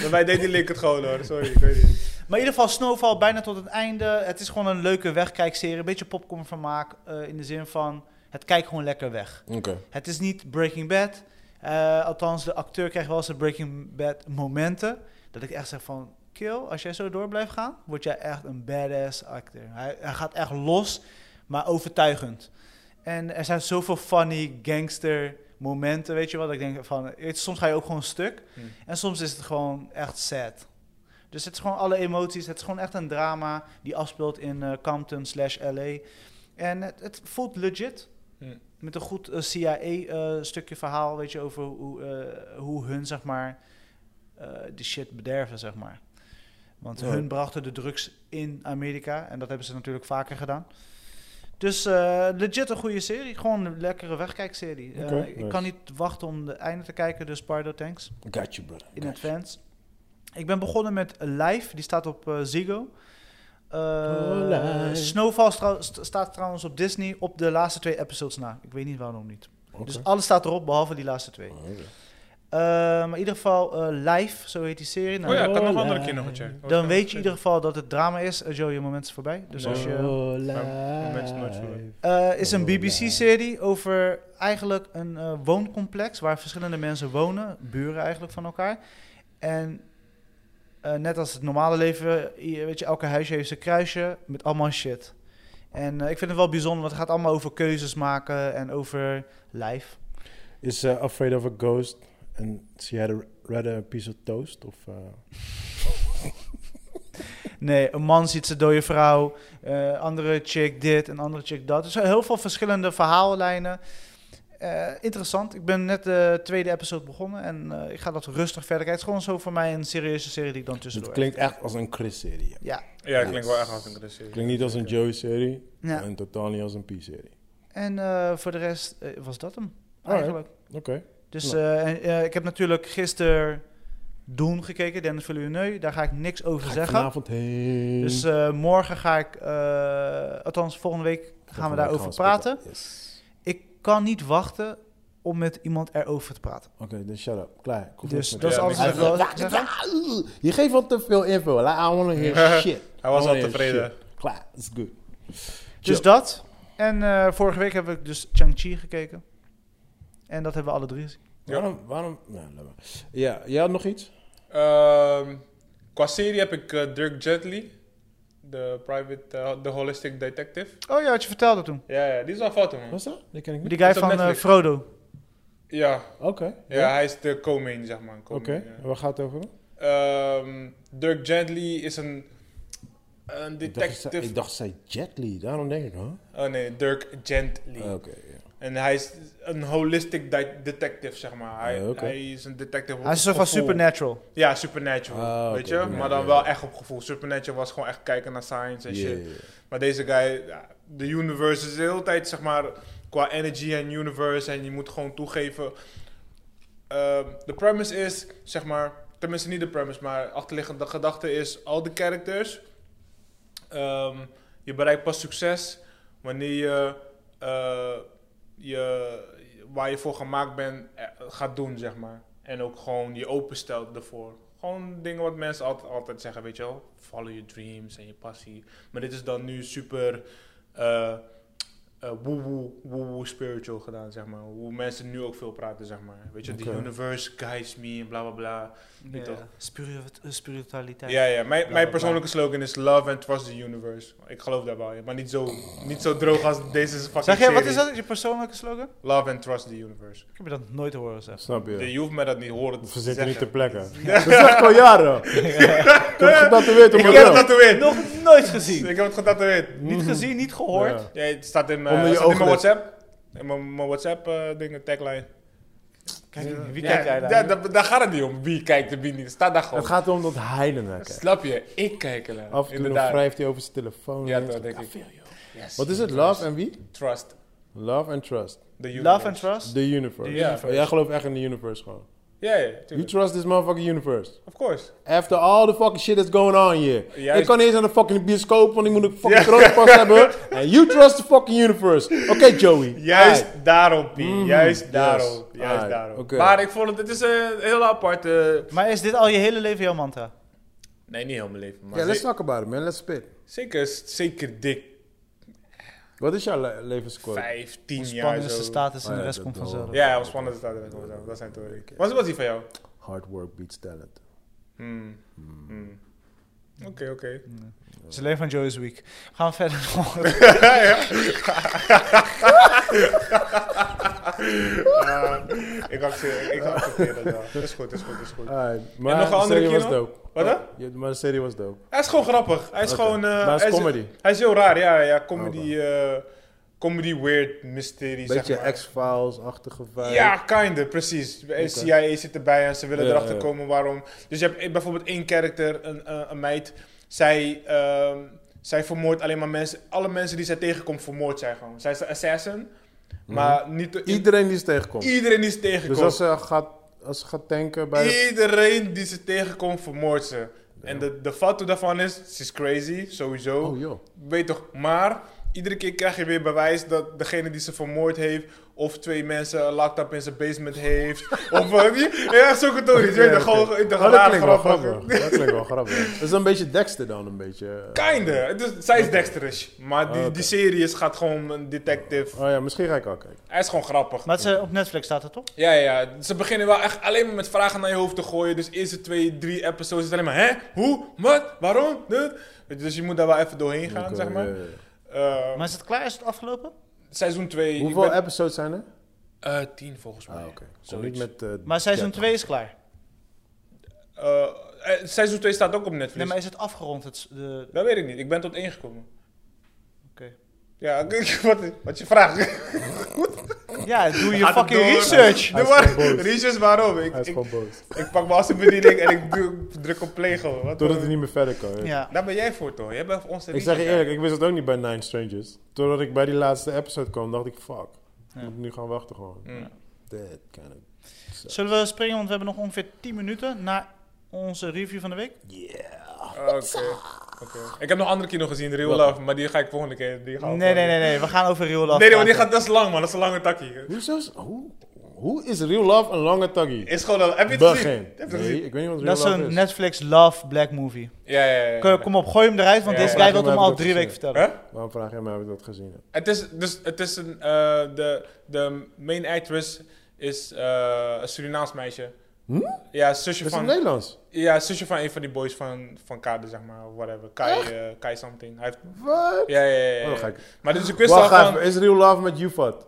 A: Bij mij deed die link het gewoon hoor. Sorry, ik weet niet.
D: Maar in ieder geval Snowfall bijna tot het einde. Het is gewoon een leuke wegkijkserie. Een beetje popcorn vermaak eh, in de zin van... Het kijkt gewoon lekker weg.
B: Oké.
D: Het is niet Breaking Bad. Eh, althans, de acteur krijgt wel zijn Breaking Bad momenten. Dat ik echt zeg van... Kill, als jij zo door blijft gaan, word jij echt een badass acteur. Hij, hij gaat echt los, maar overtuigend. En er zijn zoveel funny gangster momenten, weet je wel. Dat ik denk van... weet je, Soms ga je ook gewoon stuk.
A: Hmm.
D: En soms is het gewoon echt sad. Dus het is gewoon alle emoties. Het is gewoon echt een drama die afspeelt in eh, Compton slash LA. En het, het voelt legit.
A: Hmm.
D: Met een goed eh, CIA-stukje eh, verhaal, weet je, over hoe, eh, hoe hun, zeg maar, eh de shit bederven, zeg maar. Want
B: Ja.
D: hun brachten de drugs in Amerika en dat hebben ze natuurlijk vaker gedaan. Dus eh, legit een goede serie, gewoon een lekkere wegkijkserie. Eh,
B: Oké,
D: ik
B: nice.
D: kan niet wachten om de einde te kijken, dus Pardo, thanks
B: I got you, brother.
D: in advance. Ik ben begonnen met Live, die staat op eh, Ziggo. Eh,
B: Live.
D: Snowfall strou- st- staat trouwens op Disney op de laatste twee episodes na. Ik weet niet waarom niet.
B: Oké.
D: Dus alles staat erop, behalve die laatste twee.
B: Oké.
D: Eh, maar in ieder geval eh, Live, zo heet die serie. Nou,
A: Oh ja, Oh, ik had nog
B: Hola.
A: andere keer nog gecheckt.
D: Dan weet je in ieder geval dat het drama is. Eh, Joe, je moment is voorbij. Dus als je...
A: mensen nooit verloren.
D: Eh, is een BBC-serie over eigenlijk een eh, wooncomplex waar verschillende mensen wonen, buren eigenlijk van elkaar. En eh, net als het normale leven, je- weet je, elke huisje heeft zijn kruisje met allemaal shit. En eh, ik vind het wel bijzonder, want het gaat allemaal over keuzes maken en over lijf.
B: Is eh, Afraid of a Ghost and she had a, rather a piece of toast? Of, eh,
D: Nee, een man ziet zijn dode vrouw, eh, andere chick dit, een andere chick dat. Dus er zijn heel veel verschillende verhaallijnen. Eh, interessant. Ik ben net de tweede episode begonnen en eh, ik ga dat rustig verder kijken. Het is gewoon zo voor mij een serieuze serie die ik dan
B: het
D: tussendoor heb.
B: klinkt echt als een Chris-serie. Het
D: Ja,
A: Ja, ik klinkt wel echt als een agressie.
B: klinkt niet als een Joey-serie
D: ja.
B: en totaal niet als een P-serie.
D: En eh, voor de rest eh, was dat hem
B: Alright.
D: eigenlijk.
B: Oké.
D: Dus eh, en, eh, ik heb natuurlijk gisteren Doen gekeken, Dennis Villeneuve. Daar ga ik niks over
B: Ga ik
D: zeggen.
B: vanavond heen.
D: Dus eh, morgen ga ik, eh, althans volgende week gaan we
B: Vanavond
D: daarover
B: gaan we
D: praten.
B: spotten. Yes.
D: Ik kan niet wachten om met iemand erover te praten.
B: Oké, dus shut up. Klaar. Kom
D: Dus
B: op met
D: dat is
A: Ja,
D: alles
A: niks
D: wat ik wil
B: het.
D: zeggen.
B: Je geeft al te veel info. Like, I wanna
D: [laughs]
B: hear shit.
A: Hij was
B: I wanna
A: al
B: hear
A: tevreden.
B: shit. Klaar, is good.
D: Dus dat. En eh, vorige week heb ik dus Chang-Chi gekeken. En dat hebben we alle drie gezien.
A: Ja.
B: Waarom, waarom... Nou, laat maar. Ja, jij had nog iets?
A: Ehm, qua serie heb ik eh, Dirk Gently, de private, eh, de holistic detective.
D: Oh ja, wat je vertelde toen.
A: Ja, ja, die is wel fout man.
B: Was dat? Die ken ik niet.
D: Die guy
A: Is op
D: van eh,
A: Netflix.
D: Frodo.
A: Ja,
B: Oké.
A: ja, hij is de co-main, zeg maar.
B: Oké,
A: co-main, ja.
B: en waar gaat het over?
A: Ehm, Dirk Gently is een, een
B: Ik dacht, ze-
A: detective.
B: ik dacht, ze zei Jet Li, daarom denk ik, huh?
A: Oh nee, Dirk Gently.
B: Ah, Oké, ja.
A: En hij is een holistic de- detective, zeg maar. Hij,
B: Ja, Oh, oké.
A: hij is een detective.
D: Hij is
A: op
D: zo van
A: gevoel.
D: Supernatural.
A: Ja, Supernatural.
B: Ah,
A: weet
B: oké,
A: je?
B: oké,
A: maar
B: ja,
A: dan
B: ja.
A: wel echt op gevoel. Supernatural was gewoon echt kijken naar science en
B: Ja,
A: shit.
B: ja, ja.
A: Maar deze guy, ja, de universe is de hele tijd, zeg maar, qua energy en universe. En je moet gewoon toegeven. Ehm, De premise is, zeg maar, tenminste niet de premise, maar achterliggende gedachte is: al de characters. ehm, je bereikt pas succes wanneer je, eh, je waar je voor gemaakt bent eh, gaat doen, zeg maar. En ook gewoon je openstelt ervoor. Gewoon dingen wat mensen altijd, altijd zeggen, weet je wel. Follow your dreams en je passie. Maar dit is dan nu super eh, eh, eh, woe-woe, woe-woe spiritual gedaan, zeg maar. Hoe mensen nu ook veel praten, zeg maar. Weet je, the
B: Oké.
A: universe guides me en bla bla bla.
D: Ja.
A: toch?
D: Spirit- eh, spiritualiteit.
A: Ja, ja. Mijn,
D: bla,
A: mijn
D: bla.
A: persoonlijke slogan is love and trust the universe. Ik geloof daar wel in, maar niet zo, niet zo droog als deze fucking
D: Zeg jij, wat
A: serie.
D: is dat? Je persoonlijke slogan?
A: Love and trust the universe.
D: Ik heb je dat nooit horen zeggen. [laughs]
B: Snap je?
A: Je hoeft mij dat niet horen te
B: Ze zitten niet ter
A: zeggen. [laughs]
B: plekke. Dat is echt al jaren. Ik heb getatoeëerd op
A: Ik
B: mijn
A: heb het
B: rug.
A: getatoeëerd.
D: Nog nooit gezien.
A: Ik heb het getatoeëerd.
D: Niet gezien, niet gehoord.
B: Ja.
A: Ja, het staat in, eh,
B: Onder je
A: staat in mijn
B: ooglid.
A: WhatsApp. In mijn, mijn WhatsApp eh dingen, tagline.
D: Kijk, wie
A: Ja,
D: kijkt jij
A: ja,
D: daar?
A: daar, daar gaat het niet om. Wie kijkt en wie niet. Staat daar gewoon.
B: Het gaat erom dat hij ernaar kijkt.
A: Slap je? Ik kijk ernaar.
B: Af en toe nog
A: Inderdaad.
B: wrijft hij over zijn telefoon.
A: Ja,
B: en-
A: dat denk ik. Yes.
B: Wat is het? Love en wie?
A: Trust.
B: Love and trust.
A: The
D: Love
A: universe.
D: and trust?
B: The universe.
A: The universe.
B: Ja, jij gelooft echt in the universe gewoon.
A: Ja, ja.
B: You
A: tuurlijk.
B: trust this motherfucking universe.
A: Of course.
B: After all the fucking shit that's going on here.
A: Juist.
B: Ik kan niet eens aan de fucking bioscoop, want ik moet een fucking
A: [laughs]
B: coronapas hebben. And you trust the fucking universe. Oké, Joey.
A: Juist
B: Aight.
A: daarom, P. Juist
B: Mhm. Yes.
A: daarom. Juist
B: Aight.
A: daarom.
B: Oké.
A: Maar ik vond het, het is een heel apart. eh,
D: Maar is dit al je hele leven jouw mantra?
A: nee, niet heel mijn leven. Maar
B: Yeah, let's
A: ze-
B: talk about it, man. Let's spit.
A: zeker, zeker dik
B: Wat is jouw le- levensquote?
A: vijf, tien jaar
D: Ontspannen is
A: zo. Oh
D: de status en
B: Ah,
D: de
B: ja,
D: rest
B: dat
D: komt
B: wel.
D: vanzelf.
A: Ja, ontspannen staat er wel zo. Dat zijn theorieën. Wat was die van jou?
B: Hard work beats talent.
A: Hmm. Hmm.
B: Mm.
A: Oké, oké.
D: Het is alleen van Joey's Week. Gaan we verder. [laughs]
A: Ah, Ik accepteer
B: [laughs]
A: ik accepteer dat wel. Dat is goed, dat is goed, dat is goed.
B: Alright,
A: En
B: maar
A: nog een
B: de
A: andere
B: serie was
A: kino?
B: dope. Oh,
A: Wat dan?
B: Ja, maar de serie was dope.
A: Hij is gewoon grappig. Hij is
B: Oké.
A: gewoon... eh,
B: Maar het is
A: hij
B: comedy. Oh,
A: Hij is heel raar, ja. ja comedy,
B: Oké.
A: eh, comedy weird mystery, zeg
B: Beetje
A: maar.
B: X-Files-achtige vibe.
A: Ja, kinder, precies. Eh, CIA zit erbij en ze willen
B: Ja,
A: erachter
B: ja.
A: komen waarom. Dus je hebt bijvoorbeeld één karakter, een, eh, een meid. Zij, ehm, zij vermoordt alleen maar mensen. Alle mensen die zij tegenkomt, vermoord zij gewoon. Zij is een assassin. Maar niet de-
B: Iedereen die ze tegenkomt.
A: iedereen die ze tegenkomt.
B: Mhm. dus als ze, gaat, als ze gaat tanken bij... de-
A: Iedereen die ze tegenkomt, vermoordt ze. En de, de foto daarvan is, ze is crazy, sowieso.
B: Oh joh.
A: Weet toch, maar iedere keer krijg je weer bewijs dat degene die ze vermoord heeft, of twee mensen locked up in zijn basement
B: [laughs]
A: heeft. of eh, je- ja, zulke tories. Weet je,
B: Oké,
A: gewoon
B: oké.
A: ik dacht,
B: Oh, dat
A: raar,
B: klinkt wel
A: grappig.
B: grappig. Dat klinkt wel grappig. Dat is een beetje Dexter dan, een beetje. eh.
A: Kinder. Het is- zij is dexterish. Maar die,
B: Oké.
A: die serie is, gaat gewoon een detective.
B: Oh ja, misschien ga ik al kijken.
A: Hij is gewoon grappig.
D: Maar het is, eh, op Netflix staat het toch?
A: Ja, ja, ze beginnen wel echt alleen maar met vragen naar je hoofd te gooien. Dus eerste twee, drie episodes is alleen maar, hè, hoe, wat, waarom, dit? Weet je, Dus je moet daar wel even doorheen gaan,
B: Oké,
A: zeg maar.
B: ja, ja.
A: Eh,
D: Maar is het klaar? Is het afgelopen?
A: seizoen 2.
B: Hoeveel episodes zijn er?
A: eh, tien volgens mij.
B: Ah, oké. Kom
A: Zoiets.
B: niet met. eh,
D: Maar seizoen
B: 30.
D: 2 is klaar.
A: Eh, eh, seizoen 2 staat ook op Netflix.
D: Nee, maar is het afgerond? Het, s- de...
A: Dat weet ik niet. Ik ben tot één gekomen.
D: Oké.
A: Ja, [laughs] wat, wat je vraagt. [laughs]
D: Ja, doe je
A: Gaat het
D: fucking
A: door?
D: research.
B: Hij
A: Doe
B: is
A: maar.
B: gewoon boos.
A: Reasons waarom. Ik,
B: Hij is
A: ik,
B: gewoon boos.
A: ik pak mijn assenbediening en ik doe- druk op play gewoon. Wat
B: Totdat hij niet meer verder kan. ja.
D: Ja.
A: Daar ben jij voor toch? Jij bent onze
B: Ik zeg je
A: researcher.
B: eerlijk, ik wist het ook niet bij Nine Strangers. Totdat ik bij die laatste episode kwam, dacht ik: fuck.
D: Ja.
B: Moet ik nu gaan wachten gewoon.
A: Mm.
B: That kind of.
D: Zullen we springen? Want we hebben nog ongeveer 10 minuten na onze review van de week.
B: Yeah.
A: Oké. Ah, Oké. Ik heb nog andere kino gezien, Real Love, maar die ga ik volgende keer. Die gaan we
D: Nee, nee,
A: volgende
D: nee,
A: keer-
D: nee. We gaan over Real Love.
A: Nee, nee, want die
D: praten.
A: gaat, dat is lang man, dat is een lange takkie.
B: Hoezo? is- Hoe, hoe is Real Love een lange taggie?
A: Is gewoon een, heb je het gezien?
B: Begin.
A: Heb je het gezien?
B: Nee, ik weet niet wat Real
D: Dat is
B: Love
D: een
B: is.
D: Netflix Love Black Movie.
A: Ja, ja, ja, ja.
D: Kom, kom op, gooi hem eruit, want
A: Ja,
D: deze
A: ja.
D: guy wil hem
B: Vraag hem
D: al
B: even
D: drie
B: wat
D: weken
B: je
D: vertellen.
A: Huh?
B: Waarom vraag je mij of ik dat gezien heb?
A: Het is, dus, het is een, eh, de, de main actress is eh, een Surinaams meisje.
B: Hm?
A: Ja, zusje
B: Is het
A: van...
B: Nederlands?
A: Ja, zusje van een van die boys van, van Kade, zeg maar, whatever. Kai, eh, Kai something. Hij heeft,
B: Wat?
A: ja, ja, ja, ja,
B: Oh, dan ga
A: ja.
B: ik-
A: Maar dus ik wist al
B: Wacht
A: van...
B: even, is Real Love met Jufat?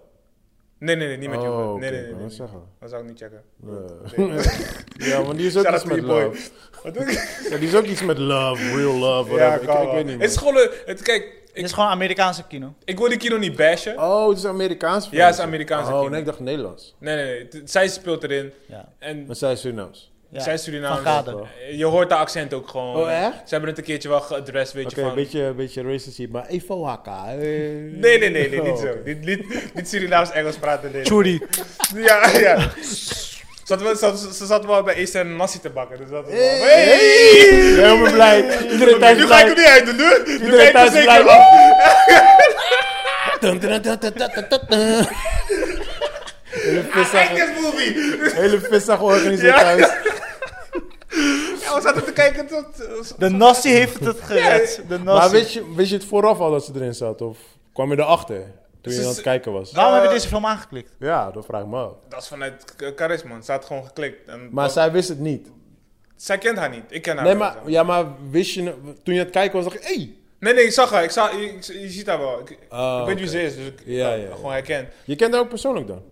A: Nee, nee, nee, niet met
B: Oh,
A: jou. Nee,
B: oké,
A: nee, nee,
B: ik
A: nee,
B: wou
A: nee.
B: net zeggen.
A: Dat zou ik niet
B: [laughs]
A: checken.
B: Nee. Eh, ja, want die is ook
A: Shout
B: iets
A: out to
B: met
A: your boy.
B: love.
A: Wat doe ik?
B: Ja, die is ook iets met love, real love,
A: ja,
B: whatever.
A: kan
B: ik, ik
A: wel.
B: weet niet
A: Het is
B: meer.
A: gewoon... een- Het, kijk,
D: Dit
A: ik,
D: is gewoon Amerikaanse kino.
A: ik wil die kino niet bashen.
B: Oh, het is Amerikaans?
A: Ja, het is Amerikaans.
B: Oh, nee, ik dacht Nederlands.
A: Nee, nee, nee. het- Zij speelt erin.
D: Ja.
A: En
B: Maar zij is Surinaams.
D: Ja.
A: zij is Surinaams.
D: Van Kade.
A: Je hoort de accent ook gewoon.
B: Oh, echt?
A: Ze hebben het een keertje wel geadressed, weet
B: Oké,
A: je
B: een
A: van...
B: beetje, een beetje racist hier, maar even haka. Nee,
A: Nee, nee, nee, nee,
D: Oh.
A: niet zo. Niet, niet, niet Surinaams-Engels praten, nee.
D: Churi.
A: Ja, ja. Ze zat wel- ze- ze zat wel bij Ace en Nassi te bakken, dus dat is wel...
B: Hey! Helemaal blij. Iedereen thuis
A: Nu ga ik
B: blij.
A: hem niet uit doen, hoor. Nu ga
B: Iedereen
A: ik hem
B: thuis
A: zeker
B: blij.
D: Oh,
A: af.
B: Dun, dun, dun, dun, dun, dun, dun. Hele
A: Kijk
B: vissig,
A: dit movie!
B: hele vissig georganiseerd
A: Ja.
B: thuis.
A: Ja, we zaten te kijken tot... eh, tot-
D: De
A: [laughs]
D: Nasty heeft het gered. De Nasty.
B: Maar wist je, wist je het vooraf al dat ze erin zat? Of kwam je erachter? Toen je aan het kijken was.
D: Waarom
A: Eh,
D: heb je deze film aangeklikt?
B: Ja, dat vraag ik me af.
A: Dat is vanuit K- Karis, man. Ze had gewoon geklikt. En
B: Maar
A: dat-
B: zij wist het niet.
A: zij kent haar niet. Ik ken haar
B: Nee,
A: wel, zeg
B: maar, ja, maar wist je... nou- Toen je aan het kijken was, dacht je... Hey!
A: Nee, nee, ik zag haar. Ik zag, ik- ik- je ziet haar wel. Ik, ik
D: Oh,
B: Ah,
A: weet wie
B: oké.
A: ze is, dus ik
B: Ja,
A: ja,
B: ja, ja.
A: gewoon herkend.
B: Je kent haar ook persoonlijk dan?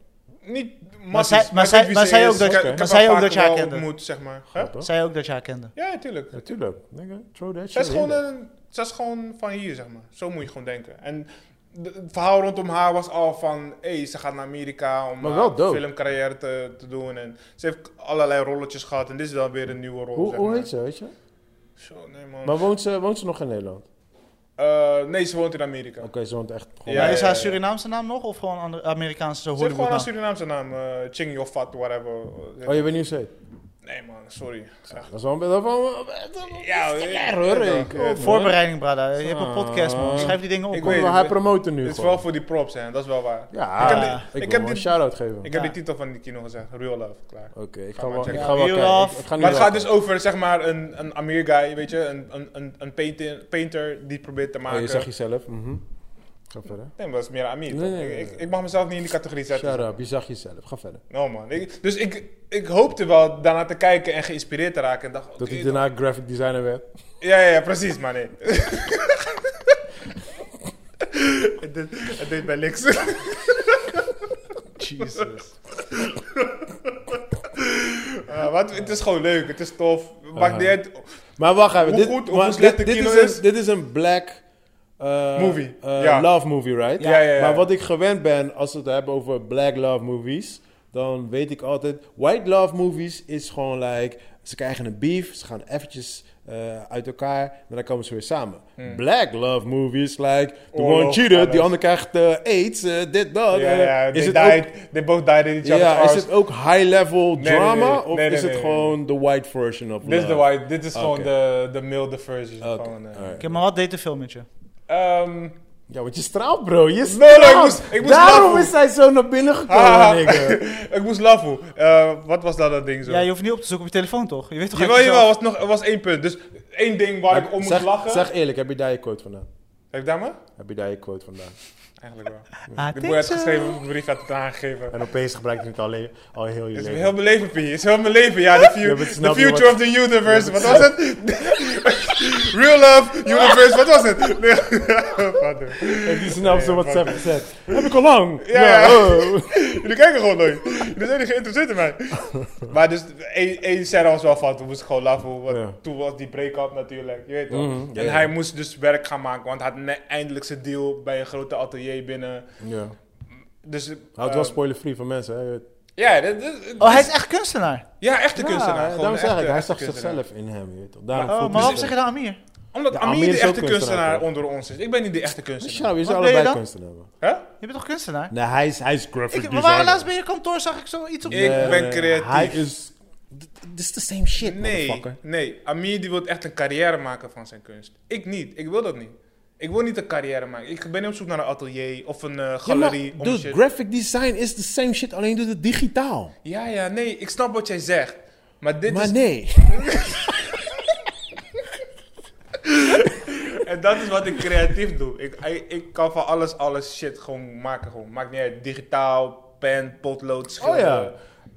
A: Niet massief,
D: zij- maar
A: ik
D: zij-
A: weet wie
D: maar
A: ze
D: zij
A: is.
D: ook dat-
A: Ik- ik
D: maar
A: heb
D: zij
A: haar
D: ook
A: vaker
D: dat je haar
A: wel
D: kende.
A: ontmoet, zeg maar. Hè?
B: Toch?
D: Zij ook dat je haar kende.
A: Ja, tuurlijk.
B: Natuurlijk. Nigga, throw that
A: Zij
B: shit
A: is, gewoon
B: in.
A: een, zij is gewoon van hier, zeg maar. Zo moet je gewoon denken. En de- het verhaal rondom haar was al van... Hé, ze gaat naar Amerika om
B: Maar
A: haar
B: wel dope.
A: filmcarrière te, te doen. En ze heeft allerlei rolletjes gehad. En dit is dan weer een nieuwe rol,
B: Hoe,
A: zeg
B: hoe
A: maar.
B: heet ze, weet je?
A: Zo, nee, man.
B: Maar woont ze, woont ze nog in Nederland? Oké,
A: Eh, nee, ze woont in Amerika.
B: ze woont echt gewoon...
A: Ja,
D: maar is
A: ja,
D: haar
A: ja.
D: Surinaamse naam nog of gewoon ander- Amerikaanse zo
A: Ze heeft gewoon
D: Hollywood
A: een
D: naam?
A: Surinaamse naam. eh Ching of Fat, whatever. Eh,
B: Oh, je weet niet hoe ze heet?
A: Nee, man, sorry. Echt.
B: Dat is wel een beetje van...
A: Ja,
B: Ja, hoor, ik.
A: eh,
B: Kom, hoor.
D: Voorbereiding, brada. Je hebt een podcast, man. Schrijf die dingen op.
A: Ik
D: man.
A: weet-
B: Maar hij promoten nu
A: Het is
B: gewoon.
A: wel voor die props, hè. Dat is wel waar.
B: Ja,
A: Ik heb
B: ik,
A: die- ik
B: wil
A: heb
B: hem een
A: die-
B: shout-out geven.
A: Ik heb
D: Ja.
A: de titel van die kino gezegd. Real Love, klaar.
B: Oké, ik
A: Ga
B: ga
A: maar
B: wel ik
A: checken.
B: ga wel
D: Real
B: kijken.
D: love.
B: Ik, ik ga nu
A: Maar het
B: wel
A: gaat dus over, zeg maar, een, een Amir guy, weet je. Een, een, een, een painter, painter die probeert te
B: kijken.
A: maken...
B: Oh, je zag jezelf. mhm. Ga verder.
A: Nee, maar dat is meer Amir.
B: Nee,
A: toch?
B: nee, nee.
A: Ik, ik, ik mag mezelf niet in die categorie zetten.
B: Shut up, je zag jezelf. Ga verder.
A: No, man. Ik- dus ik, ik hoopte wel daarna te kijken en geïnspireerd te raken. En dacht,
B: Dat
A: oké,
B: hij daarna graphic designer werd.
A: Ja, ja, ja, precies, maar nee. [laughs] het, deed, het deed mij niks. [laughs]
D: Jesus.
A: Eh, want het is gewoon leuk, het is tof. Maakt
B: Ah.
A: niet uit.
B: Maar wacht even.
A: Hoe
B: dit,
A: goed of
B: maar
A: hoe slecht
B: dit,
A: de
B: dit
A: kino
B: is.
A: is?
B: Een, dit is een black... eh,
A: Movie,
B: eh,
A: ja.
B: Love movie, right?
A: Ja, ja, ja.
B: Maar wat ik gewend ben als we het hebben over black love movies... dan weet ik altijd... White love movies is gewoon like... ze krijgen een beef, ze gaan eventjes eh, uit elkaar... en dan komen ze weer samen. Black love movies like... the
A: Hmm. Oorlog,
B: one cheated,
A: alles.
B: die ander krijgt eh, aids, eh, dit, dat.
A: Ja,
B: eh.
A: ja,
B: is
A: they,
B: het ook
A: died, they both died in each other's
B: Ja,
A: arms.
B: is het ook high-level
A: nee,
B: drama?
A: nee. Nee,
B: Of
A: nee,
B: is het
A: nee, nee,
B: gewoon de white version of
A: Dit is de
B: love?
A: white, dit is gewoon
B: Oké.
A: de, de milde version.
B: Oké,
A: Van, eh.
B: alright.
D: Oké, maar wat deed de film met je?
A: Ehm,
B: Ja, want je straalt, bro. Je straalt.
A: nee, ik moest- ik moest
B: Daarom
A: lachen.
B: is hij zo naar binnen
A: [laughs]
B: gekomen,
A: haha,
B: nigga.
A: ah, ik moest lachen. Eh, wat was dat, dat ding zo?
D: Ja, je hoeft niet op te zoeken op je telefoon, toch? Je weet toch
A: jawel,
D: echt
A: jawel,
D: zelf-
A: was nog, er was één punt. Dus één ding waar ik om moest
B: zeg,
A: lachen.
B: Zeg eerlijk, heb je daar je quote vandaan?
A: Heb ik daar maar?
B: Heb je daar je quote vandaan?
A: Eigenlijk wel.
D: Ah,
A: De boer had
D: thanks,
A: geschreven, mijn brief had het aangegeven.
B: En opeens gebruik je het al, le- al heel je
A: Het is
B: leven.
A: heel mijn leven, P. Het is heel mijn leven, ja. The,
B: Ja,
A: fu-
B: maar het
A: the
B: snap je
A: future
B: wat-
A: of the universe. Wat was het? [laughs] Real love, universe, wat was
B: [laughs]
A: het? Nee, [laughs] wat doen.
B: En die snapt zo
A: Ja,
B: wat ze
A: fuck.
B: hebben gezet. Heb ik al lang.
A: Ja, ja.
B: oh.
A: Jullie kijken gewoon nooit. Jullie zijn niet geïnteresseerd in mij. Maar dus, één- één scène was wel van, toen moest ik gewoon lachen. Want
B: Ja.
A: Toen was die break-up natuurlijk, je weet toch.
B: Mhm, ja,
A: en
B: ja.
A: hij moest dus werk gaan maken, want hij had ne- eindelijk zijn deal bij een grote atelier binnen.
B: Ja.
A: Dus,
B: Houdt
A: eh,
B: wel spoiler-free van mensen, hè?
A: Ja, dit- dit-
D: Oh, hij is echt kunstenaar.
A: ja, echte
B: Ja,
A: kunstenaar. gewoon eh,
B: daarom
A: een
B: zeg
A: echte-
B: ik, hij
A: echte
B: zag
A: kunstenaar.
B: zichzelf in hem, je weet toch. Daarom
D: Oh,
B: voelt
D: maar
B: hij
D: waarom
B: zich-
D: zeg je dan Amir?
A: Omdat
B: Ja,
A: Amir
B: Amir
A: de
B: is ook
A: echte kunstenaar
B: kunstenaar,
A: onder ons is. Ik ben niet de echte kunstenaar.
B: Sjaal, je is
D: Wat ben je
B: allebei
D: dan?
B: kunstenaar, man.
A: Hè?
D: Je bent toch kunstenaar?
B: Nee, hij is, hij is graphic
D: Ik, we
B: designer.
D: waren laatst bij je kantoor, zag ik zoiets op...
A: Ik
B: Nee,
A: ben
B: nee,
A: creatief.
B: Hij is... Dit is the same shit,
A: Nee,
B: motherfucker.
A: nee. Amir die wil echt een carrière maken van zijn kunst. Ik niet. Ik wil dat niet. Ik wil niet een carrière maken. Ik ben op zoek naar een atelier of een eh,
B: Ja, maar,
A: galerie. om
B: dude,
A: shit-
B: graphic design is the same shit, alleen doet het digitaal.
A: ja, ja, nee. Ik snap wat jij zegt. Maar dit
B: Maar
A: is...
B: nee.
A: En dat is wat ik creatief doe. Ik, ik, ik kan van alles, alles shit gewoon maken. Gewoon. Maakt niet uit. Digitaal, pen, potlood,
B: Oh
A: schilderen.
B: ja.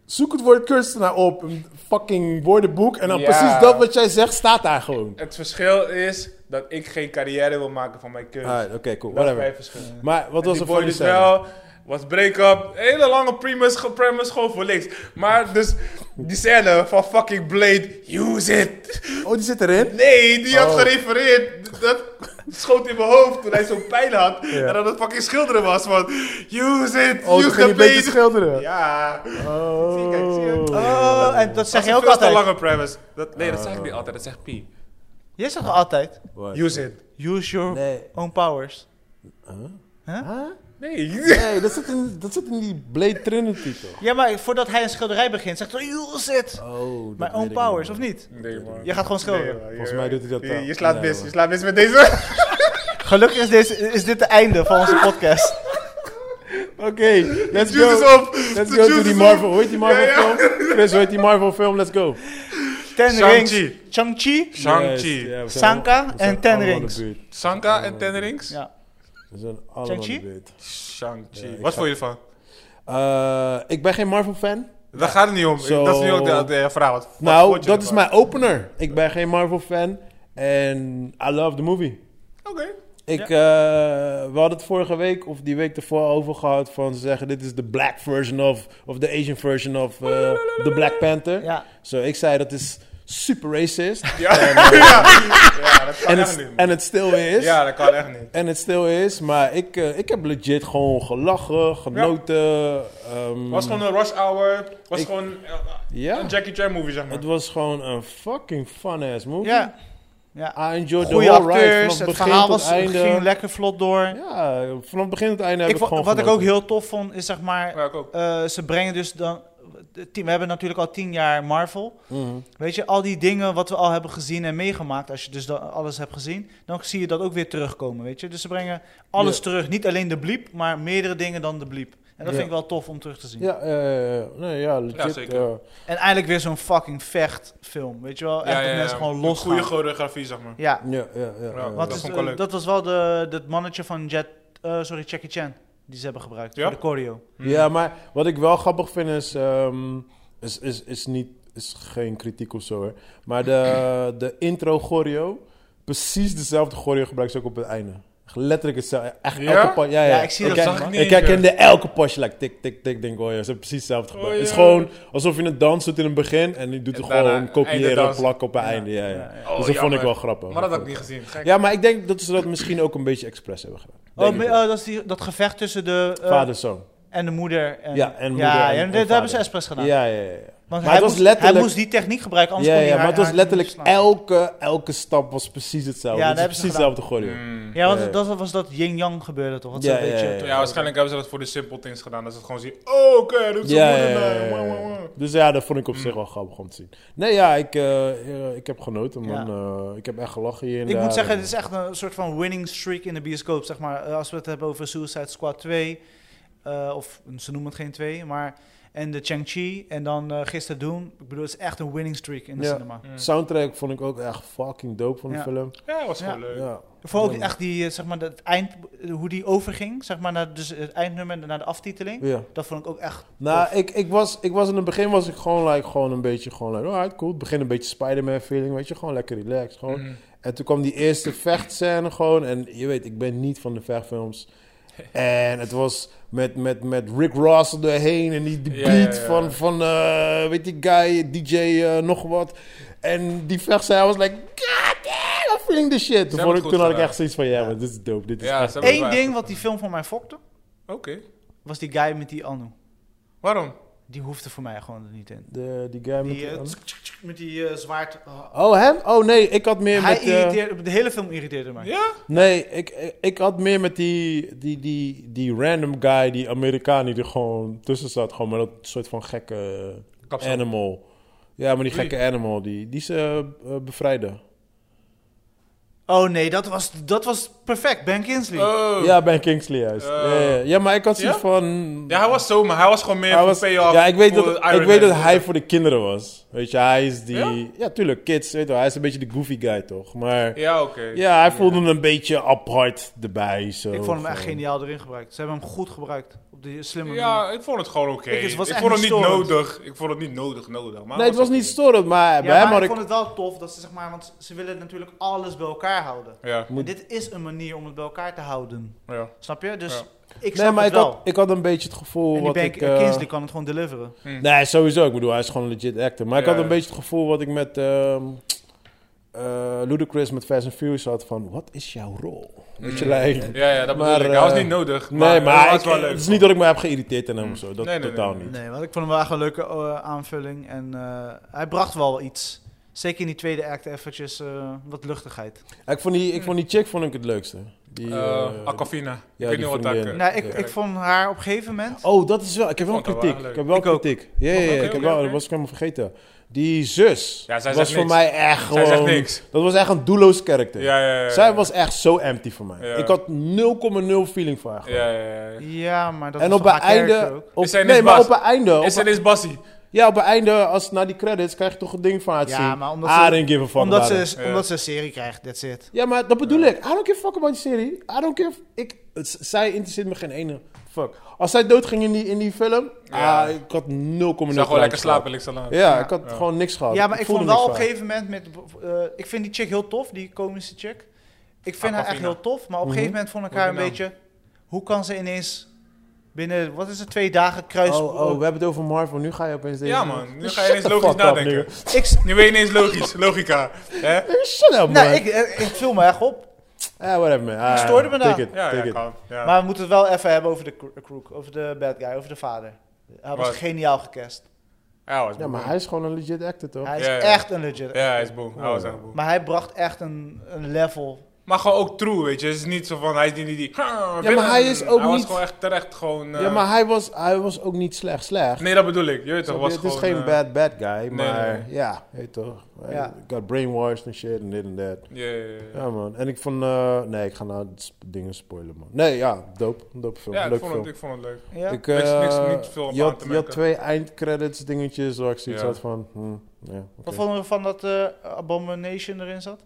B: Zoek het woord kunstenaar op, een fucking woordenboek, en dan
A: Ja.
B: precies dat wat jij zegt staat daar gewoon.
A: Het verschil is dat ik geen carrière wil maken van mijn kunst.
B: Alright, oké, cool,
A: dat is mijn
B: whatever.
A: verschil.
B: Maar wat Ah, was
A: die
B: er
A: boy
B: voor
A: dus
B: scène?
A: wel, was break-up, hele lange premise, ge- premise gewoon voor niks. Maar dus, die scène van fucking Blade, use it.
B: Oh, die zit erin?
A: Nee, die had
B: Oh.
A: gerefereerd. Dat schoot in mijn hoofd toen hij zo'n pijn had. En dat het fucking schilderen was van, use it,
B: Oh, ze
A: use
B: ging
A: the
B: een beetje
A: blade.
B: schilderen.
A: Ja,
B: Oh.
A: Zie je, kijk, zie je?
D: Oh, en dat
A: dat
D: zeg
A: is
D: je
A: een
D: ook
A: veel te
D: altijd.
A: lange premise. Dat, nee, dat zeg ik niet altijd, dat zegt P.
D: Jij zegt toch altijd...
B: Wat?
A: Use it.
D: Use your
B: Nee.
D: own powers.
B: Huh?
A: Nee.
B: Nee, dat zit, in, dat zit in die Blade Trinity toch?
D: Ja, maar voordat hij een schilderij begint, zegt hij... Use it!
B: Oh, dat
D: My
B: weet
D: own
B: ik
D: powers,
B: niet.
D: of niet?
A: Nee, man.
D: Je gaat gewoon schilderen.
A: Nee, man.
B: Volgens
A: Je-
B: mij doet hij dat
A: je-
B: wel.
A: Je slaat
B: Nee,
A: mis,
B: man.
A: je slaat mis met deze.
D: Gelukkig is, deze, is dit het einde van onze podcast.
B: Oké,
A: [laughs]
B: let's
A: Juice
B: go.
A: is op. [laughs]
B: Let's
A: De
B: go to
A: juice
B: die
A: is
B: Marvel.
A: op.
B: Hoe heet die Marvel
A: Ja, ja.
B: film? Chris, hoe heet die Marvel film? Let's go.
D: Ten
A: Shang-Chi.
D: Rings, Shang-Chi,
A: Shang-Chi.
B: Yes, ja, we zijn
D: Sanka
B: allemaal- we zijn
D: en Ten
B: allemaal in de
D: Rings.
B: buurt.
A: Sanka en Ten Rings?
D: Ja.
B: Ze zijn allemaal
D: Shang-Chi?
B: wit.
A: Shang-Chi.
B: Ja, ik
A: Wat
B: ga-
A: vond je ervan?
B: Eh, ik ben geen Marvel-fan.
A: Daar gaat het niet om.
B: Zo.
A: Dat is nu ook de, de vraag. Wat, wat
B: Nou,
A: vond je
B: dat is
A: ervan?
B: mijn opener. Ik ben geen Marvel-fan. En I love the movie.
A: Oké.
B: Ik, eh, we hadden het vorige week of die week ervoor over gehad van ze zeggen dit is de black version of, of de Asian version of eh, de Black Panther.
D: Ja.
B: Zo, ik zei dat is super
A: [laughs]
B: racist.
A: Ja, dat kan
B: en,
A: echt
B: het,
A: niet. man.
B: en het stil is.
A: Ja, dat kan echt niet.
B: En het stil is, maar ik, eh, ik heb legit gewoon gelachen, genoten. ehm,
A: was gewoon een rush hour. was
B: Ik-
A: gewoon eh,
B: ja,
A: een Jackie Chan movie, zeg maar.
B: het was gewoon een fucking fun-ass movie.
D: Ja.
B: I enjoyed the
D: Goede
B: whole ride,
D: acteurs,
B: vanaf
D: het
B: begin
D: verhaal
B: tot
D: was,
B: einde.
D: ging lekker vlot door.
B: Ja, vanaf begin tot einde heb
D: ik
B: ik,
D: vo-
B: gewoon
D: wat ik ook
B: genoten.
D: heel tof vond, is zeg maar...
A: ja, ik ook.
D: eh, ze brengen dus dan... de tien- We hebben natuurlijk al tien jaar Marvel.
B: Mhm.
D: Weet je, al die dingen wat we al hebben gezien en meegemaakt... als je dus dan alles hebt gezien, dan zie je dat ook weer terugkomen, weet je. Dus ze brengen alles
B: Ja.
D: terug. Niet alleen de bliep, maar meerdere dingen dan de bliep. En dat
B: Ja.
D: vind ik wel tof om terug te zien.
B: Ja, eh, nee, ja, legit.
A: Ja, zeker.
B: eh,
D: En eindelijk weer zo'n fucking vechtfilm, weet je wel. Echt
A: Ja,
D: dat
A: ja,
D: mensen
A: ja.
D: gewoon
A: Een Goede
D: losgaan.
A: choreografie, zeg maar.
D: Ja,
B: ja, ja, ja, ja.
A: wat
D: want
A: dat
D: is,
A: vond ik wel
D: eh,
A: leuk.
D: dat was wel de, dat mannetje van Jet... eh, sorry, Jackie Chan. Die ze hebben gebruikt
A: Ja?
D: voor de choreo.
A: Hmm.
B: Ja, maar wat ik wel grappig vind is... ehm, is, is, is, niet, is geen kritiek of zo, hoor. Maar
A: [clears throat]
B: de, de intro choreo... Precies dezelfde choreo gebruikt ze ook op het einde. Letterlijk hetzelfde. Echt
A: Ja?
B: elke pas. Ja, ja.
D: Ja, ik zie dat,
B: ken-
D: zag ik
A: niet
B: Ik
A: eens,
B: herkende elke pasje, like tik, tik, tik, denk ik, oh ja, ze hebben precies hetzelfde gebruikt.
A: Oh,
B: Het is
A: ja.
B: gewoon alsof je een dans doet in het begin en je doet
A: En
B: het
A: daarna
B: gewoon kopiëren en
A: eindendans.
B: plakken op het einde. Ja, ja.
A: Oh,
B: dus dat vond ik
A: jammer.
B: wel grappig.
A: Maar dat had ik niet gezien. Gek.
B: Ja, maar ik denk dat ze dat misschien ook een beetje expres hebben gedaan.
D: Oh,
B: Denk
D: me-
B: ik.
D: oh, dat, is die, dat gevecht tussen de eh,
B: Vader, zoon.
D: en de moeder. En,
B: Ja, en moeder
D: Ja,
B: en-
D: ja,
B: en
D: dat- dat
B: vader.
D: hebben ze expres gedaan.
B: Ja, ja, ja. ja.
D: Want
B: Maar
D: hij,
B: het was
D: moest, hij
B: letterlijk-
D: moest die techniek gebruiken, anders
B: Ja,
D: kon hij
B: ja, maar
D: haar-
B: het was
D: haar
B: letterlijk
D: niet slaan.
B: elke, elke stap was precies hetzelfde.
D: Ja,
B: Ja, dat
D: dat
B: is
D: hebben
B: precies hetzelfde
D: ze
B: gooien.
A: Mm.
D: Ja, want
B: Ja,
D: dat was dat yin-yang gebeurde toch? Want
B: Ja,
D: zo'n
B: ja,
D: beetje-
B: ja, ja.
A: Ja, waarschijnlijk hebben ze dat voor de simple things gedaan. Dat ze het gewoon zien. Oh, oké, doet ze
B: Ja, ja,
A: moeder
B: ja,
A: nou,
B: ja,
A: wauw,
B: ja.
A: wauw, wauw.
B: Dus ja, dat vond ik op zich wel grappig om te zien. Nee, ja, ik, eh, eh, ik heb genoten, man. Eh, ik heb echt gelachen hier en eh,
D: Ik moet
B: daar.
D: zeggen, het is echt een soort van winning streak in de bioscoop, zeg maar. Eh, Als we het hebben over Suicide Squad 2, eh, of ze noemen het geen 2, maar... En de Chang-Chi en dan eh gisteren Doom. Ik bedoel, het is echt een winning streak in de
B: Ja.
D: cinema.
B: Mm. Soundtrack vond ik ook echt fucking dope van de
D: Ja.
B: film.
A: Ja, was gewoon
D: Ja.
A: leuk.
B: Ja.
D: Vooral ook
B: Ja.
D: echt die, eh, zeg maar, dat eind, hoe die overging, zeg maar, naar dus het eindnummer en naar de aftiteling.
B: ja.
D: Dat vond ik ook echt...
B: Nou, ik, ik, was, ik was in het begin was ik gewoon, like, gewoon een beetje gewoon, like, alright, cool. Het begin een beetje Spider-Man feeling, weet je, gewoon lekker relaxed.
D: Mhm.
B: Gewoon.
A: Hmm.
B: En toen kwam die eerste vechtscène gewoon. En je weet, ik ben niet van de
A: [laughs]
B: vechtfilms. En het was met, met, met Rick Ross er doorheen en die, die
A: Ja,
B: beat
A: ja, ja.
B: van, van eh, weet die guy, DJ eh, nog wat. En die vechtscène I was like, god damn, I'm feeling the shit.
A: hebben
B: Toen, vond
A: het
B: ik,
A: goed
B: toen had ik
A: gedaan.
B: echt zoiets van, ja, maar dit is dope, dit is
A: Ja,
B: echt-
A: ze hebben
D: Eén
A: het
D: ding
A: waar.
D: wat die film voor mij fokte,
A: Oké.
D: was die guy met die Anu.
A: Waarom?
D: Die hoefde voor mij gewoon er niet in.
B: De, die guy met...
D: Die, eh,
B: de-
D: tsk, tsk, tsk, met die eh, zwaard. oh.
B: Oh, hem? Oh nee, ik had meer
D: Hij
B: met... eh,
D: irriteerde, de hele film irriteerde mij.
A: Ja?
B: Nee, ik, ik- ik had meer met die, die, die, die random guy, die Amerikaan die er gewoon tussen zat. Gewoon met dat soort van gekke
A: Kapsel.
B: animal. Ja, maar die
A: Wie?
B: gekke animal, die, die ze eh, eh, bevrijden.
D: Oh nee, dat was, dat was perfect. Ben Kingsley.
A: Oh. Ja.
B: Ja, Ben Kingsley juist.
A: Eh.
B: Ja, ja, ja. Ja, maar ik had zoiets
A: Ja?
B: van...
A: hij was zo, maar hij was gewoon meer
B: hij
A: voor
B: was,
A: payoff.
B: ja, ik weet,
A: voor
B: dat,
A: Iron
B: ik weet
A: Man.
B: dat hij voor de kinderen was. Weet je, hij is die...
A: Ja?
B: Ja, tuurlijk, kids. Weet je, wel, hij is een beetje de goofy guy, toch? Maar ja,
A: Ja, oké.
B: hij voelde hem een beetje apart erbij. Zo,
D: ik vond hem echt
B: gewoon.
D: geniaal erin gebruikt. Ze hebben hem goed gebruikt. Op de slimme manier.
A: Ja, ik vond het gewoon oké.
D: Ik-
A: Ik
D: het was echt
A: vond het
D: niet
A: niet
D: storend.
A: nodig. Ik vond het niet nodig, nodig. Maar
B: Nee, het was
A: oké.
B: niet storend, maar bij
D: Ja,
B: hem
D: maar
B: had ik...
D: ik vond het wel tof dat ze zeg maar, want ze willen natuurlijk alles bij elkaar houden.
A: Ja,
D: En dit is een manier om het bij elkaar te houden.
A: ja.
D: Snap je? Dus
A: Ja.
D: ik snap
B: Nee, maar
D: het
B: ik
D: wel.
B: had, ik had een beetje het gevoel
D: en die
B: wat
D: Ben
B: ik...
D: eh,
B: eh,
D: Kingsley kan het gewoon deliveren.
B: nee, sowieso. Ik bedoel, hij is gewoon een legit actor. Maar ik
A: Ja,
B: had een
A: ja.
B: beetje het gevoel wat ik met ehm eh, Ludacris met Fast and Furious had van... Wat is jouw rol? Weet je, like...
A: Mm. Ja, ja, dat bedoel
B: Maar,
A: ik. Hij was
B: eh,
A: niet nodig. Maar,
B: nee, maar
A: hij
B: ik,
A: was wel leuk. Mm.
B: het is niet dat ik me heb geïrriteerd aan hem of zo. Dat
A: Nee, nee,
B: totaal
A: nee, nee.
B: niet.
D: Nee, want ik vond hem wel echt een leuke eh, aanvulling. En eh, hij bracht wel iets. Zeker in die tweede act eventjes eh, wat luchtigheid.
B: Ik, vond die, ik vond die chick vond ik het leukste. Die,
A: Eh,
B: eh,
A: Aquafina. ik
B: die
A: weet niet wat dat...
B: vriendin.
A: eh,
D: nou, ik,
A: ja.
D: ik vond haar op een gegeven moment...
B: Oh, dat is wel. Ik heb wel
A: Vond ik wel
B: kritiek.
A: leuk.
B: Ik heb wel
D: Ik ook.
B: kritiek. Ja, ja, ja,
A: Oké,
B: ik
A: oké,
B: heb wel.
A: oké.
B: Dat was ik helemaal vergeten. Die zus
A: Ja, zij
B: was
A: zegt niks.
B: voor mij echt gewoon.
A: Zij zegt niks.
B: Dat was echt een doelloos karakter.
A: Ja, ja, ja, ja.
B: Zij was echt zo empty voor mij.
A: Ja.
B: Ik had 0,0 feeling voor haar. gewoon.
A: Ja, ja, ja.
D: Ja, maar dat
B: En
D: was
B: op
D: toch
B: het
D: haar character
B: einde.
D: ook.
B: op-
A: Is zij
B: nee,
A: net
B: maar
A: baas?
B: op het einde. op-
A: Is er is Bassie?
B: ja, op het einde, als na die credits, krijg je toch een ding van haar te
D: Ja,
B: zien.
D: maar omdat
B: I
D: ze-
B: don't give a fuck
D: Omdat
B: about
D: ze,
B: it.
D: omdat ze een serie krijgt, that's it.
B: Ja, maar dat bedoel ik. I don't give a fuck about die serie. I don't give... Ik, het, zij interesseert me geen ene fuck. Als zij doodging in die, in die film,
A: Ja.
B: ah, ik had 0,0
A: Ik
B: graadjes
A: zou gewoon lekker
B: gehad.
A: slapen, ik zal aan.
B: Ja, Oh, ik had gewoon niks gehad.
D: Ja, maar ik
B: voelde
D: vond wel op
B: niks
D: een
B: van.
D: gegeven moment met. eh, ik vind die chick heel tof, die komische chick. Ik vind haar echt
A: Aquafina.
D: heel tof, maar op een gegeven
B: Mhm.
D: moment vond ik
A: Wat
D: haar een
A: die naam?
D: beetje. Hoe kan ze ineens binnen, wat is het, twee dagen kruis.
B: Oh, oh, we hebben het over Marvel. Nu ga je opeens deze...
A: Ja, man. Nu ga
B: Shut
A: je ineens
B: the
A: logisch
B: fuck up,
A: nadenken.
B: nigga.
D: Ik, s-
A: Nu ben je ineens logisch. [laughs] Logica. Hè?
B: Shut up, man.
D: nou, ik, eh, ik viel me echt op.
B: Ah, whatever, man. Ah,
D: stoorde me daar.
B: Take it,
A: Ja,
B: take
A: ja,
B: it.
A: kan. Ja.
D: Maar we moeten het wel even hebben over de cro- crook, over de bad guy, over de vader. Hij was
A: Wat?
D: geniaal gecast.
A: Ja, hij was
B: Ja,
A: boe.
B: maar hij is gewoon een legit actor, toch?
D: Hij is
A: Ja, ja.
D: echt een legit.
A: Ja, hij is boe. Hij was echt boe.
D: Maar hij bracht echt een, een level.
A: Maar gewoon ook true, weet je. Het is niet zo van, hij is niet die... die ja,
B: maar hij is ook
A: Hij was
B: niet-
A: gewoon echt terecht gewoon... eh,
B: Ja, maar hij was, hij was ook niet slecht slecht.
A: Nee, dat bedoel ik. Je weet toch,
B: Snap
A: was
B: je? het is
A: gewoon...
B: geen
A: eh,
B: bad bad guy, maar
A: nee.
B: ja, weet toch. Hij
D: Ja.
B: got brainwashed en shit en dit en dat.
A: Ja, ja, ja. ja.
B: Ja man, en ik vond, eh, nee ik ga nou sp- dingen spoilen man. Nee ja, dope, dope film,
A: Ja, ik
B: leuk
A: vond,
B: film.
A: het, ik vond het leuk.
D: Ja?
B: Ik,
A: Niks-
B: eh,
A: niks- niet veel op
B: je,
A: aan
B: had,
A: te
B: je had
A: merken.
B: twee eindcredits dingetjes waar ik zoiets
A: Ja.
B: had van, hmm, ja, oké.
D: Wat vonden we van dat eh, Abomination erin zat?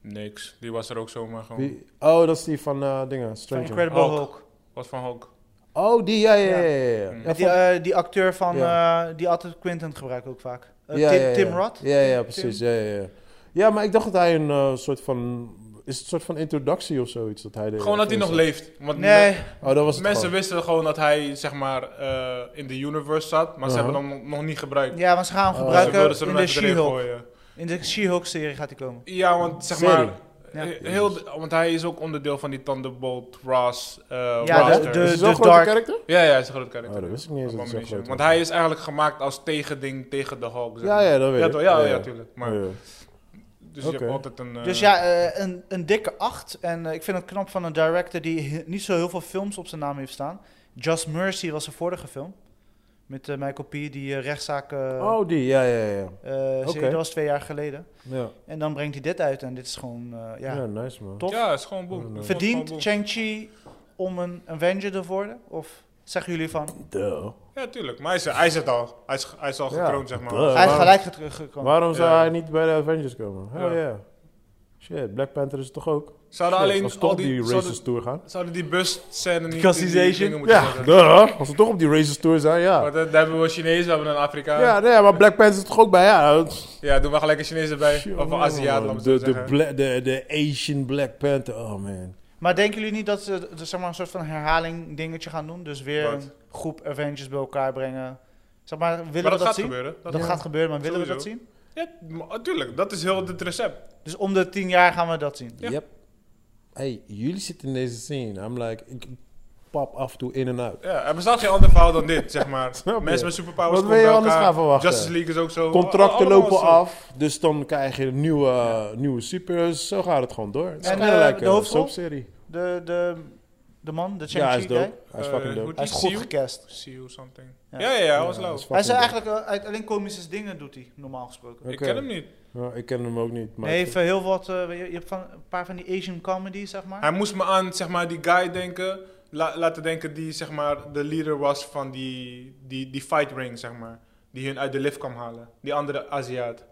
A: Niks. Die was er ook zomaar gewoon.
B: Wie- Oh, dat is die van eh, dingen,
D: Van
B: Stranger.
D: Incredible
A: Hulk.
D: Hulk.
A: Was van Hulk.
B: oh, die, ja, ja, ja, ja. ja.
A: Met
B: Ja,
D: Die,
B: vond-
D: eh, die acteur van, eh, die altijd Quentin gebruikt ook vaak. Eh,
B: ja,
D: Tim,
B: ja, ja.
D: Tim Roth?
B: Ja, ja,
D: Tim-
B: precies, ja, ja, ja. Ja, maar ik dacht dat hij een eh, soort van, is het een soort van introductie of zoiets dat hij deed?
A: Gewoon dat hij nog leeft. Want
D: Nee,
B: Oh, dat eh, was het
A: mensen
B: gewoon.
A: wisten gewoon dat hij, zeg maar, eh, in de universe zat. Maar ze
B: Uh-huh.
A: hebben hem nog- nog niet gebruikt.
D: ja, maar ze gaan hem
B: Oh.
A: Dus ze
D: gebruiken
A: wilden ze
D: in
A: hem
D: de
A: even erin
D: She-Hulk.
A: gooien.
D: In de She-Hulk serie gaat hij komen.
A: Ja, want zeg
B: Serie.
A: maar...
D: Ja.
A: eh, Heel, de- want hij is ook onderdeel van die Thunderbolt Ross eh
D: Ja, de-
A: roster.
D: de-
B: Is hij zo'n grote
D: Dark-
B: karakter?
A: ja, ja, hij is een groot
B: Oh,
A: karakter.
B: dat wist ik niet eens dat hij zo
A: Abomination.
B: groot
A: Want
B: was.
A: hij is eigenlijk gemaakt als tegending tegen de Hulk. zeg
B: Ja,
A: maar.
B: ja, dat weet
A: Ja,
B: ik.
A: toch? ja, ja, tuurlijk. Maar,
B: Ja.
A: Dus je
B: Oké.
A: hebt altijd een... eh,
D: Dus ja, eh, een, een dikke acht. En eh, ik vind het knap van een director die he- niet zo heel veel films op zijn naam heeft staan. Just Mercy was zijn vorige film. Met eh, Michael P. die eh, rechtszaak... eh
B: Oh, die, ja, ja, ja.
D: eh, serie.
B: oké.
D: Dat was twee jaar geleden.
B: Ja,
D: En dan brengt hij dit uit. En dit is gewoon... eh,
B: ja.
D: ja.
B: nice man.
D: tof.
A: Ja, is gewoon boem.
B: Mm.
A: Is
D: Verdient
A: gewoon boem.
D: Shang-Chi om een Avenger te worden? Of zeggen jullie van...
B: Duh.
A: Ja, tuurlijk. Maar hij is, hij is het al. Hij is, hij is al
B: Ja.
A: gekroond, zeg maar.
B: Duh.
D: Hij is
B: waarom-
D: gelijk get- gekomen.
B: Waarom zou
A: Ja.
B: hij niet bij de Avengers komen? Hell ja.
A: Ja.
B: Shit, Black Panther is het toch ook?
A: Zouden
B: Shit,
A: alleen
B: als ze toch
A: al
B: op
A: die...
B: die
A: Zouden,
B: Racist Tour gaan?
A: zouden die busscène niet...
D: Customization?
A: die dingen moeten
B: Ja,
A: zetten?
B: duh. Als ze toch op die Racist Tour zijn, ja.
A: Want eh, daar hebben we Chinezen, we hebben een Afrikaan.
B: Ja,
A: Ja,
B: nee, maar Black Panther is toch ook bij, ja. Pff,
A: doen we gelijk een Chinees erbij. of een Aziat, laat
B: man.
A: maar
B: de,
A: zo
B: de,
A: zeggen.
B: Bla- de, de Asian Black Panther, oh man.
D: Maar denken jullie niet dat ze d- zeg maar, een soort van herhaling dingetje gaan doen? Dus weer
A: Wat?
D: een groep Avengers bij elkaar brengen. Zeg maar, willen
A: maar
D: we
A: dat,
D: dat,
A: gaat
D: zien?
A: gebeuren. Dat,
D: Dat gaat gebeuren, maar willen we dat
A: Sowieso.
D: zien?
A: Ja, maar tuurlijk. Dat is heel het recept.
D: Dus om de tien jaar gaan we dat zien.
A: Ja.
B: Yep. Hey, jullie zitten in deze scene. I'm like, ik pap af en toe in en out.
A: Ja, er bestaat geen ander verhaal dan dit, zeg maar.
B: [laughs] Snap je?
A: Mensen met superpowers
B: Wat
A: komen
B: wil je
A: bij
B: anders
A: elkaar.
B: gaan verwachten?
A: Justice League is ook zo.
B: Contracten
A: Allemaal
B: lopen
A: zo.
B: af, dus dan krijg je nieuwe, nieuwe superheroes. Zo gaat het gewoon door. Het is
D: En,
B: kinda
D: eh,
B: like
D: de
B: een
D: hoofdrol?
B: soapserie.
D: De, de, de man, de
B: Ja, hij is
D: Shang-Chi guy,
B: dope. Hij is
A: Eh,
B: fucking dope.
A: hoe-
D: hij is
A: Die
D: goed
A: Sue?
D: gecast.
A: See you something.
D: Ja.
A: Ja, ja, ja, hij was
B: Ja,
A: lauw.
B: is
D: Hij
B: fucking
D: is
B: dope.
D: eigenlijk eh, uit alleen komische dingen doet hij, normaal gesproken.
B: Oké.
A: Ik ken hem niet.
B: Ja, ik ken hem ook niet. Maar
D: Nee,
B: ik-
D: even heel wat, eh, je, je hebt van, een paar van die Asian comedy, zeg maar.
A: Hij moest me aan zeg maar, die guy denken, la- laten denken die zeg maar, de leader was van die, die, die fight ring, zeg maar. Die hun uit de lift kwam halen. Die andere Aziat.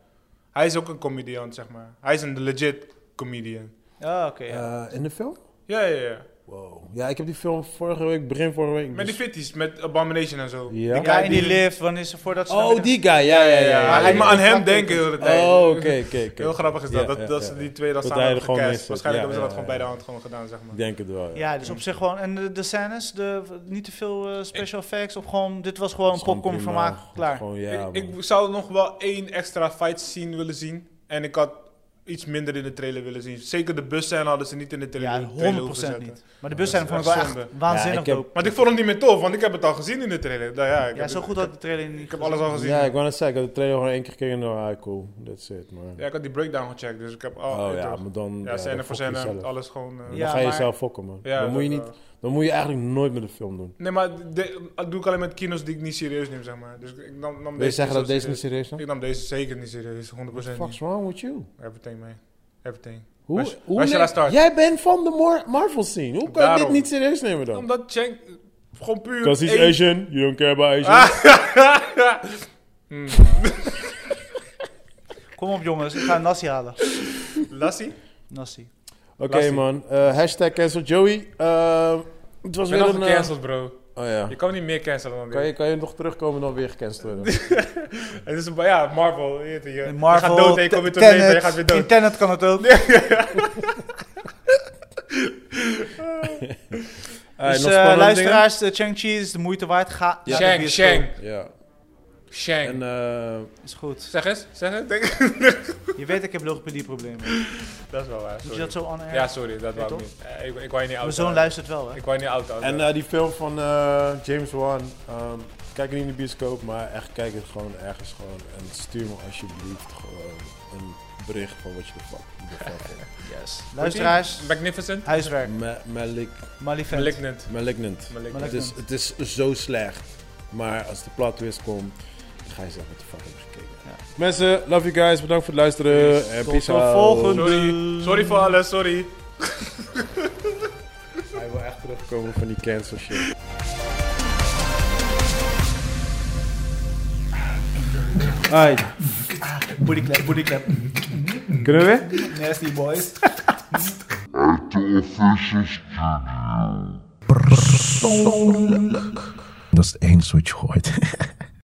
A: Hij is ook een comedian, zeg maar. Hij is een legit comedian.
D: Ah, oké. ja.
B: Eh, in de film?
A: Ja, ja, ja.
B: Wow. Ja, ik heb die film vorige week, begin vorige week.
A: Met die
B: dus-
A: fitties, met Abomination en zo.
B: Ja.
A: Die
D: Ja,
A: guy
D: in die lift, wanneer ze voordat ze... naar
B: Oh,
D: binnen-
B: die guy. Ja, ja, ja. ja,
A: Hij
B: ja,
A: liet me aan
B: ja.
A: hem denken de hele tijd.
B: Oh, oké, oké, oké.
A: Heel grappig is dat,
B: Ja,
A: dat,
B: ja,
A: dat
B: ja,
A: ze
B: ja.
A: die twee dan
B: Dat
A: samen
B: hij er
A: hebben
B: gewoon in
A: gecast.
B: zit.
A: Waarschijnlijk
B: Ja,
A: hebben ze dat gewoon
B: ja, ja.
A: bij de hand gewoon gedaan, zeg maar.
B: Ik denk het wel, ja.
D: Ja, dus op zich gewoon. En de, de scènes, de, niet te veel eh, special effects. Of gewoon, dit was gewoon
B: Het is gewoon
D: popcorn
B: prima.
D: vermaak, klaar.
B: Gewoon, ja,
A: ik, ik
B: man.
A: zou nog wel één extra fight scene willen zien. En ik had iets minder in de trailer willen zien. Zeker de bussen hadden ze niet in de trailer,
D: Ja, 100%
A: trailer hoeven zetten.
D: niet. Maar de busscène vond ik wel
A: echt
D: [laughs] echt
A: zonde.
B: Ja,
D: waanzinnig
B: ik heb-
D: dope.
A: Want ik vond hem niet meer tof, want ik heb het al gezien in de trailer. Nou ja, ik
D: Ja,
A: heb
D: zo
A: het-
D: goed had ik de trailer niet
A: Ik heb alles al gezien.
B: Ja, ik wou net zeggen, ik had de trailer gewoon één keer gekeken en dan, ah, cool, that's it, man.
A: Ja, ik had die breakdown gecheckt, dus ik heb al...
B: oh
A: het-
B: ja, maar dan...
A: ja,
B: dan
A: scène voor
B: fuck
A: scène,
B: jezelf.
A: alles gewoon... eh,
B: Dan
D: Ja,
B: ga je
D: maar-
B: jezelf fokken, man.
A: ja,
B: dan, moet je
A: dat,
B: niet, dan moet je eigenlijk nooit met een film doen.
A: Nee, maar de- dat doe ik alleen met kino's die ik niet serieus neem, zeg maar. Dus ik nam, nam
B: Wil je zeggen dat
A: niet zo
B: deze niet serieus is?
A: eh, Ik nam deze zeker niet serieus, 100%
B: Fuck's
A: niet.
B: wrong with you?
A: Everything, man. Everything.
B: Hoe,
A: Waar is-
B: hoe
A: waar is je
B: neem-
A: laatste start?
B: Jij bent van de Mar- Marvel scene. Hoe kan je dit
A: Daarom.
B: niet serieus nemen dan?
A: Omdat Chang gewoon puur...
B: Because he's
A: één- Ah!
B: Asian, you don't care about Asian.
A: Hmm.
D: Kom op jongens, ik ga Nassi halen.
A: Lassie?
D: Nassi.
B: Oké
A: Lastig.
B: man, Eh, hashtag cancel Joey. Eh, Het was
A: Ik ben
B: weer
A: al
B: een... eh,
A: gecanceld, bro.
B: oh ja.
A: Je kan niet meer cancelen dan dit.
B: Kan je, kan je nog terugkomen dan weer gecanceld
A: [laughs]
B: worden?
A: Het is een, ja, Marvel. Je, weet het, je,
D: In
A: je gaat dood en je komt weer tot leven en je
D: Tenet.
A: gaat weer dood.
D: In Tenet kan het ook.
A: [laughs]
D: [laughs]
B: Hey,
D: dus
B: nog
D: eh,
B: spannende
D: luisteraars, eh, Shang-Chi is de moeite waard. Ga
B: Ja.
D: naar
A: Shang,
D: de bioscoop.
A: Shang,
B: dingen? Ja.
A: Shang.
B: En eh,
D: Is goed.
A: zeg eens, zeg eens. Denk-
D: Je weet, ik heb logopedieproblemen.
A: [laughs] Dat is wel waar,
D: Moet je
A: sorry.
D: dat Dus zo aan
A: Ja, sorry, dat wou ik
D: toch?
A: niet. Eh, Ik, ik wou je niet
D: Mijn
A: oud
D: zoon luistert wel, hè?
A: Ik wou je niet oud houden.
B: En eh, die film van eh, James Wan. ehm, kijk het niet in de bioscoop, maar echt kijk het gewoon ergens gewoon. En stuur me alsjeblieft gewoon een bericht van wat je ervan ervan vindt.
D: Yes. Luisteraars,
A: Magnificent.
D: huiswerk.
B: Ma- Malik-
D: Malifant.
A: Malignant.
B: Malignant.
A: Malignant.
B: Het is, het is zo slecht. Maar als de plot twist komt, ga je zeggen wat de fuck heb ik gekeken. Mensen, love you guys. Bedankt voor het luisteren. En peace
D: de
B: out.
D: volgende.
A: Sorry, sorry voor alles, sorry.
B: Hij wil echt terugkomen van die cancel shit.
D: Bodyclap, bodyclap.
H: Kunnen we weer?
D: Nasty boys.
C: At the official studio.
J: Dat is het enige wat je hoort.